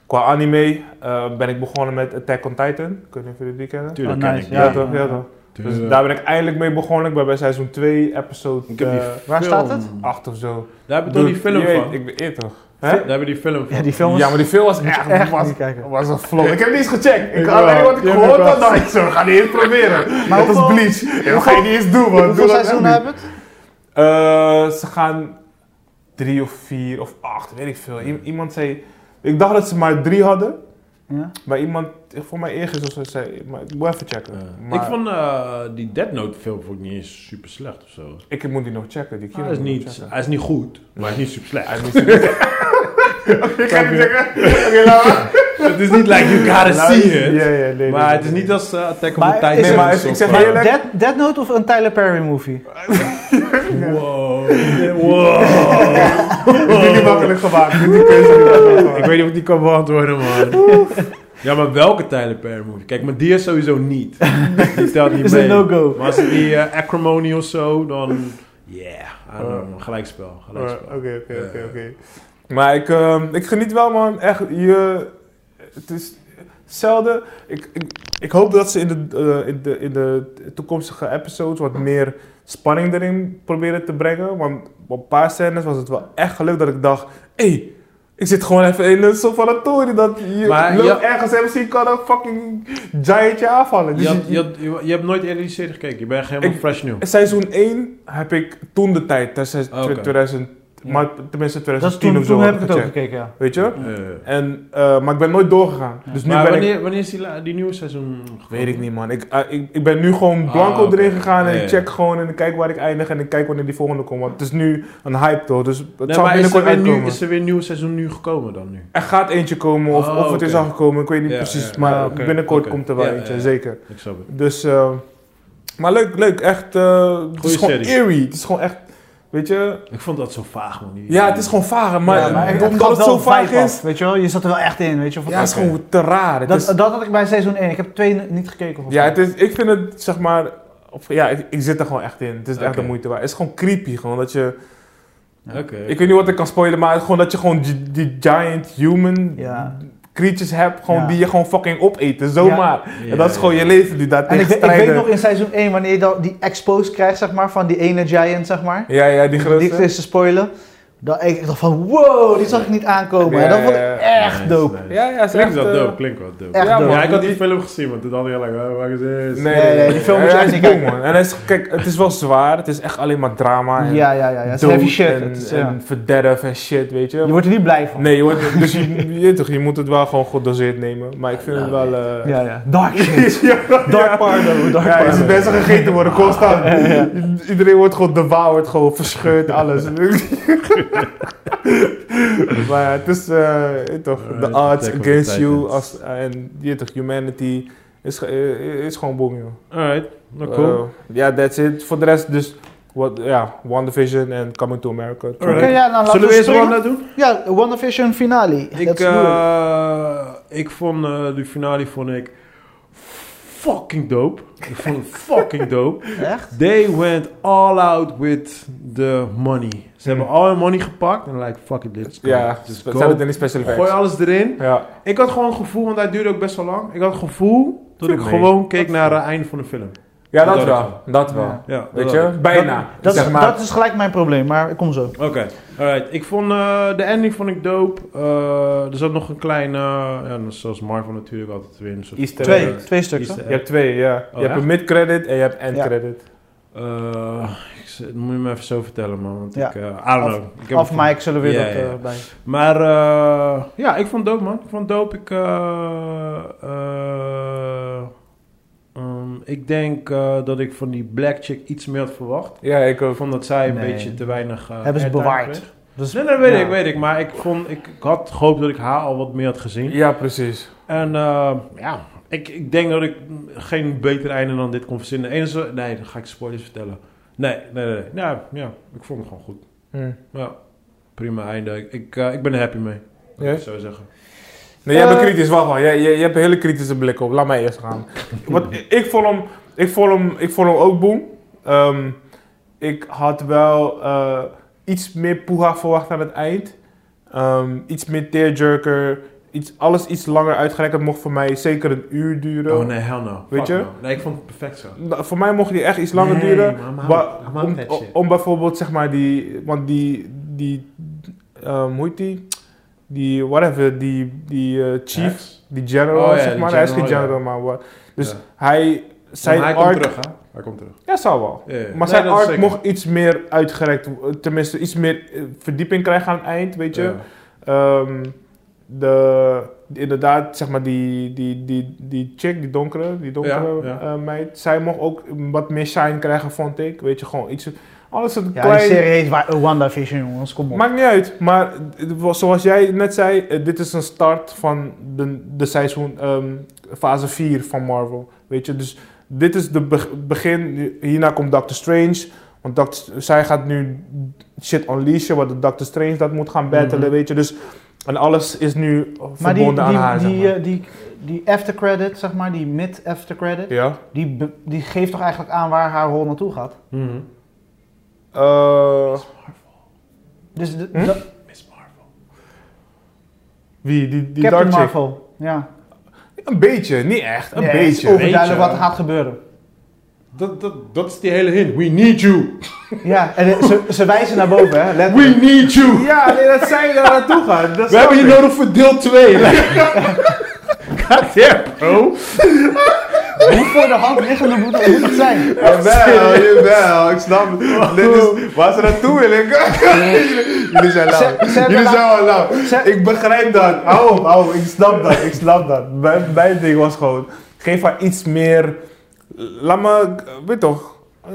S1: qua anime eh, ben ik begonnen met Attack on Titan. Kunnen jullie die kennen?
S3: Tuurlijk
S2: Oh,
S3: ken
S2: nice,
S3: ik
S1: Ja,
S3: die.
S1: toch? Ja, toch?
S3: Tuurlijk.
S1: Dus daar ben ik eindelijk mee begonnen. Ik ben bij seizoen 2, episode
S3: Ik heb die
S1: eh,
S2: Waar
S3: film.
S2: staat het?
S1: 8 of zo.
S3: Daar heb je toch die film
S1: Je weet,
S3: van?
S1: Ik ben eerder toch? Hè?
S3: Daar heb je die film van.
S2: Ja, die film is...
S1: Ja, maar die film was echt,
S2: echt
S1: was,
S2: niet kijken.
S1: was een flop. Ik heb niet eens gecheckt. Ik
S3: Ik
S1: had
S3: wel.
S1: alleen wat ik
S3: Ja,
S1: gehoord
S3: ik
S1: had,
S3: wel.
S1: dacht ik zo, we gaan die eens proberen.
S2: Maar
S1: Maar dat
S2: hoeveel-
S1: is Bleach. Ja, Dat ga je niet eens doen, man.
S2: Hoeveel
S1: Doe dat echt
S2: seizoenen
S1: niet.
S2: hebben het?
S1: Eh, ze gaan drie of vier of acht, weet ik veel. I- iemand zei... Ik dacht dat ze maar drie hadden.
S2: Ja.
S1: Maar iemand, voor mij eergisteren of zo, zei... Maar ik moet even checken.
S3: Ja.
S1: Maar
S3: Ik vond eh, die Dead Note film vond ik niet eens super slecht of zo.
S1: ik moet die nog checken. Die
S3: Hij
S1: kilo
S3: is,
S1: moet ik
S3: niet,
S1: checken.
S3: hij is niet goed, maar hij is niet super
S1: Hij
S3: slecht.
S1: is niet super- Oké, ik ga niet zeggen. Oké, laat maar.
S3: Het is Nou, niet like you gotta
S1: Laat-
S3: see
S1: Ja,
S3: it.
S1: ja, nee, nee,
S3: Maar
S1: nee,
S3: het is
S1: nee.
S3: niet als eh, Attack on
S2: Maar
S3: Titan.
S2: is het-
S1: maar ik zeg
S3: heel
S1: heel erg-
S2: Dead, Dead Note of een Tyler Perry movie?
S3: Wow. wow.
S1: Ik ben
S3: Oh.
S1: niet makkelijk gemaakt. Die keuze niet makkelijk gemaakt.
S3: Ik weet niet of ik die kan beantwoorden, man. Ja, maar welke Tyler Perry movie? Kijk, maar die is sowieso niet. Die telt niet
S2: Is
S3: mee.
S2: een no-go.
S3: Maar als het die eh, Acrimony of zo, dan... Yeah, I don't know, man. Gelijkspel,
S1: Alright,
S3: gelijkspel.
S1: Oké, oké,
S3: Ja.
S1: oké, oké. Maar ik, ehm, ik geniet wel, man. Echt, je... Het is zelden... Ik, ik, ik hoop dat ze in de, eh, in, de, in de toekomstige episodes wat meer spanning erin proberen te brengen. Want op een paar scènes was het wel echt gelukt dat ik dacht... Hé, hey, Ik zit gewoon even in een soort van een toren dat je
S3: Maar
S1: loopt
S3: je-
S1: ergens en misschien kan een fucking giant je aanvallen. Dus
S3: Je, had-
S1: je-
S3: je, had- je, je hebt nooit Elise gekeken. Je bent helemaal
S1: Ik-
S3: fresh nieuw.
S1: Seizoen 1 heb ik toen de tijd, dat is
S3: Oh, Oké.
S1: 2000,
S3: Ja.
S1: maar tenminste 2010
S2: Dat is toen,
S1: of zo.
S2: toen heb ik
S1: ik
S2: het ook gekeken, ja.
S1: Weet je?
S3: Eh,
S1: En, eh, maar ik ben nooit doorgegaan. Dus nu
S3: maar
S1: ben
S3: wanneer, wanneer is die, la- die nieuwe seizoen?
S1: ik...
S3: gekomen?
S1: Weet ik niet man. Ik, eh, ik, ik ben nu gewoon
S3: Ah,
S1: blanco
S3: oké.
S1: erin gegaan en
S3: Ja,
S1: ik
S3: ja.
S1: check gewoon en ik kijk waar ik eindig en ik kijk wanneer die volgende komt. Want het is nu een hype toch, dus het
S3: Nee,
S1: zal
S3: maar is er,
S1: binnenkort
S3: weer
S1: uitkomen.
S3: nieuw, is er weer een nieuw seizoen nu gekomen dan nu?
S1: Er gaat eentje komen of,
S3: Oh,
S1: of het is
S3: oké.
S1: al gekomen, ik weet niet
S3: Ja,
S1: precies.
S3: ja,
S1: Maar
S3: ja, Ah, oké,
S1: binnenkort
S3: oké.
S1: komt er wel
S3: Ja,
S1: eentje,
S3: ja, ja.
S1: zeker.
S3: Ik snap het.
S1: Dus, eh, maar leuk, leuk. Echt, eh het is
S3: Goeie
S1: gewoon
S3: serie.
S1: eerie. Het is gewoon echt, weet je...
S3: Ik vond dat zo vaag man. Die-
S1: Ja, het is gewoon vaag, maar,
S2: Ja,
S3: maar
S2: het
S1: omdat
S2: gaf
S1: het
S2: wel
S1: zo
S2: een
S1: vaag
S2: vibe
S1: is...
S2: af, weet je wel, je zat er wel echt in, weet je wel.
S1: Ja, het is
S3: Oké.
S1: gewoon te raar. Het
S2: dat,
S1: is-
S2: dat had ik bij seizoen 1. Ik heb 2 niet gekeken. volgens
S1: ja,
S2: mij.
S1: het is, ik vind het, zeg maar... Of, ja, ik, ik zit er gewoon echt in. Het is echt
S3: Oké.
S1: de moeite waard. Het is gewoon creepy, gewoon dat je...
S3: Oké.
S1: Ik weet niet wat ik kan spoilen, maar gewoon dat je gewoon die, die giant human
S2: Ja.
S1: creatures hebt... Gewoon,
S2: Ja.
S1: Die je gewoon fucking opeten, zomaar.
S3: Ja,
S1: en dat is gewoon
S3: ja.
S1: je leven die daar
S2: En
S1: tegen
S2: ik, weet- ik weet
S1: strijden.
S2: nog in seizoen 1 wanneer je dan die expose krijgt, zeg maar, van die ene giant, zeg maar.
S1: Ja, ja, die grote.
S2: Die is te spoilen. Dan, ik dacht van, wow, die zag ik niet aankomen.
S1: Ja,
S2: en dat vond ik
S1: ja, ja.
S2: echt
S3: Nice,
S2: dope.
S3: nice.
S1: ja, ja, is
S3: Klinkt
S1: echt...
S3: wel
S1: eh,
S3: dope, klinkt wel dope.
S2: Echt
S1: Ja,
S2: dope.
S1: man.
S3: Ja, ik had die film gezien, want toen had ik al like, waar is dit?
S1: Nee,
S2: Nee, nee, die film
S1: Ja,
S2: moet je
S1: hij
S2: echt
S1: is
S2: niet
S1: bom,
S2: kijken.
S1: man. En hij is, kijk, het is wel zwaar. Het is echt alleen maar drama. En
S2: Ja, ja, ja. ja. Het is
S1: dood
S2: heavy shit.
S1: En,
S2: Het is, ja.
S1: en verderf en shit, weet je.
S2: Je wordt er niet blij van.
S1: Nee, je wordt, dus je, je, toch, je moet het wel gewoon gedoseerd nemen. Maar ik vind
S3: Ah,
S1: het wel... eh
S2: Ja, ja. Dark shit.
S1: ja,
S2: Dark Pardo. Dark
S1: Ja, is
S2: Pardo.
S1: het beste gegeten worden, constant. I- Iedereen wordt gewoon devoured, gewoon verscheurd, alles. maar ja, het is, eh, je toch,
S3: Alright,
S1: the odds
S3: Attack of the
S1: against you.
S3: Titans.
S1: Als, en je toch, humanity is, ge- eh, is gewoon bom, joh.
S3: Alright, nou cool.
S1: Eh, Ja, that's it. Voor de rest dus, wat, ja, WandaVision en Coming to America.
S2: Oké,
S3: Alright.
S2: ja, nou, laten
S3: Zullen we eerst
S2: springen.
S3: Wanda doen?
S2: Ja, WandaVision finale.
S3: Ik,
S2: Let's do it.
S3: eh, ik vond eh die finale vond ik fucking dope. Ik vond het fucking dope.
S2: Echt?
S3: They went all out with the money. Ze hebben al hun money gepakt en like fuck it, let's go.
S1: Ja,
S3: Let's
S1: we
S3: go.
S1: zijn het in die special
S3: Gooi
S1: effects.
S3: alles erin.
S1: Ja,
S3: Ik had gewoon het gevoel, want hij duurde ook best wel lang. Ik had het gevoel dat ik
S1: Nee.
S3: gewoon keek naar het einde van de film.
S1: ja dat
S3: Dat
S1: wel. Dat wel.
S3: Ja,
S1: Weet
S3: dat
S1: je, bijna. Dus
S2: Dat,
S1: zeg
S2: is,
S1: maar.
S2: dat is gelijk mijn probleem, maar ik kom zo.
S3: Oké, alright. Ik vond eh, de ending vond ik dope. Eh, er zat nog een klein, eh, ja, zoals Marvel natuurlijk altijd weer een soort
S1: Easter
S2: Twee,
S1: egg.
S2: twee stukken.
S3: Easter
S1: Je hebt twee, ja.
S3: Oh,
S1: je hebt
S3: echt?
S1: een mid-credit en je hebt end-credit.
S3: Eh, ik z- dat moet je me even zo vertellen, man. Want
S2: Ja.
S3: ik, eh, I don't
S2: Af-
S3: know. Ik heb
S2: Af
S3: het-
S2: Mike zullen we weer
S3: Ja,
S2: dat
S3: ja.
S2: eh, bij.
S3: Maar eh, ja, ik vond het dope, man. Ik vond het dope. Ik, eh, eh, ehm, ik denk eh, dat ik van die black chick iets meer had verwacht.
S1: Ja, ik
S3: Ik
S1: ook.
S3: vond dat zij een
S2: Nee.
S3: beetje te weinig... eh,
S2: Hebben ze
S3: airtime
S2: bewaard.
S3: kreeg.
S2: Dus,
S3: Nee, nee, weet
S2: ja.
S3: ik, weet ik. Maar ik, vond, ik, ik had gehoopt dat ik haar al wat meer had gezien.
S1: Ja, precies.
S3: En eh, ja, ik, ik denk dat ik geen beter einde dan dit kon verzinnen. Enige, nee, dan ga ik spoilers vertellen. Nee, nee, nee. nee. Ja, ja, ik vond het gewoon goed.
S1: Hm.
S3: Ja, prima einde. Ik, ik, eh, ik ben er happy mee.
S1: Ja?
S3: Ja? Ik zou zeggen.
S1: Nee, jij bent
S2: Eh.
S1: kritisch, wacht maar. Jij, jij, jij hebt een hele kritische blik op. Laat mij eerst gaan. Want ik- ik vond hem, ik vond hem, ik vond hem ook boem. Ehm, ik had wel eh, iets meer poeha verwacht aan het eind. Ehm, iets meer tearjerker. Iets, alles iets langer uitgerekt. Het mocht voor mij zeker een uur duren.
S3: Oh nee, hell no.
S1: Weet
S3: Fuck
S1: je?
S3: no. Nee, ik vond het perfect zo.
S1: Nou, Voor mij mocht die echt iets langer
S3: Nee,
S1: duren.
S3: maar maar-
S1: Wa-
S3: maar- maar-
S1: om,
S3: dat
S1: o-
S3: shit.
S1: om bijvoorbeeld, zeg maar, die. Want die. die ehm, hoe heet die? Die, whatever, die, die eh, chief,
S3: Hacks.
S1: die general,
S3: Oh ja,
S1: zeg
S3: die
S1: maar. hij is geen
S3: general, ja.
S1: general, maar wat. Dus
S3: Ja.
S1: hij. Zijn
S3: Maar hij
S1: arc.
S3: komt terug, hè? Hij komt terug.
S1: Ja, zou wel.
S3: Ja, ja. Nee,
S1: Maar zijn
S3: dat is
S1: arc
S3: zeker.
S1: mocht iets meer uitgerekt, eh, tenminste iets meer eh, verdieping krijgen aan het eind, weet je.
S3: Ja.
S1: Ehm, de, inderdaad, zeg maar, die, die, die, die chick, die donkere, die donkere
S3: Ja, ja.
S1: eh, meid, zij mocht ook wat meer shine krijgen, vond ik. Weet je, gewoon iets. Alles een
S2: Ja, die
S1: klein.
S2: serie heet Wa- WandaVision, jongens, kom op.
S1: Maakt niet uit, maar het was zoals jij net zei, eh, dit is een start van de, de seizoen, ehm, fase 4 van Marvel. Weet je, dus dit is het begin. Hierna komt Doctor Strange. Want Doctor, zij gaat nu shit unleashen, wat de Doctor Strange dat moet gaan battelen,
S3: Mhm.
S1: weet je. Dus, en alles is nu
S2: maar die, die,
S1: verbonden aan haar,
S2: die,
S1: zeg maar.
S2: eh, die, die aftercredit, zeg maar, die mid-aftercredit,
S3: eh,
S1: Ja.
S2: die, be- die geeft toch eigenlijk aan waar haar rol naartoe gaat?
S3: Mhm.
S1: Eh,
S2: Dus de,
S1: Hm?
S2: de-
S3: Miss Marvel.
S1: wie? Die, die
S2: Captain
S1: Dark chick?
S2: Marvel. Ja.
S1: Een beetje, niet echt. Een
S2: Nee, Het is
S1: beetje.
S3: over-
S2: overduidelijk
S3: Beetje.
S2: wat er gaat gebeuren.
S3: Dat, dat, dat is die hele hint. We need you.
S2: Ja, en eh, ze, ze wijzen naar boven, hè?
S3: We
S2: Letterlijk.
S3: need you.
S1: Ja, nee, dat zij daar naartoe gaan. Dat
S3: We hebben je
S1: nog.
S3: nodig voor deel 2. God damn, bro.
S2: Hoe voor de hand liggende moet dat, moet dat zijn?
S1: Jawel, jawel, ik snap het. Dit is waar ze naartoe willen. Jullie zijn lauw.
S2: Ze- ze hebben
S1: Jullie
S2: la-
S1: zijn wel lauw.
S2: ze-
S1: Ik begrijp dat. Hou op, hou op. Ik snap dat, ik snap dat. Mijn, mijn ding was gewoon, geef haar iets meer... Laat me, weet toch, eh,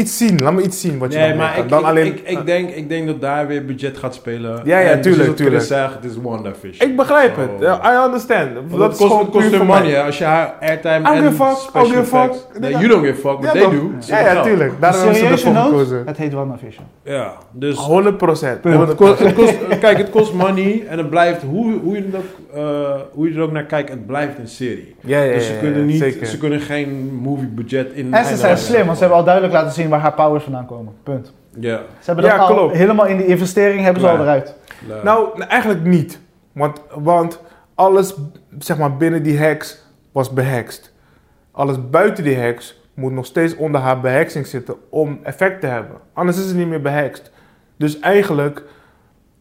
S1: iets zien. Laat me iets zien wat je
S3: Nee,
S1: nog meer
S3: maar
S1: kan.
S3: ik,
S1: Dan
S3: ik,
S1: alleen,
S3: ik, ik denk, ik denk dat daar weer budget gaat spelen.
S1: Ja, ja,
S3: En precies
S1: tuurlijk,
S3: wat Chris
S1: tuurlijk.
S3: zegt, het is WandaFish.
S1: Ik begrijp het.
S3: Oh.
S1: Ja, I understand. Dat,
S3: Want dat
S1: is
S3: kost,
S1: gewoon
S3: het kost
S1: puur voor
S3: hun
S1: mij.
S3: money hè, als je haar airtime
S1: I don't
S3: en
S1: give a fuck, I
S3: special
S1: don't give a
S3: effects...
S1: fuck.
S3: Nee, you don't give a fuck, but
S1: Ja,
S3: they
S1: toch?
S3: do. Ze
S1: Ja,
S3: hebben
S1: ja,
S3: geld.
S1: tuurlijk.
S2: Een
S1: Daarom hebben ze
S2: serieuze
S1: ervoor
S2: noot?
S1: gekozen.
S2: Het heet WandaVision.
S3: Ja, dus...
S1: 100 procent.
S3: Ja, want het kost, het kost- kijk, het kost money en het blijft, hoe, hoe, je het ook, eh, hoe je er ook naar kijkt, het blijft een serie.
S1: Ja, ja,
S3: dus ze
S1: ja,
S3: kunnen,
S1: ja,
S3: niet,
S1: zeker.
S3: ze kunnen geen movie budget in.
S2: En ze zijn
S3: inhalen.
S2: slim, want ze hebben al duidelijk laten zien waar haar powers vandaan komen. Punt.
S3: Ja.
S2: Ze hebben dat
S1: Ja,
S2: al
S1: klopt.
S2: helemaal in die investering hebben ze al
S3: Ja.
S2: eruit.
S3: la-
S1: Nou, eigenlijk niet. Want, want alles zeg maar, binnen die heks was behext. Alles buiten die heks moet nog steeds onder haar beheksing zitten om effect te hebben. Anders is het niet meer behext. Dus eigenlijk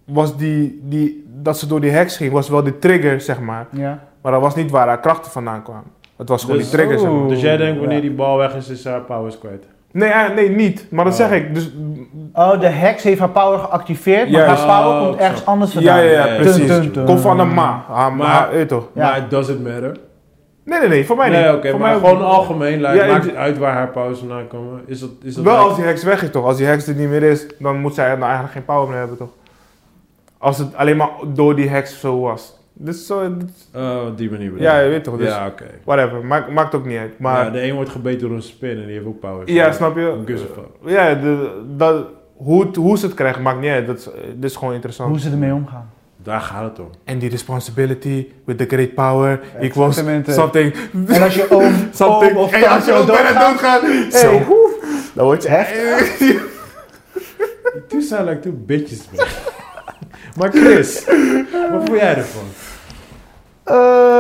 S1: was die, die, dat ze door die heks ging, was wel de trigger, zeg maar.
S2: Ja.
S1: Maar dat was niet waar haar krachten vandaan kwamen. Het was gewoon
S3: Dus-
S1: die trigger, zeg maar.
S2: Oeh.
S3: dus jij denkt wanneer
S2: Ja.
S3: die bal weg is, is haar powers kwijt.
S1: Nee, ja, nee, niet. Maar dat
S3: Oh.
S1: zeg ik. Dus,
S2: Oh, de heks heeft haar power geactiveerd, maar
S1: Juist.
S2: haar power
S3: Oh,
S2: komt
S3: zo.
S2: ergens anders
S1: ja,
S2: vandaan.
S1: ja, ja,
S3: Ja,
S1: precies.
S2: dun, dun.
S1: Kom van de ma. Haar,
S3: Ah, Maar-
S1: maar, haar, weet je toch?
S2: Ja.
S3: Maar it doesn't matter.
S1: ah, eh. Nee, nee, nee. Voor mij
S3: Nee,
S1: niet.
S3: oké,
S1: Voor
S3: maar
S1: mij
S3: gewoon algemeen, like,
S1: Ja,
S3: maakt
S1: ik-
S3: het uit waar haar powers vandaan komen. Is dat, is dat
S1: Wel
S3: like-
S1: als die heks weg is toch? Als die heks er niet meer is, dan moet zij nou eigenlijk geen power meer hebben toch? Als het alleen maar door die heks zo was. Dus zo,
S3: Eh, op die manier bedoel
S1: ja,
S3: ik.
S1: je weet toch? Dus
S3: Ja, oké.
S1: whatever, maakt, maakt ook niet uit. Maar
S3: Ja, de een wordt gebeten door een spin en die heeft ook powers.
S1: ja, snap je?
S3: Gives a fuck.
S1: Ja, de, dat, hoe, het- hoe ze het krijgen maakt niet uit. Dat is, dat is gewoon interessant.
S2: Hoe ze ermee omgaan.
S3: Daar gaat het om.
S1: And the responsibility with the great power equals
S2: Exactement.
S1: something.
S2: En als je oom,
S1: something.
S2: oom of
S1: en als je
S2: tante
S1: ook bijna doodgaat,
S2: doodgaat, Hey.
S1: zo, oef, dan word je echt.
S3: Toen zijn like two bitches, man. maar Chris, wat voel jij ervan?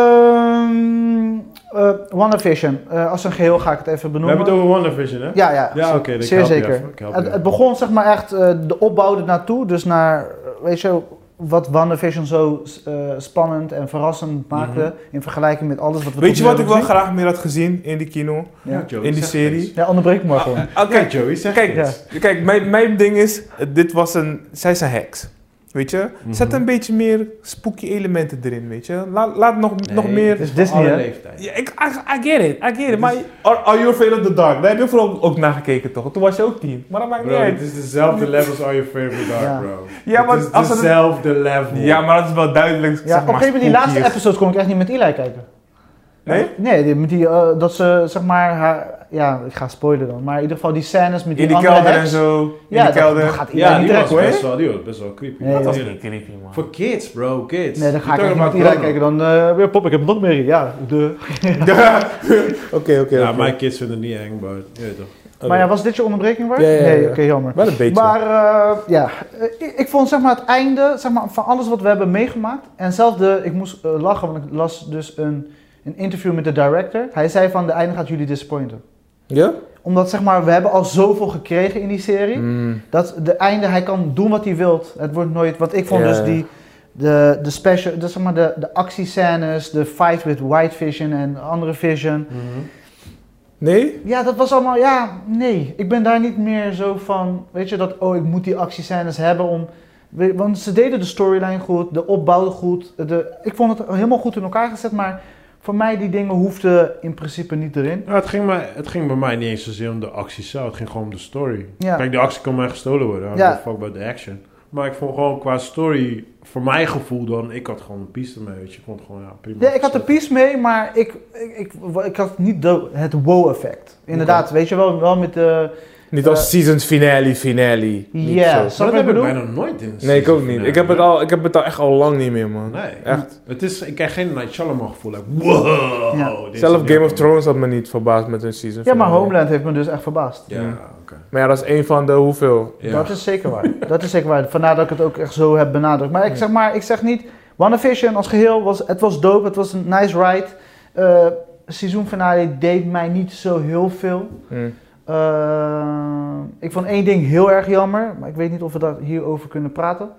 S2: Ehm eh WandaVision. Eh, als een geheel ga ik het even
S3: We
S2: benoemen.
S3: hebben het over WandaVision, hè?
S2: Ja, ja.
S3: Ja,
S2: ze-
S3: oké, ik
S2: zeer
S3: help je
S2: zeker.
S3: even, ik help je
S2: het,
S3: even.
S2: het begon zeg maar echt eh, de opbouw ernaartoe. Dus naar, eh, weet je, wat WandaVision zo eh, spannend en verrassend maakte. In vergelijking met alles wat we
S1: Weet
S2: tot
S1: je
S2: nu
S1: wat ik wel
S2: hebben
S1: graag meer had gezien in die kino?
S2: gezien. Ja,
S3: Joey,
S1: In die
S3: zeg
S1: serie.
S3: eens.
S2: ja onderbreek me maar gewoon.
S1: Ah, ah, Oké,
S3: Ja, Joey, zeg
S1: Kijk,
S3: eens.
S1: Kijk, mijn, mijn ding is, dit was een, zij is een heks. Weet je? Zet
S3: Mhm.
S1: een beetje meer spooky elementen erin, weet je? Laat, laat nog, nog
S3: Nee,
S1: meer...
S2: het is
S3: voor
S2: Disney,
S3: alle
S2: hè?
S3: leeftijd.
S1: Ja, ik, I, I get it, I get it. Maar are, are You Afraid of the Dark? Daar heb je vooral ook naar gekeken, toch? Toen was je ook tien. Maar dat maakt
S3: Bro,
S1: niet
S3: het
S1: uit.
S3: is dezelfde level als All Your Favorite Dark,
S2: Ja.
S3: bro.
S1: Ja, maar
S3: het is
S1: als het-
S3: dezelfde level.
S1: Ja, maar dat is wel duidelijk,
S2: Ja,
S1: zeg
S2: op een
S1: maar,
S2: gegeven moment die
S1: spooky
S2: laatste
S1: is.
S2: episode kon ik echt niet met Eli kijken.
S1: Nee?
S2: Nee, die, met die, eh, dat ze zeg maar haar, ja, ik ga spoilen dan, maar in ieder geval die scènes met die,
S1: In die
S2: andere
S1: kelder en
S2: heks.
S1: zo.
S2: Ja,
S1: in die
S2: dat,
S1: kelder.
S2: dat gaat Eli
S3: Ja,
S2: niet
S3: die was
S2: trekken hoor.
S3: best wel, die was best wel creepy.
S2: Nee,
S1: dat was
S3: Eerlijk.
S1: niet creepy, man.
S3: Voor kids, bro, kids.
S2: Nee, dan ga ik
S3: You're
S2: echt
S3: talking
S2: niet met
S3: about
S2: Eli
S3: grown-ups.
S2: kijken, dan eh, weer pop, ik heb nog meer, ja, de...
S1: Oké, oké,
S3: Ja,
S1: oké.
S3: mijn kids vinden het niet eng, maar je weet toch.
S1: Oké.
S2: Maar ja, was dit je onderbreking waar?
S1: Ja, ja, ja,
S2: Nee,
S1: ja.
S2: oké, jammer.
S1: Wel een beetje.
S2: Maar eh, ja, eh, ik, ik vond zeg maar het einde zeg maar, van alles wat we hebben meegemaakt. En zelfs de, ik moest eh, lachen, want ik las dus een, een interview met de director. Hij zei van de einde gaat jullie disappointen.
S1: Ja?
S2: Omdat zeg maar, we hebben al zoveel gekregen in die
S1: Mm.
S2: serie. Dat de einde, hij kan doen wat hij wilt. Het wordt nooit, wat ik vond
S1: Ja,
S2: dus
S1: ja.
S2: die, de, de special, dus zeg maar de, de actiescènes, de fight with White Vision en andere Vision.
S1: Nee?
S2: Ja, dat was allemaal, ja, nee. Ik ben daar niet meer zo van, weet je, dat, oh, ik moet die actiescènes hebben om... we- Want ze deden de storyline goed, de opbouw goed. De, ik vond het helemaal goed in elkaar gezet, maar voor mij die dingen hoefden in principe niet erin.
S3: Nou, het, ging maar, het ging bij mij niet eens zozeer om de actie zelf. Het ging gewoon om de story.
S2: Ja.
S3: Kijk, de actie kan mij gestolen worden. I don't
S2: Ja.
S3: give a fuck about the action. Maar ik vond gewoon qua story, voor mijn gevoel dan, ik had gewoon een piste mee. Weet je. Ik vond het gewoon, ja, prima.
S2: Ja, ik had de piece mee, maar ik, ik, ik, ik had niet de, het wow-effect. Inderdaad, weet je wel, wel met de...
S1: Niet als seasons finale, finale. Niet
S2: Eh, Ja,
S1: zo.
S2: eh, snap
S3: Maar
S2: je
S3: dat heb
S2: wat
S3: ik
S2: ik
S3: bijna
S2: bedoel?
S3: nooit in
S1: Nee, ik ook niet. Ik heb, het
S3: al.
S1: al, ik heb het al echt al lang niet meer, man.
S3: Nee.
S1: Echt.
S3: Het is, ik krijg geen Night Shyamalan gevoel. Like, wow.
S2: Ja.
S3: dit is
S1: Zelf
S3: een
S1: Game of
S3: nieuwe-
S1: Thrones had me niet verbaasd met hun season.
S2: Ja, maar
S1: finale.
S2: Homeland heeft me dus echt verbaasd.
S3: Ja, oké.
S1: Maar ja, dat is een van de hoeveel.
S3: Ja.
S2: Dat is zeker waar. Dat is zeker waar. Vandaar dat ik het ook echt zo heb benadrukt. Maar ik zeg maar, ik zeg niet. WandaVision als geheel was, het was dope, het was een nice ride. Eh, seizoenfinale deed mij niet zo heel veel.
S1: Mm.
S2: Eh, ik vond één ding heel erg jammer, maar ik weet niet of we daar hierover kunnen praten.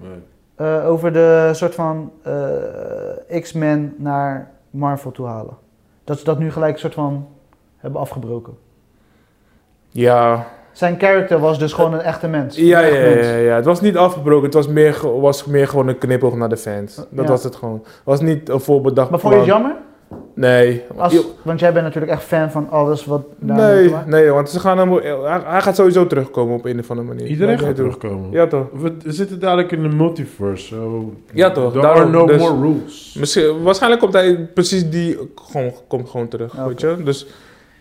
S3: Nee.
S2: Eh, over de soort van eh, X-Men naar Marvel toe halen. Dat ze dat nu gelijk soort van hebben afgebroken.
S1: Ja,
S2: Zijn character was dus gewoon een echte mens.
S1: Ja,
S2: Een
S1: ja,
S2: echt
S1: ja,
S2: mens.
S1: ja, ja. Het was niet afgebroken. Het was meer, ge- was meer gewoon een knipoog naar de fans. Dat
S2: Ja.
S1: was het gewoon. Het was niet een voorbedacht
S2: Maar vond je het
S1: plan.
S2: jammer?
S1: Nee.
S2: Als, want jij bent natuurlijk echt fan van alles wat daar naartoe
S1: nee,
S2: gaat.
S1: nee, want ze gaan hem, hij, hij gaat sowieso terugkomen op een of andere manier.
S3: Iedereen
S1: Dat
S3: gaat
S1: weet ik.
S3: terugkomen.
S1: Ja, toch.
S3: We, we zitten dadelijk in de multiverse. So
S1: Ja, toch.
S3: There
S1: Daarom,
S3: are no
S1: dus-
S3: more rules.
S1: Misschien, waarschijnlijk komt hij precies die gewoon, komt gewoon terug,
S2: Oké.
S1: weet je. Dus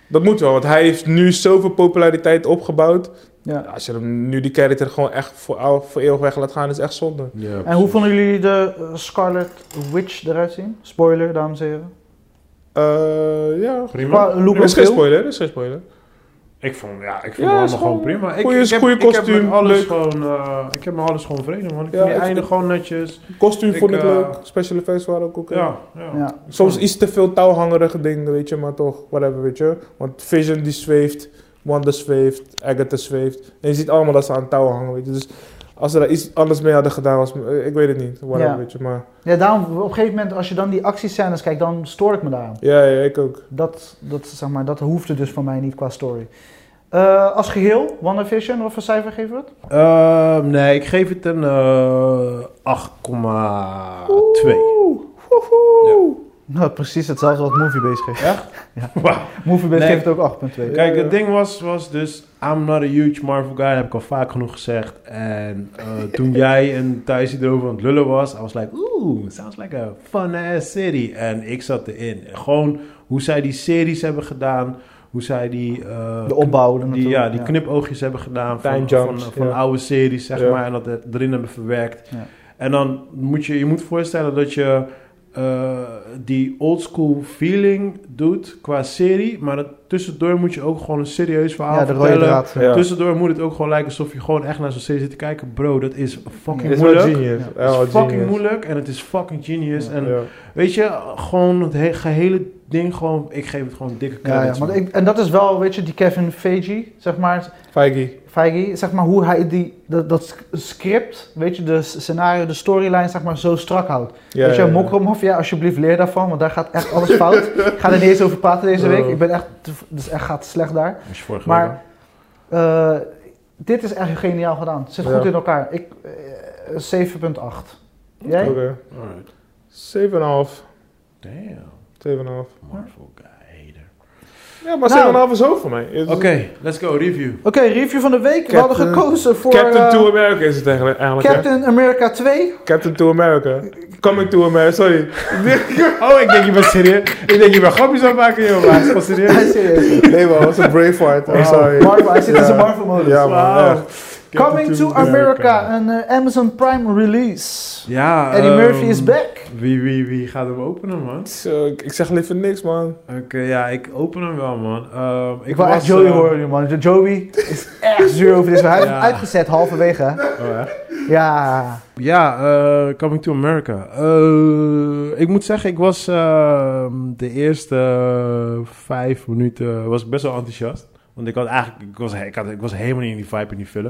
S1: dat moet wel, want hij heeft nu zoveel populariteit opgebouwd.
S2: Ja.
S1: Als je hem nu die character gewoon echt voor, ou- voor eeuwig weg laat gaan, is echt zonde.
S3: Ja,
S2: En hoe
S3: precies.
S2: vonden jullie de eh, Scarlet Witch eruit zien? Spoiler, dames en heren.
S1: Eh, ja.
S3: Prima.
S2: Qua look
S1: Er
S2: en
S1: is geen
S2: feel.
S1: spoiler, er is geen spoiler.
S3: Ik vond, ja, ik vond
S1: Ja,
S3: het allemaal
S1: is
S3: gewoon,
S1: gewoon
S3: prima. Ik,
S1: goeie-
S3: ik heb,
S1: goeie
S3: ik heb met
S1: kostuum,
S3: alles
S1: leuk.
S3: gewoon, eh, ik heb me alles gewoon vrede, man. Ik
S1: Ja,
S3: vind die
S1: ik-
S3: einde gewoon netjes.
S1: Kostuum
S3: Ik,
S1: vond ik
S3: eh,
S1: leuk, special effects waren ook oké.
S3: Ja, ja.
S2: Ja.
S1: Soms iets te veel touwhangerige dingen, weet je, maar toch, whatever, weet je. Want Vision die zweeft, Wanda zweeft, Agatha zweeft. En je ziet allemaal dat ze aan touw hangen, weet je. Dus als ze daar iets anders mee hadden gedaan, was, eh, ik weet het niet, whatever,
S2: Ja.
S1: weet je. Maar
S2: ja, daarom op een gegeven moment, als je dan die actiescènes kijkt, dan stoor ik me daaraan.
S1: ja, ja, ik ook.
S2: Dat, dat, zeg maar, dat hoefde dus van mij niet qua story. Eh, als geheel, WandaVision, wat voor cijfer geven we het?
S3: Ehm, nee, ik geef het een eh 8,2.
S2: Oeh, woehoe. Nou, precies hetzelfde als Moviebase geeft.
S3: Echt?
S2: Ja.
S3: Wauw.
S2: Moviebase
S3: Nee.
S2: geeft het ook 8.2.
S3: Kijk,
S1: Ja,
S3: het
S1: ja.
S3: ding was, was dus, I'm not a huge Marvel guy, heb ik al vaak genoeg gezegd. En eh, toen jij en Thijs hierover aan het lullen was, I was like, oeh, sounds like a fun ass city. En ik zat erin. En gewoon hoe zij die series hebben gedaan, hoe zij die... eh,
S2: De opbouw. er
S3: Die,
S2: naartoe,
S3: ja, die knipoogjes hebben gedaan van,
S1: Time
S3: van,
S1: jumps,
S3: van
S1: ja.
S3: oude series, zeg
S1: Ja.
S3: maar, en dat er- erin hebben verwerkt.
S2: Ja.
S3: En dan moet je je moet voorstellen dat je eh, die old school feeling doet qua serie, maar dat, tussendoor moet je ook gewoon een serieus verhaal
S2: Ja, de rode
S3: vertellen.
S2: draad.
S1: Ja.
S3: Tussendoor moet het ook gewoon lijken alsof je gewoon echt naar zo'n serie zit te kijken. Bro, dat is fucking
S1: Het is wel
S3: moeilijk.
S1: genius.
S2: Ja.
S1: Ja,
S3: Het
S1: wel
S3: is fucking
S1: genius.
S3: moeilijk en het is fucking genius.
S2: Ja.
S3: en
S1: Ja.
S3: weet je, gewoon het he- gehele ding gewoon, ik geef het gewoon dikke
S2: Ja, ja,
S3: credits.
S2: want
S3: man.
S2: ik, en dat is wel, weet je, die Kevin Feige, zeg maar,
S1: Feige.
S2: Feige, zeg maar hoe hij die, dat, dat script, weet je, de scenario, de storyline, zeg maar, zo strak houdt.
S1: Ja,
S2: weet je,
S1: ja, ja.
S2: Mokromafia, alsjeblieft leer daarvan, want daar gaat echt alles fout. Ik ga er niet eens over praten deze week,
S1: Oh.
S2: ik ben echt, dus echt gaat slecht daar.
S3: Dat is vorige
S2: Maar-
S3: week, hè?
S2: Eh, dit is echt geniaal gedaan. Het zit goed
S1: Ja.
S2: in elkaar. Ik, eh, 7.8. Jij?
S1: Oké.
S3: Alright.
S1: 7,5. 7,5.
S3: Damn. Marvel guy hater.
S1: Ja, maar
S2: Nou.
S1: 7,5 is hoog voor mij. Het is-
S3: Oké, let's go, review.
S2: Oké, review van de week. We
S1: Captain-
S2: hadden gekozen voor
S1: Captain
S2: eh,
S1: to America is het eigenlijk. eigenlijk hè?
S2: Captain America 2.
S1: Captain to America. Coming to America, sorry.
S3: Oh, ik denk je bent serieus. Ik denk je bent grapjes aan het maken, joh. Maar het is wel serieus.
S2: Ja, serieus.
S1: Nee man, dat was een Braveheart. I'm sorry.
S2: Marvel, hij zit in zijn
S1: Ja.
S2: Marvel-modus.
S1: Ja
S3: Wauw.
S1: man, echt.
S2: Coming to America, een eh, Amazon Prime release.
S3: Ja,
S2: Eddie
S3: ehm,
S2: Murphy is back.
S3: Wie, wie, wie gaat hem openen, man?
S1: Zo, ik- ik zeg liever niks man.
S3: Oké, ja, ik open hem wel, man. Ehm,
S2: Ik wil echt
S3: was,
S2: Joey
S3: eh,
S2: horen nu, man. Joey is echt zuur over dit. Hij heeft
S3: Ja.
S2: hem uitgezet halverwege. hè.
S3: oh, echt?
S2: Ja.
S3: Ja, eh, Coming to America. Eh, ik moet zeggen, ik was ehm, de eerste vijf minuten was ik best wel enthousiast. Want ik had eigenlijk, ik was, ik, had, ik was helemaal niet in die vibe in die film.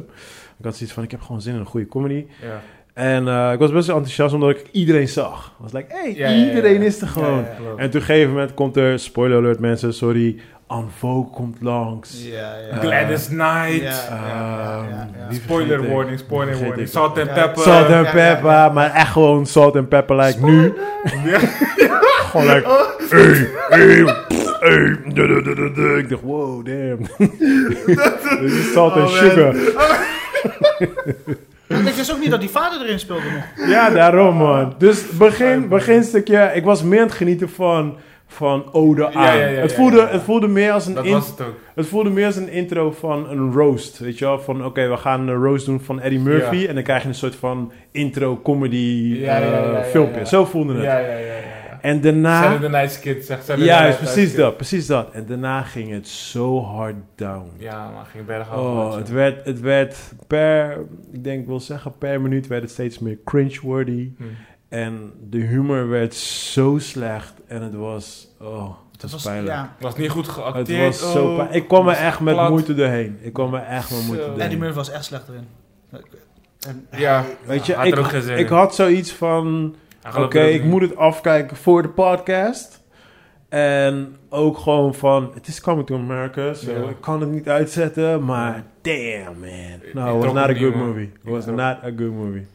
S3: Ik had zoiets van, ik heb gewoon zin in een goede comedy.
S1: Ja.
S3: En eh, ik was best wel enthousiast omdat ik iedereen zag. Ik was like, hey,
S1: Ja, ja, ja,
S3: iedereen
S1: ja.
S3: is er gewoon.
S1: Ja, ja,
S3: En op een gegeven moment komt er, spoiler alert mensen, sorry, Anvo komt langs.
S4: Ja, ja.
S3: Eh,
S1: Gladys Knight.
S4: Ja. ja, ja.
S3: Ehm, die
S1: Spoiler
S3: vergeet ik.
S1: warning, spoiler
S3: Vergeet
S1: warning.
S3: ik.
S1: Salt and
S4: Ja.
S1: pepper.
S3: Salt
S4: Ja,
S3: and
S4: ja,
S3: pepper, maar echt gewoon salt and pepper, like nu. gewoon like,
S1: Oh.
S3: hey, hey, hey, duh, duh, duh, duh, duh. Ik dacht, wow, damn. Dit is salt and
S1: Oh,
S3: sugar.
S4: Ik wist ook niet dat die vader erin speelde nog.
S3: Ja, daarom
S1: Oh.
S3: man. Dus begin, beginstukje, ik was meer aan het genieten van, van ode aan.
S1: Ja, ja, ja,
S3: het,
S1: ja,
S3: voelde,
S1: ja.
S3: het voelde meer als een
S1: Dat
S3: in-
S1: was het ook.
S3: Het voelde meer als een intro van een roast. Weet je wel? Van oké, we gaan een roast doen van Eddie Murphy.
S1: Ja.
S3: En dan krijg je een soort van intro-comedy
S1: Ja, ja, ja, ja,
S3: eh,
S1: ja,
S3: filmpje.
S1: ja.
S3: Zo voelde het.
S1: Ja, ja, ja. ja.
S3: En
S1: Saturday
S3: daarna.
S1: the Night's Kid, zegt Saturday
S3: Nou. Juist,
S1: Night's
S3: precies
S1: Kid.
S3: dat, precies dat. En daarna ging het zo hard down.
S1: Ja man, ging berg
S3: Oh, het werd, het werd per, ik denk ik wil zeggen per minuut werd het steeds meer
S1: Hm.
S3: cringe-worthy. En de humor werd zo slecht. En het was, oh.
S2: Dat was,
S3: pijnlijk.
S2: ja.
S1: was niet goed
S3: Het
S1: geacteerd.
S3: was zo
S1: oh.
S3: pijn. Ik kwam er
S1: was
S3: echt met
S1: plat.
S3: moeite doorheen. Ik kwam er echt met moeite
S1: Zo.
S3: doorheen.
S2: Eddie Murphy was echt slecht erin. En,
S1: Ja,
S3: Weet je,
S1: had
S3: ik,
S1: er ook geen zin
S3: ik
S1: in.
S3: had zoiets van...
S1: Hij
S3: Oké,
S1: gelooft er ook
S3: ik
S1: niet.
S3: moet het afkijken voor de podcast. En ook gewoon van... Het is coming to America, so
S1: Ja.
S3: ik kan het niet uitzetten. Maar damn, man.
S1: Ik-
S3: No,
S1: ik
S3: it was
S1: trok
S3: not a
S1: het
S3: good
S1: niet, man.
S3: movie. It was
S1: Ja.
S3: not a good movie.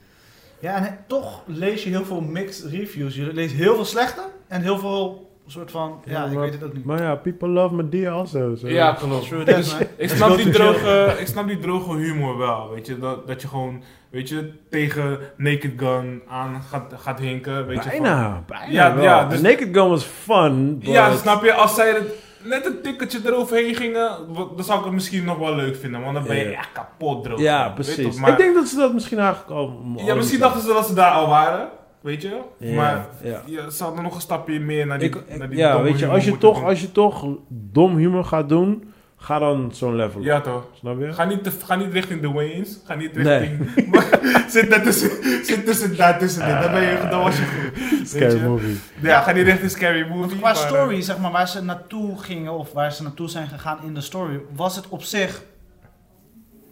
S2: ja, en he- toch lees je heel veel mixed reviews. Je leest heel veel slechte en heel veel soort van... Ja,
S3: Ja,
S2: ik
S3: maar-
S2: weet het ook niet.
S3: Maar ja, people love Medea also. so-
S1: Ja, klopt.
S2: True that, man.
S1: Ik
S3: Dat
S1: snap,
S3: is
S1: die
S3: wel te
S1: droge, ik snap die droge humor wel, weet je. Dat, dat je gewoon, weet je, tegen Naked Gun aan gaat, gaat hinken, weet je. van-
S3: Bijna, bijna
S1: Ja,
S3: wel.
S1: ja, dus-
S3: Naked Gun was fun, but...
S1: Ja, snap je? Als zij het, net een tikkeltje eroverheen gingen, wa- dan zou ik het misschien nog wel leuk vinden. Want dan ben je
S3: Ja, ja.
S1: echt kapot droog.
S3: Ja,
S1: Weet
S3: precies.
S1: toch, maar-
S3: Ik denk dat ze dat misschien eigenlijk al...
S1: ja, misschien dachten ze dat ze daar al waren, weet je.
S3: Ja,
S1: maar
S3: ja.
S1: je ze hadden nog een stapje meer naar die,
S3: Ik,
S1: naar
S3: ik-
S1: die
S3: ja,
S1: domme
S3: weet je,
S1: humor
S3: als je,
S1: moeten
S3: toch,
S1: doen.
S3: als je toch dom humor gaat doen, ga dan zo'n level. op.
S1: Ja, toch.
S3: Snap je?
S1: Ga niet, te- ga niet richting de Wayne's. Ga niet
S3: Nee.
S1: richting. Maar, zit daar tussen, zit tussen, daar tussen dit. Dan ben je, dan was je goed. Weet
S3: Ah, Scary
S1: je?
S3: movie.
S1: Ja, ga niet richting scary movie.
S2: Qua
S1: maar, eh,
S2: story, zeg maar, waar ze naartoe gingen of waar ze naartoe zijn gegaan in de story, was het op zich.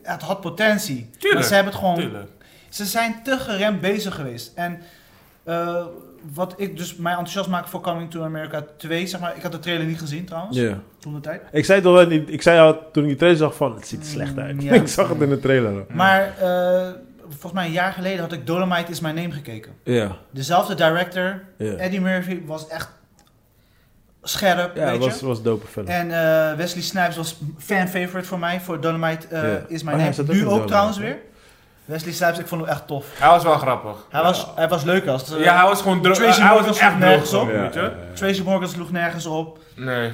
S2: Het had potentie.
S1: Tuurlijk,
S2: maar ze hebben het gewoon.
S1: tuurlijk.
S2: Ze zijn te geremd bezig geweest. En eh, wat ik dus mij enthousiast maak voor Coming to America 2, zeg maar. Ik had de trailer niet gezien trouwens,
S3: Ja.
S2: toen de tijd.
S3: Ik zei, toch, wel niet- ik zei al toen ik die trailer zag van, het ziet er slecht uit.
S2: Ja.
S3: ik zag het in de trailer.
S2: Maar eh, volgens mij een jaar geleden had ik Dolomite is My Name gekeken.
S3: Ja,
S2: Dezelfde director,
S3: ja.
S2: Eddie Murphy, was echt scherp.
S3: Ja,
S2: weet
S3: het
S2: je?
S3: was, was dope film.
S2: En eh, Wesley Snipes was fan favorite voor mij voor Dynamite eh,
S3: Ja.
S2: is
S3: Oh,
S2: mijn
S3: hij
S2: name.
S3: zat ook in
S2: Nu ook
S3: Dynamite,
S2: trouwens
S3: hè?
S2: weer. Wesley Snipes, ik vond hem echt tof.
S1: Hij was wel grappig.
S2: Hij was, hij was leuk als. eh,
S1: Ja, hij was gewoon droog.
S2: Tracy
S1: Hij
S2: Morgan
S1: was echt
S2: stond nergens
S1: nergens op, weet
S2: op.
S1: je.
S2: Tracy Morgan sloeg nergens op.
S1: Nee.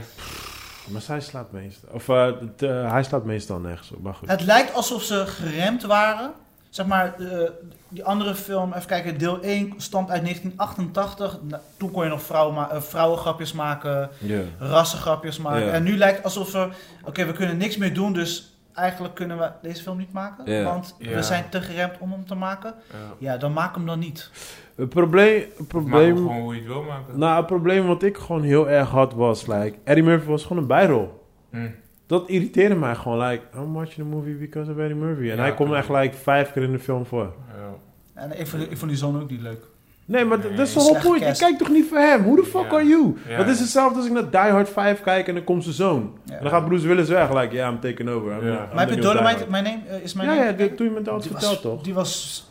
S3: Maar zij slaat meestal. Of eh, het, eh, hij slaat meestal nergens op. Maar goed.
S2: Het lijkt alsof ze geremd waren. Zeg maar, eh, die andere film, even kijken, deel 1 stamt uit 1988. Nou, toen kon je nog vrouwen ma- eh, vrouwengrapjes maken,
S3: Ja.
S2: rassengrapjes maken.
S3: Ja.
S2: En nu lijkt alsof ze, oké, we kunnen niks meer doen, dus eigenlijk kunnen we deze film niet maken.
S3: Ja.
S2: Want
S1: Ja.
S2: we zijn te geremd om hem te maken.
S1: Ja.
S2: Ja, dan maak hem dan niet.
S3: Het probleem... Het
S1: Maak hem
S3: probleem
S1: gewoon hoe je het wil maken.
S3: nou, het probleem wat ik gewoon heel erg had was, like... Eddie Murphy was gewoon een bijrol.
S1: Hm.
S3: Dat irriteerde mij gewoon. Like, I'm watching a movie because of Eddie Murphy. En
S1: Ja,
S3: hij komt
S1: kan
S3: echt like, vijf keer in de film voor.
S1: Ja.
S2: En ik vond, ik vond die zoon ook niet leuk.
S3: Nee, maar d-
S1: Nee.
S3: dat is de whole
S2: Slecht
S3: point. Je
S2: cast.
S3: kijkt toch niet voor hem? Who the fuck
S1: Ja.
S3: are you?
S1: Ja.
S3: Dat is hetzelfde als ik naar Die Hard 5 kijk en dan komt zijn zoon.
S2: Ja.
S3: En dan gaat Bruce Willis weg. Like, yeah, I'm taking over. I'm
S1: Ja.
S3: the- I'm
S2: Maar
S3: the
S2: heb je
S3: new Die
S2: Dolomite,
S3: Hard.
S2: mijn name, eh, is mijn
S3: Ja,
S2: name
S3: ja,
S2: gekeken?
S3: dit- toen je me dat
S2: Die was-
S3: verteld, toch?
S2: Die was...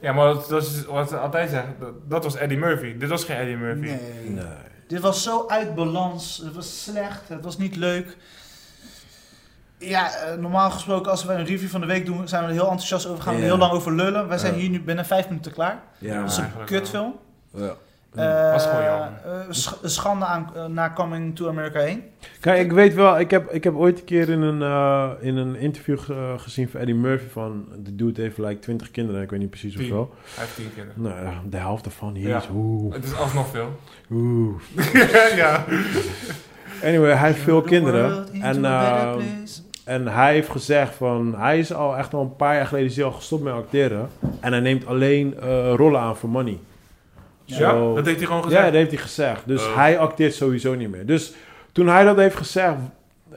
S1: ja, maar dat, dat is wat ze altijd zeggen. Dat, dat was Eddie Murphy. Dit was geen Eddie Murphy.
S2: Nee.
S3: Nee.
S2: Dit was zo uit balans. Het was slecht. Het was niet leuk. Ja, eh, normaal gesproken als we een review van de week doen, zijn we er heel enthousiast over. Gaan we er
S3: Ja.
S2: heel lang over lullen. Wij zijn
S3: Ja.
S2: hier nu binnen vijf minuten klaar.
S3: Ja,
S2: Dat is een
S1: eigenlijk wel.
S2: kutfilm.
S3: ja.
S2: Eh,
S1: was gewoon jammer.
S2: eh, sch- schande aan, eh, naar Coming to America 1.
S3: Kijk, ik weet wel, ik heb, ik heb ooit een keer in een, eh, in een interview eh, gezien van Eddie Murphy van... De dude heeft like 20 kinderen, ik weet niet precies
S1: Tien.
S3: hoeveel.
S1: Hij heeft tien kinderen.
S3: Nou, ja, de helft ervan hier
S1: Ja.
S3: is... Oeh,
S1: Het is alsnog veel.
S3: oeh.
S1: ja.
S3: Anyway, hij heeft veel
S2: The world
S3: kinderen.
S2: into
S3: En,
S2: a better
S3: eh,
S2: place.
S3: en hij heeft gezegd van... Hij is al echt al een paar jaar geleden is hij al gestopt met acteren. En hij neemt alleen eh, rollen aan voor money.
S1: Ja,
S3: Zo.
S1: dat heeft hij gewoon
S3: Ja,
S1: gezegd.
S3: dat heeft hij gezegd. Dus
S1: Oh.
S3: hij acteert sowieso niet meer. Dus toen hij dat heeft gezegd...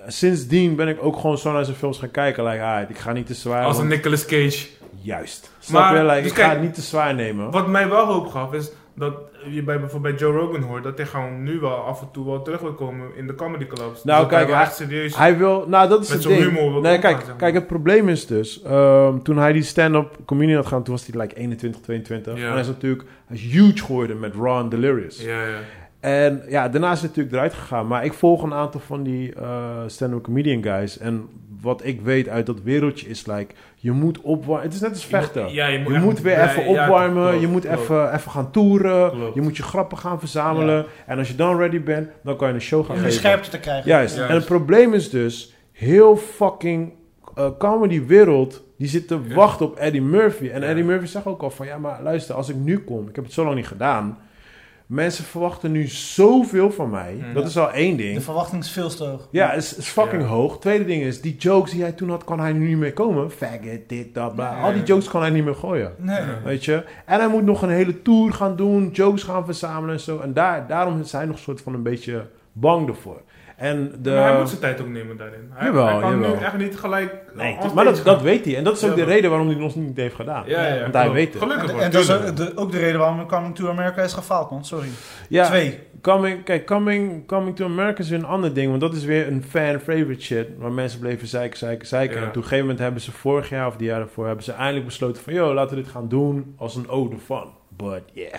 S3: Sindsdien ben ik ook gewoon zo naar zijn films gaan kijken. Like, alright, ik ga niet te zwaar...
S1: Als een
S3: want-
S1: Nicolas Cage.
S3: Juist. Snap
S1: Maar,
S3: je? Like,
S1: dus
S3: ik ga
S1: kijk-
S3: het niet te zwaar nemen.
S1: Wat mij wel hoop gaf is dat je bij, bijvoorbeeld bij Joe Rogan hoort dat hij gewoon nu wel af en toe wel terug wil komen in de comedy clubs. Dus
S3: Nou,
S1: dat hij
S3: kijk,
S1: wel
S3: hij-
S1: echt serieus.
S3: Hij wil, nou dat is
S1: Met
S3: het
S1: zo'n
S3: ding.
S1: humor wil
S3: nee,
S1: omgaan,
S3: kijk,
S1: zeg maar.
S3: kijk, het probleem is dus, ehm, toen hij die stand-up comedian had gaan, toen was hij like 21, 22.
S1: Ja.
S3: En hij is natuurlijk hij is huge geworden met Raw and Delirious.
S1: ja, ja.
S3: En ja, daarna is hij natuurlijk eruit gegaan. Maar ik volg een aantal van die eh, stand-up comedian guys. En wat ik weet uit dat wereldje is, like, je moet opwarmen. Het is net als vechten.
S1: Ja, je moet,
S3: Je
S1: echt-
S3: moet weer
S1: ja,
S3: even
S1: ja,
S3: opwarmen,
S1: klopt,
S3: je moet
S1: klopt.
S3: even, even gaan toeren,
S1: Klopt.
S3: je moet je grappen gaan verzamelen. En als je dan ready bent, dan kan je een show
S2: Om
S3: gaan
S2: de
S3: geven.
S2: scherpte te krijgen.
S3: Juist.
S1: Juist.
S3: En het probleem is dus, heel fucking eh, comedy-wereld, die zit te
S1: Ja.
S3: wachten op Eddie Murphy. En
S1: Ja.
S3: Eddie Murphy zegt ook al van, ja, maar luister, als ik nu kom, ik heb het zo lang niet gedaan. Mensen verwachten nu zoveel van mij.
S1: Mhm.
S3: Dat is al één
S2: De
S3: ding.
S2: verwachting is veel te hoog.
S3: Ja, is, is fucking
S1: Ja.
S3: hoog. Tweede ding is, die jokes die hij toen had, kan hij nu niet meer komen. Faggot, dit, dat, bla. Al die jokes kan hij niet meer gooien.
S2: Nee.
S1: Ja.
S3: Weet je? En hij moet nog een hele tour gaan doen, jokes gaan verzamelen en zo. En daar, daarom is hij nog een soort van een beetje bang ervoor. En de,
S1: Maar hij moet zijn tijd ook nemen daarin. Hij,
S3: Jawel,
S1: hij kan
S3: jawel.
S1: nu echt niet gelijk...
S3: Nee,
S1: onstage
S3: maar dat, dat
S1: gaan.
S3: weet hij. En dat is ook
S1: Ja,
S3: de
S1: maar-
S3: reden waarom hij het nog niet heeft gedaan.
S1: Ja, ja, ja,
S3: Want hij
S1: klopt.
S3: weet het.
S1: Gelukkig
S2: En,
S1: wordt
S2: en dus- dat is
S1: tuurlijk.
S2: ook de- ook de reden waarom Coming to America is gefaald, man. Sorry.
S3: Ja,
S2: Twee.
S3: Coming, kijk, coming, coming to America is weer een ander ding. Want dat is weer een fan-favorite shit. Waar mensen bleven zeiken, zeiken, zeiken.
S1: Ja.
S3: En op een gegeven moment hebben ze vorig jaar of die jaar daarvoor... hebben ze eindelijk besloten van... yo, laten we dit gaan doen als een ode van. But yeah,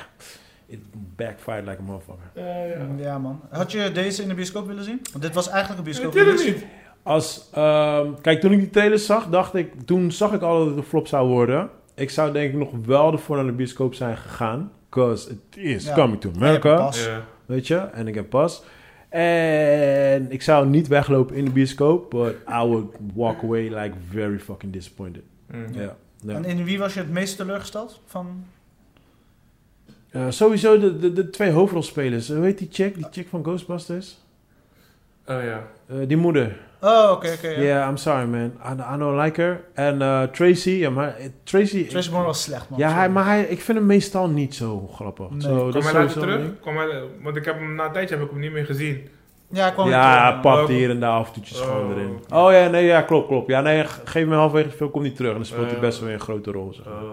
S3: it backfired like a motherfucker.
S1: Ja, ja.
S2: Ja, man. Had je deze in de bioscoop willen zien? Want dit was eigenlijk een bioscoop.
S1: Natuurlijk niet.
S3: Als, ehm, kijk, toen ik die trailer zag, dacht ik... Toen zag ik al dat het een flop zou worden. Ik zou denk ik nog wel ervoor naar de bioscoop zijn gegaan. Cause it is
S2: Ja.
S3: coming to America.
S2: Ja, pas.
S1: Ja.
S3: Weet je? En ik heb pas. En ik zou niet weglopen in de bioscoop, but I would walk away like very fucking disappointed.
S1: Mm.
S3: Ja. Ja.
S2: En in wie was je het meest teleurgesteld? Van...
S3: Eh, sowieso de, de, de twee hoofdrolspelers. Eh, Weet die chick? Die chick van Ghostbusters?
S1: Oh ja.
S3: Eh, die moeder.
S2: Oh, oké, oké.
S3: Yeah.
S2: ja.
S3: I'm sorry man. I, I don't like her. En eh, Tracy. Ja, maar eh, Tracy.
S2: Tracy Morgan was slecht, man.
S3: ja, hij,
S2: Sorry.
S3: maar hij, ik vind hem meestal niet zo grappig.
S2: Nee.
S3: Zo, dat
S1: Kom
S3: is
S1: hij later
S3: sowieso een
S1: terug?
S3: ding.
S1: Kom hij, want ik heb hem, na een tijdje heb ik hem niet meer gezien.
S2: Ja, hij kwam
S3: Ja,
S2: weer
S3: hij
S2: terug, man.
S3: papt hier en daar af en toe gewoon
S1: Oh.
S3: erin. Oh ja, nee, ja, klopt, klopt. Ja, nee, ge- geef me halverwege het film, komt niet terug. En dan speelt hij
S1: Eh.
S3: best wel weer een grote rol. Zeg. maar.
S1: Oh.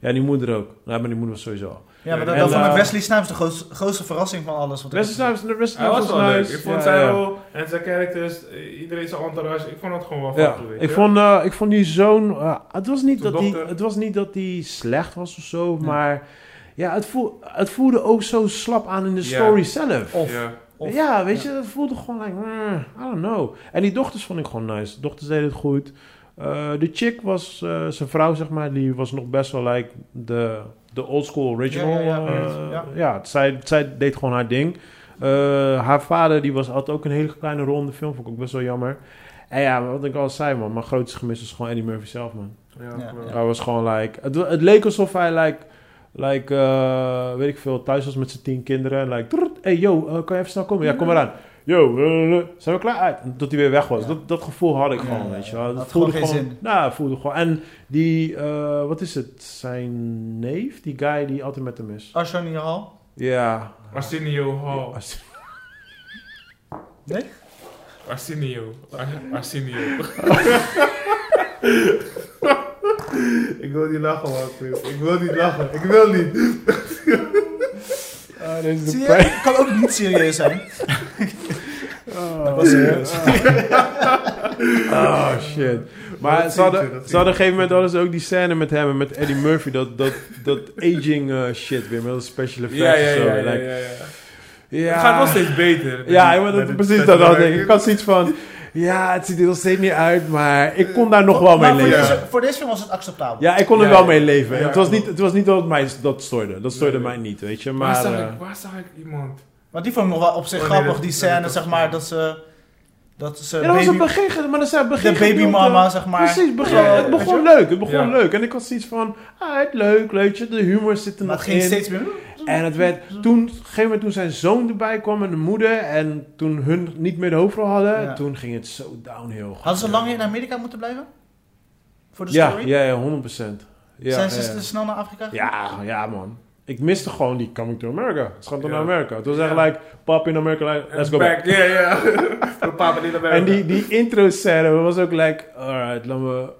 S3: Ja, die moeder ook. Nee, maar die moeder was sowieso al.
S2: Ja, maar dat,
S3: En,
S2: dat vond ik
S3: eh,
S2: Wesley Snipes de grootste, grootste verrassing van alles. Wat ik-
S3: Wesley Snipes, de rest
S1: Hij was wel leuk. Ik vond zijn
S3: ja,
S1: rol en zijn characters, eh, iedereen zijn entourage, ik vond het gewoon wel
S3: ja.
S1: grappig, weet
S3: Ik,
S1: je.
S3: vond, eh, ik vond die zoon... eh, het, was niet
S1: Zijn
S3: dat die,
S1: dochter.
S3: het was niet dat hij slecht was of zo, maar... Ja, het, voel, het voelde ook zo slap aan in de
S1: Ja.
S3: story zelf.
S2: Of,
S1: Ja.
S2: Of-
S3: ja, weet je, het voelde gewoon like, eh, I don't know. En die dochters vond ik gewoon nice. De dochters deden het goed. Eh, de chick was, eh, zijn vrouw zeg maar, die was nog best wel like de, de old school original.
S2: Ja, ja, ja,
S3: eh,
S2: ja.
S3: ja. zij, zij deed gewoon haar ding. Eh, haar vader die was, had ook een hele kleine rol in de film, vond ik ook best wel jammer. En ja, wat ik al zei man, mijn grootste gemis was gewoon Eddie Murphy zelf man.
S1: Ja,
S2: Ja.
S1: klopt.
S3: Hij was gewoon like, het, het leek alsof hij like, like eh, weet ik veel, thuis was met zijn tien kinderen. En like, "Trrrt, hey yo, eh, kan je even snel komen? Ja, kom maar aan. Yo, eh, eh, zijn we klaar? Uit. En Tot hij weer weg was.
S2: Ja.
S3: Dat, dat gevoel had ik
S2: Ja,
S3: gewoon,
S2: ja,
S3: weet je
S2: ja.
S3: wel.
S2: Had
S3: Dat
S2: gewoon
S3: voelde
S2: geen
S3: gewoon, nou, voelde gewoon. En die, eh, wat is het, zijn neef? Die guy die altijd met hem is.
S2: Arsenio Hall.
S3: Ja.
S1: Arsenio Hall.
S3: Als-
S1: Arsenio. Ar- Arsenio. ik wil niet lachen, man. Chris. Ik wil niet lachen. Ik wil niet.
S3: Ah, dit is de
S2: Zie je?
S3: pijn.
S2: Ik kan ook niet serieus zijn.
S3: Oh,
S2: was serieus.
S3: Oh, shit. Maar
S1: dat
S3: ze hadden,
S1: zien ze, dat
S3: ze hadden op een gegeven moment hadden ze ook die scène met hem en met Eddie Murphy. Dat, dat, dat aging eh, shit weer met dat special effects.
S1: Ja, ja,
S3: en zo.
S1: ja. ja,
S3: Like,
S1: ja, ja.
S3: ja.
S1: Het gaat wel steeds beter.
S3: Ja,
S1: Met
S3: maar dat,
S1: het
S3: precies dat
S1: special
S3: had ik. Ik
S1: effects.
S3: had zoiets van... Ja, het ziet er nog steeds niet uit, maar ik kon daar nog wel mee
S2: Maar voor,
S3: leven.
S1: ja.
S2: deze, voor deze film was het acceptabel.
S3: Ja, ik kon er
S1: Ja,
S3: wel
S1: ja.
S3: mee leven.
S1: Ja,
S3: het, was
S1: klopt.
S3: niet, het was niet dat het mij dat stoorde. Dat stoorde
S1: Nee, nee.
S3: mij niet, weet je.
S1: Waar
S3: Maar...
S1: zag
S3: eh,
S1: ik- Waar zag ik iemand?
S2: Maar die vond ik nog wel op zich
S1: Oh, nee,
S2: grappig,
S1: dat-
S2: die
S1: dat-
S2: scène,
S1: dat-
S2: zeg maar, dat ze... Dat ze
S3: Ja, dat was
S2: baby,
S3: het begin, ge- maar dat zijn
S2: de
S3: begin eh,
S2: babymama, zeg maar.
S3: Precies, begin,
S2: Ja, ja, ja.
S3: het begon
S2: Weet
S3: leuk. Het begon
S1: Ja.
S3: leuk. En ik had zoiets van, ah, het leuk, weet je. De humor zit er
S2: Maar
S3: nog
S2: het ging
S3: in.
S2: steeds meer...
S3: En het werd toen, op een gegeven moment toen zijn zoon erbij kwam en de moeder. En toen hun niet meer de hoofdrol hadden.
S2: Ja.
S3: Toen ging het zo downhill.
S2: Hadden ze lang in Amerika moeten blijven? Voor de
S3: Ja,
S2: story?
S3: ja, ja, 100%. Ja,
S2: Zijn
S3: ja,
S2: ze
S3: ja.
S2: s- snel naar Afrika gegaan?
S3: ja, ja, man. Ik miste gewoon die Coming to America. Het gaat dan
S1: Ja.
S3: naar Amerika. Het was echt
S1: Ja.
S3: like, pap in Amerika, like, let's go back.
S1: Ja, ja. Mijn papa niet naar werk.
S3: En die, die intro scène was ook like, alright, laten we,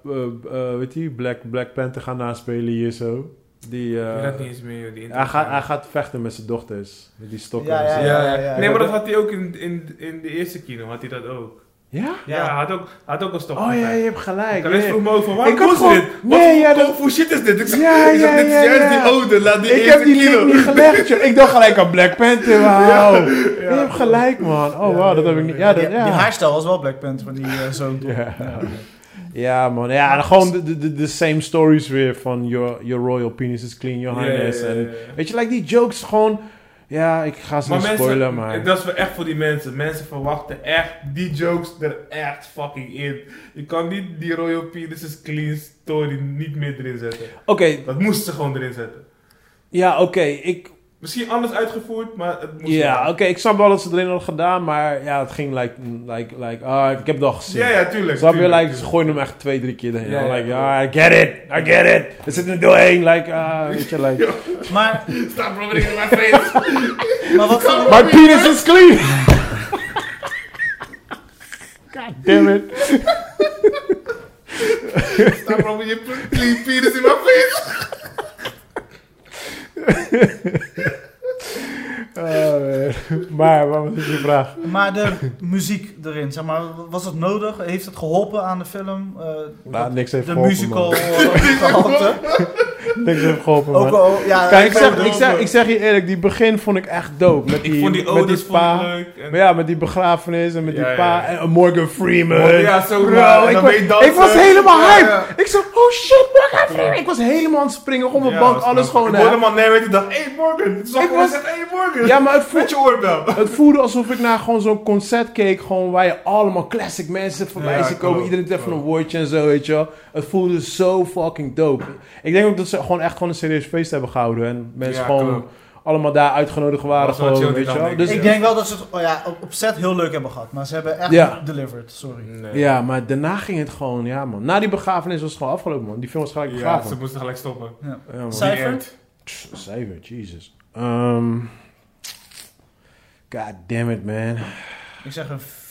S3: eh, eh, weet je, Black, Black Panther gaan naspelen hier zo. Die, eh,
S1: Ik weet dat niet eens meer, joh, die intro.
S3: hij, gaat, hij gaat vechten met zijn dochters, met die stokken.
S2: Ja,
S3: en zo.
S1: Ja,
S2: Ja,
S1: ja,
S2: ja, ja.
S1: Nee, maar dat had hij ook in, in, in de eerste kino, had hij dat ook.
S3: Ja?
S1: Ja, hij had ook, hij had ook een stok.
S3: Oh ja, je hebt gelijk.
S1: Kalees
S3: ja.
S1: vroeg me ook van, waarom
S3: Ik had
S1: doen ze
S3: gewoon-
S1: dit?
S3: Nee,
S1: Wat
S3: ja,
S1: voor
S3: dat-
S1: kung fu shit is dit? Ik zeg,
S3: Ja,
S1: ik zeg,
S3: ja,
S1: dit is
S3: ja,
S1: juist
S3: ja.
S1: die oude, laat die
S3: Ik
S1: eerste
S3: heb die
S1: kilo.
S3: link niet gelegd, joh. Ik dacht gelijk aan Black Panther, wauw. Je hebt gelijk, man. Oh, wauw, dat heb ik niet. Ja, dat,
S2: Die, die
S3: ja.
S2: haarstijl was wel Black Panther van die eh, zoon. toch?
S3: Ja. Ja, man. Ja, en gewoon de, de- de, de same stories weer van your, your royal penis is clean, your
S1: Ja, ja, ja,
S3: highness.
S1: ja, ja.
S3: En Weet je, like die jokes gewoon... Ja, ik ga ze
S1: Maar
S3: niet
S1: mensen,
S3: spoilen, maar...
S1: dat is wel echt voor die mensen. Mensen verwachten echt die jokes er echt fucking in. Je kan niet die Royal Penis is Clean story niet meer erin zetten.
S3: Oké,
S1: Dat moesten ze gewoon erin zetten.
S3: ja, oké. ik,
S1: Misschien anders uitgevoerd, maar het moest
S3: ja, oké.
S1: wel.
S3: ik snap wel dat ze het erin hadden gedaan, maar... Ja, het ging like... like, like ah, ik heb het al gezien.
S1: Ja, ja, tuurlijk.
S3: Snap je?
S1: tuurlijk,
S3: Like, ze
S1: tuurlijk.
S3: gooien hem echt twee, drie keer erin.
S1: Ja, ja.
S3: like, ja, I get it. I get it. Er zit er doorheen. Like, ah, weet je, like...
S2: Maar,
S1: Stop rubbing in my face.
S2: maar wat,
S3: My penis is clean! Damn it.
S1: Stop rubbing your clean penis in my face.
S3: Oh, maar, wat is je vraag?
S2: Maar de muziek erin, zeg maar, was dat nodig? Heeft het geholpen aan de film? Eh,
S3: Nou, niks heeft
S2: de
S3: geholpen,
S2: musical
S3: man.
S2: eh, gehalte?
S3: Niks heeft geholpen, man.
S2: Ook al, ja,
S3: Kijk, ik
S2: ben
S3: zeg,
S2: er
S3: ik,
S2: ook
S3: zeg,
S2: voor.
S3: ik zeg je eerlijk, die begin vond ik echt dope. Met die,
S1: Ik vond die
S3: met die
S1: ouders vond ik
S3: pa.
S1: leuk. en-
S3: Maar ja, met die begrafenis en met
S1: Ja,
S3: die
S1: ja,
S3: pa.
S1: ja. Oh,
S3: En Morgan Freeman.
S1: Ja, zo,
S3: Bro,
S1: ja, en
S3: ik,
S1: dan
S3: was,
S1: ben je dansen.
S3: ik was helemaal
S1: Ja,
S3: hype.
S1: ja.
S3: Ik zo, oh shit, Morgan Freeman. Ik was helemaal aan het springen op mijn
S1: Ja,
S3: bank,
S1: snap
S3: alles
S1: ik.
S3: gewoon.
S1: Ik
S3: hè.
S1: hoorde hem al narraten en dacht, hey Morgan. Toen zag
S3: Ik
S1: ik gewoon
S3: was-
S1: zeggen, hey Morgan.
S3: Ja, maar het voelt,
S1: Met je oorbel.
S3: Het voelde alsof ik naar gewoon zo'n concert keek, gewoon waar je allemaal classic mensen voorbij
S1: Ja,
S3: ziet komen.
S1: klopt,
S3: Iedereen deed even een
S1: klopt.
S3: woordje en zo, weet je wel. Het voelde zo fucking dope. Ik denk ook dat ze gewoon echt gewoon een serieus feest hebben gehouden. En mensen
S1: Ja,
S3: gewoon
S1: klopt.
S3: allemaal daar uitgenodigd waren,
S1: Was wel
S3: gewoon,
S1: chill die
S3: weet je
S1: dag,
S3: wel.
S1: denk ik.
S3: Dus,
S2: Ik denk wel dat ze het oh ja, op, op set heel leuk hebben gehad, maar ze hebben echt
S3: Ja.
S2: delivered, sorry.
S3: ja, maar daarna ging het gewoon, ja man. Na die begrafenis was het gewoon afgelopen, man. Die film was gelijk
S1: Ja,
S3: begraven.
S1: ze moesten gelijk stoppen.
S3: Ja, man.
S2: Zij- Cijfer?
S1: End.
S3: Pff, Cijfer, Jesus. Ehm God damn it, man.
S2: Ik zeg een f-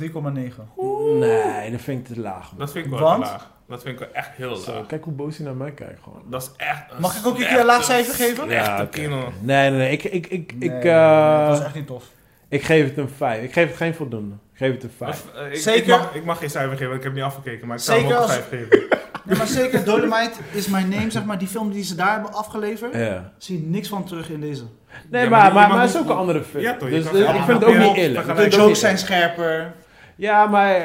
S2: 3,9.
S3: Nee, dat vind ik te laag, man.
S1: Dat vind ik wel
S2: Want?
S1: te laag. Dat vind ik wel echt heel
S3: Zo,
S1: laag.
S3: kijk hoe boos hij naar mij kijkt, gewoon.
S1: Dat is echt een
S2: Mag ik ook een keer
S1: slechte,
S2: een laag cijfer geven?
S1: slechte
S3: Ja, oké.
S1: kino.
S3: Nee, nee, nee. Ik, ik, ik,
S2: Nee,
S3: ik,
S2: nee,
S3: eh,
S2: nee, dat is echt niet tof.
S3: ik geef het een 5. Ik geef het geen voldoende. Ik geef het een 5.
S1: Of, eh, ik,
S2: Zeker.
S1: Ik mag, ik mag geen cijfer geven, want ik heb niet afgekeken. Maar ik zou hem ook
S2: Zeker
S1: een
S2: als-
S1: cijfer geven.
S2: Nee, maar zeker Dolomite is mijn name, zeg maar, die film die ze daar hebben afgeleverd,
S3: Ja.
S2: zie je niks van terug in deze.
S3: Nee,
S1: Ja, maar
S3: maar,
S1: je
S3: maar,
S1: mag
S3: maar het is
S1: niet-
S3: ook een andere film.
S1: Ja, toch, je
S3: dus
S1: kan
S3: dus
S1: zeggen,
S3: ik
S1: ah,
S3: vind het
S1: maar
S3: ook niet
S1: ja,
S3: eerlijk.
S1: we gaan
S3: Ik
S2: De
S3: vind het ook
S2: jokes
S3: niet
S2: zijn
S3: eerlijk.
S2: scherper.
S3: Ja, maar eh,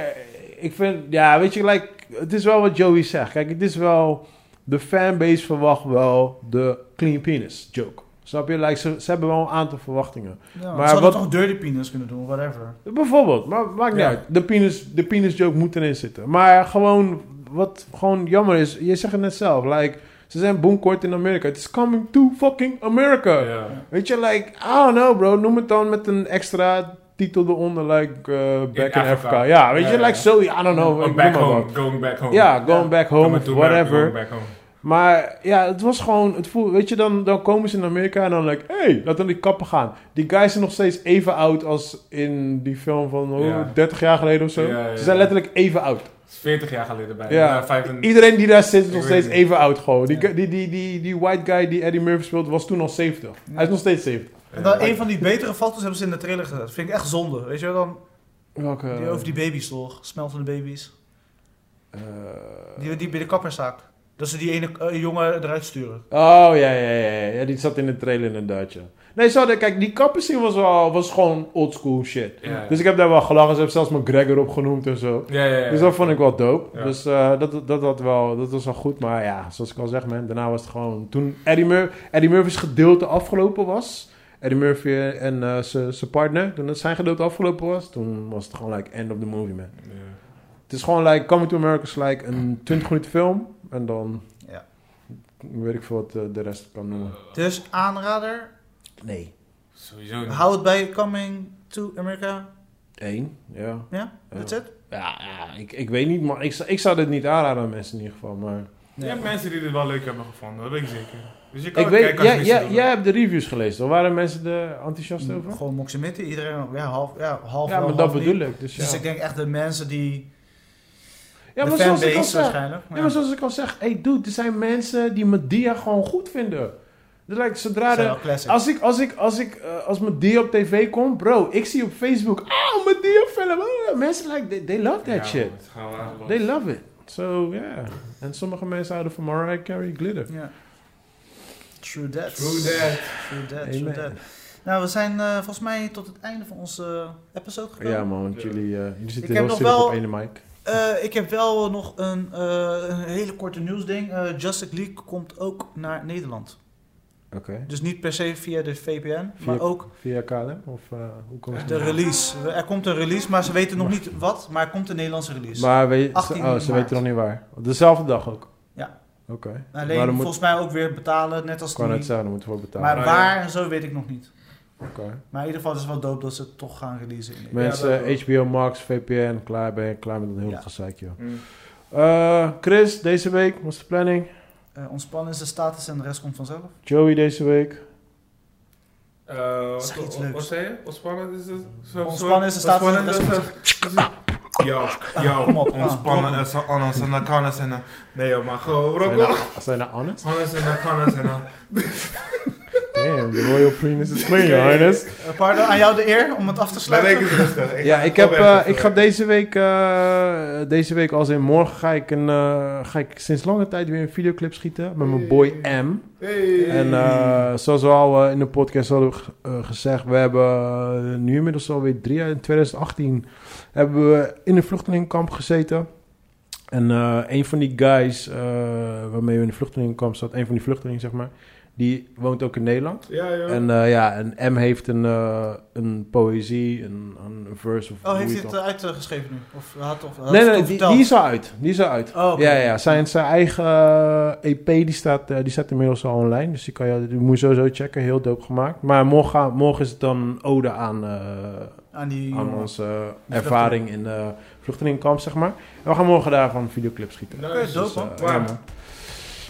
S3: ik vind... Ja, weet je, like, het is wel wat Joey zegt. Kijk, het is wel... De fanbase verwacht wel de clean penis joke. Snap je? Like, ze, ze hebben wel een aantal verwachtingen.
S2: Ja,
S3: Maar
S2: maar ze hadden
S3: wat-
S2: toch Dirty Penis kunnen doen, whatever.
S3: Bijvoorbeeld, maar maakt niet
S1: Ja.
S3: uit. De penis, de penis joke moet erin zitten. Maar gewoon, wat gewoon jammer is, je zegt het net zelf, like, ze zijn boomkort in Amerika. Het is coming to fucking America.
S1: Ja.
S3: Weet je, like, I don't know bro, noem het dan met een extra titel eronder, like, eh, Back in,
S1: Africa.
S3: Africa. Ja, weet
S1: Ja,
S3: je,
S1: ja.
S3: like, zo, I don't know. ik noem
S1: I'm back
S3: maar wat.
S1: home, going back home.
S3: Ja, going back home,
S1: Coming
S3: of
S1: to America,
S3: whatever.
S1: going back home.
S3: Maar ja, het was gewoon, het voel, weet je, dan, dan komen ze in Amerika en dan like, hey, laten we die kappen gaan. Die guys zijn nog steeds even oud als in die film van oh,
S1: Ja.
S3: 30 jaar geleden of zo.
S1: Ja, ja,
S3: Ze zijn
S1: ja.
S3: letterlijk even oud.
S1: Dat is 40 jaar geleden bij.
S3: Ja.
S1: Ja, 35.
S3: Iedereen die daar zit is
S1: Ik
S3: nog
S1: weet het
S3: steeds
S1: niet.
S3: even oud gewoon. Die,
S2: Ja.
S3: gu- die, die, die, die white guy die Eddie Murphy speelde was toen al 70. Hij is nog steeds 70.
S2: En dan een van die betere foto's hebben ze in de trailer gezet. Vind ik echt zonde. Weet je wel, dan
S3: Welke?
S2: die over die baby's toch? Smeltende baby's.
S3: eh,
S2: Die, die bij de kapperszaak. Dat ze die ene eh, jongen eruit sturen.
S3: Oh ja, ja, ja, ja, ja, die zat in de trailer inderdaad, ja. Nee, zo, kijk, die kapperscene was, wel- was gewoon oldschool shit.
S1: Ja, ja.
S3: Dus ik heb daar wel gelachen. Ze hebben zelfs McGregor opgenoemd en zo.
S1: Ja, ja, ja.
S3: Dus dat vond ik wel dope.
S1: Ja.
S3: Dus eh, dat, dat, dat, wel, dat was wel goed. Maar ja, zoals ik al zeg, man, daarna was het gewoon... Toen Eddie, Mur Eddie Murphy's gedeelte afgelopen was... Eddie Murphy en eh, zijn zijn partner, toen het zijn gedeelte afgelopen was... Toen was het gewoon like end of the movie, man.
S1: Ja.
S3: Het is gewoon like Coming to America is like een 20 minuten film. En dan
S2: Ja.
S3: weet ik veel wat eh, de rest kan noemen.
S2: Dus aanrader,
S3: Nee.
S1: Sowieso niet.
S2: hou het bij Coming to America.
S3: Eén, ja.
S2: Ja,
S3: Ja.
S2: that's it.
S3: Ja, ja, ik, ik weet niet, maar ik, zou- ik zou dit niet aanraden aan mensen in ieder geval, maar...
S1: Je hebt mensen die dit wel leuk hebben gevonden, dat weet ik zeker. Dus je kan
S3: Ik
S1: het
S3: weet,
S1: kijken als
S3: jij,
S1: je
S3: jij,
S1: mensen
S3: jij hebt de reviews gelezen, toch? Waren mensen er enthousiast over?
S2: Gewoon Moximitty, iedereen ja, half, ja, half
S3: Ja,
S2: Mm. wel,
S3: maar dat
S2: half niet.
S3: bedoel ik. Dus, ja.
S2: Dus ik denk echt de mensen die...
S3: ja, maar
S2: de
S3: zoals ik al
S2: fanbase
S3: zeg,
S2: waarschijnlijk.
S3: ja, maar zoals ik al zeg, hey dude, er zijn mensen die Medea gewoon goed vinden. Dus like, zodra
S2: Zijn
S3: de,
S2: wel classic.
S3: als ik, als ik, als ik, eh, als Medea op tv komt, bro, ik zie op Facebook, ah, Medea film, ah, mensen like, they, they love that
S1: Ja,
S3: shit,
S1: man, het gaan we aangelopen.
S3: they love it. So yeah, en sommige mensen houden van Mariah Carey glitter.
S2: Ja. True that.
S1: True that.
S2: True that,
S3: Amen.
S2: true that. Nou, we zijn eh, volgens mij tot het einde van onze eh, episode gekomen.
S3: Ja man, want jullie, eh, jullie zitten
S2: heb
S3: heel
S2: nog
S3: stil op
S2: wel-
S3: ene mic.
S2: Eh, ik heb wel nog een, eh, een hele korte nieuwsding. Eh Justice League komt ook naar Nederland.
S3: Oké.
S2: Dus niet per se via de VPN,
S3: Via-
S2: maar ook
S3: Via KLM of eh, hoe komt het?
S2: de release. Er komt een release, maar ze weten nog niet wat, maar er komt een Nederlandse release.
S3: Maar weet,
S2: 18
S3: oh, ze
S2: maart.
S3: weten nog niet waar. Op dezelfde dag ook?
S2: Ja.
S3: Oké.
S2: Alleen
S3: Maar dan moet,
S2: volgens mij ook weer betalen, net als
S3: kan het
S2: die.
S3: zijn, dan moeten we voor betalen.
S2: Maar
S1: Ah, Ja.
S2: waar en zo weet ik nog niet.
S3: Oké.
S2: Maar in ieder geval is het wel dope dat ze het toch gaan releasen. in Nederland.
S3: Mensen,
S1: dat
S3: HBO Max, VPN, klaar ben je, klaar met een heel
S2: Ja.
S3: gezeik, joh.
S1: Mm.
S3: Eh, Chris, deze week, wat is de planning?
S2: Eh, ontspannen is de status en de rest komt vanzelf.
S3: Joey, deze week.
S1: Eh, wat-
S2: Zeg iets
S1: wat- Wat
S2: leuks.
S1: zei je? Ontspannen is het? Zo-
S2: Ontspannen is de staat van-
S1: ontspannen is het- Ja, ja,
S2: kom op,
S1: ontspannen is ananas en nakanas en... Nee joh, maar
S3: Zijn
S1: gewoon...
S3: dat- Zijn dat honest?
S1: Ananas en nakanas en...
S3: Damn, the royal penis is clean, your highness.
S2: Eh, pardon, aan jou de eer om het af te
S1: Laat ik dus
S2: sluiten.
S1: het rustig. Ik
S3: Ja,
S1: ga-
S3: ik, heb,
S1: probeer
S3: eh,
S1: het
S3: ik ga
S1: even.
S3: deze week, eh, deze week als in morgen, ga ik, een, eh, ga ik sinds lange tijd weer een videoclip schieten met mijn boy M.
S1: Hey.
S3: En eh, zoals we al eh, in de podcast hadden ge- eh, gezegd, we hebben eh, nu inmiddels alweer drie jaar, in 2018, hebben we in een vluchtelingenkamp gezeten. En eh, een van die guys eh, waarmee we in de vluchtelingenkamp zat, een van die vluchtelingen zeg maar, die woont ook in Nederland.
S1: Ja,
S2: Oh.
S1: joh.
S3: En eh, ja, en M heeft een, eh, een poëzie, een, een verse of
S2: Oh, heeft
S3: hoe
S2: hij
S3: je
S2: het
S3: dat-
S2: eh, uitgeschreven nu? Of had, of, had
S3: Nee,
S2: het
S3: nee,
S2: al
S3: die,
S2: verteld?
S3: die is al uit. Die is al uit.
S2: Oh, oké.
S3: Ja, ja. Zijn, zijn eigen eh, EP die staat, eh, die staat inmiddels al online. Dus die, kan je, die moet je sowieso checken. Heel dope gemaakt. Maar morgen, gaan- morgen is het dan een ode aan, eh,
S2: Aan die...
S3: aan onze ervaring in de vluchtelingenkamp, zeg maar. En we gaan morgen daarvan een videoclip schieten.
S1: Nice.
S2: dope, man.
S3: eh, ja,
S1: Waar?
S3: man.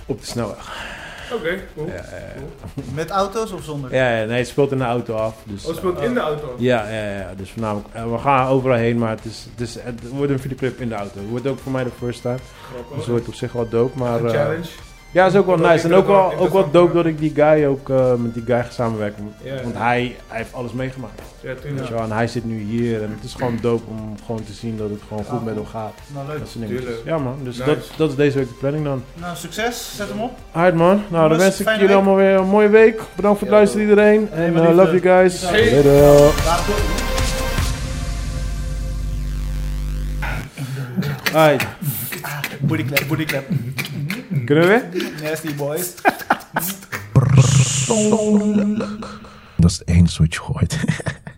S3: Op de snelweg.
S1: Oké, cool.
S3: Ja, ja, ja.
S2: Met auto's of zonder?
S3: ja, ja, nee, het speelt in de auto af. Dus,
S1: Oh, het speelt
S3: eh,
S1: in de auto.
S3: Ja, ja, ja. Dus voornamelijk, eh, we gaan overal heen, maar het, is, het, is, het wordt een videoclip in de auto. Het wordt ook voor mij de first time.
S1: Grappig.
S3: Dus het wordt op zich wel dope, maar... eh,
S1: Challenge.
S3: Ja, is ook wel
S1: Dat
S3: nice.
S1: ik
S3: En ook
S1: dat wel
S3: wel, ook wel
S1: interessant
S3: dope
S1: vind.
S3: dat ik die guy ook eh, met die guy ga samenwerken.
S1: Ja.
S3: Want hij, hij heeft alles meegemaakt.
S1: Ja,
S3: Weet
S1: tuurlijk.
S3: je wel, En hij zit nu hier. En het is gewoon dope om gewoon te zien dat het gewoon goed met hem gaat.
S2: Nou, leuk.
S3: Dat soort dingen.
S1: Tuurlijk.
S3: Ja man, dus
S1: Nice.
S3: dat, dat is deze week de planning dan.
S2: Nou, succes. Zet hem op.
S3: Alright man, nou dan
S2: Jongens,
S3: wens ik
S2: fijne week.
S3: jullie allemaal weer een mooie week. Bedankt voor het luisteren iedereen. En
S2: maar
S3: eh,
S2: liefde.
S3: love you guys.
S1: Hey.
S3: Later.
S2: Later.
S3: Alright,
S2: Booty clap, booty clap.
S3: kunnen we weer?
S2: Nasty boys.
S6: Dat is het enige wat je hoort.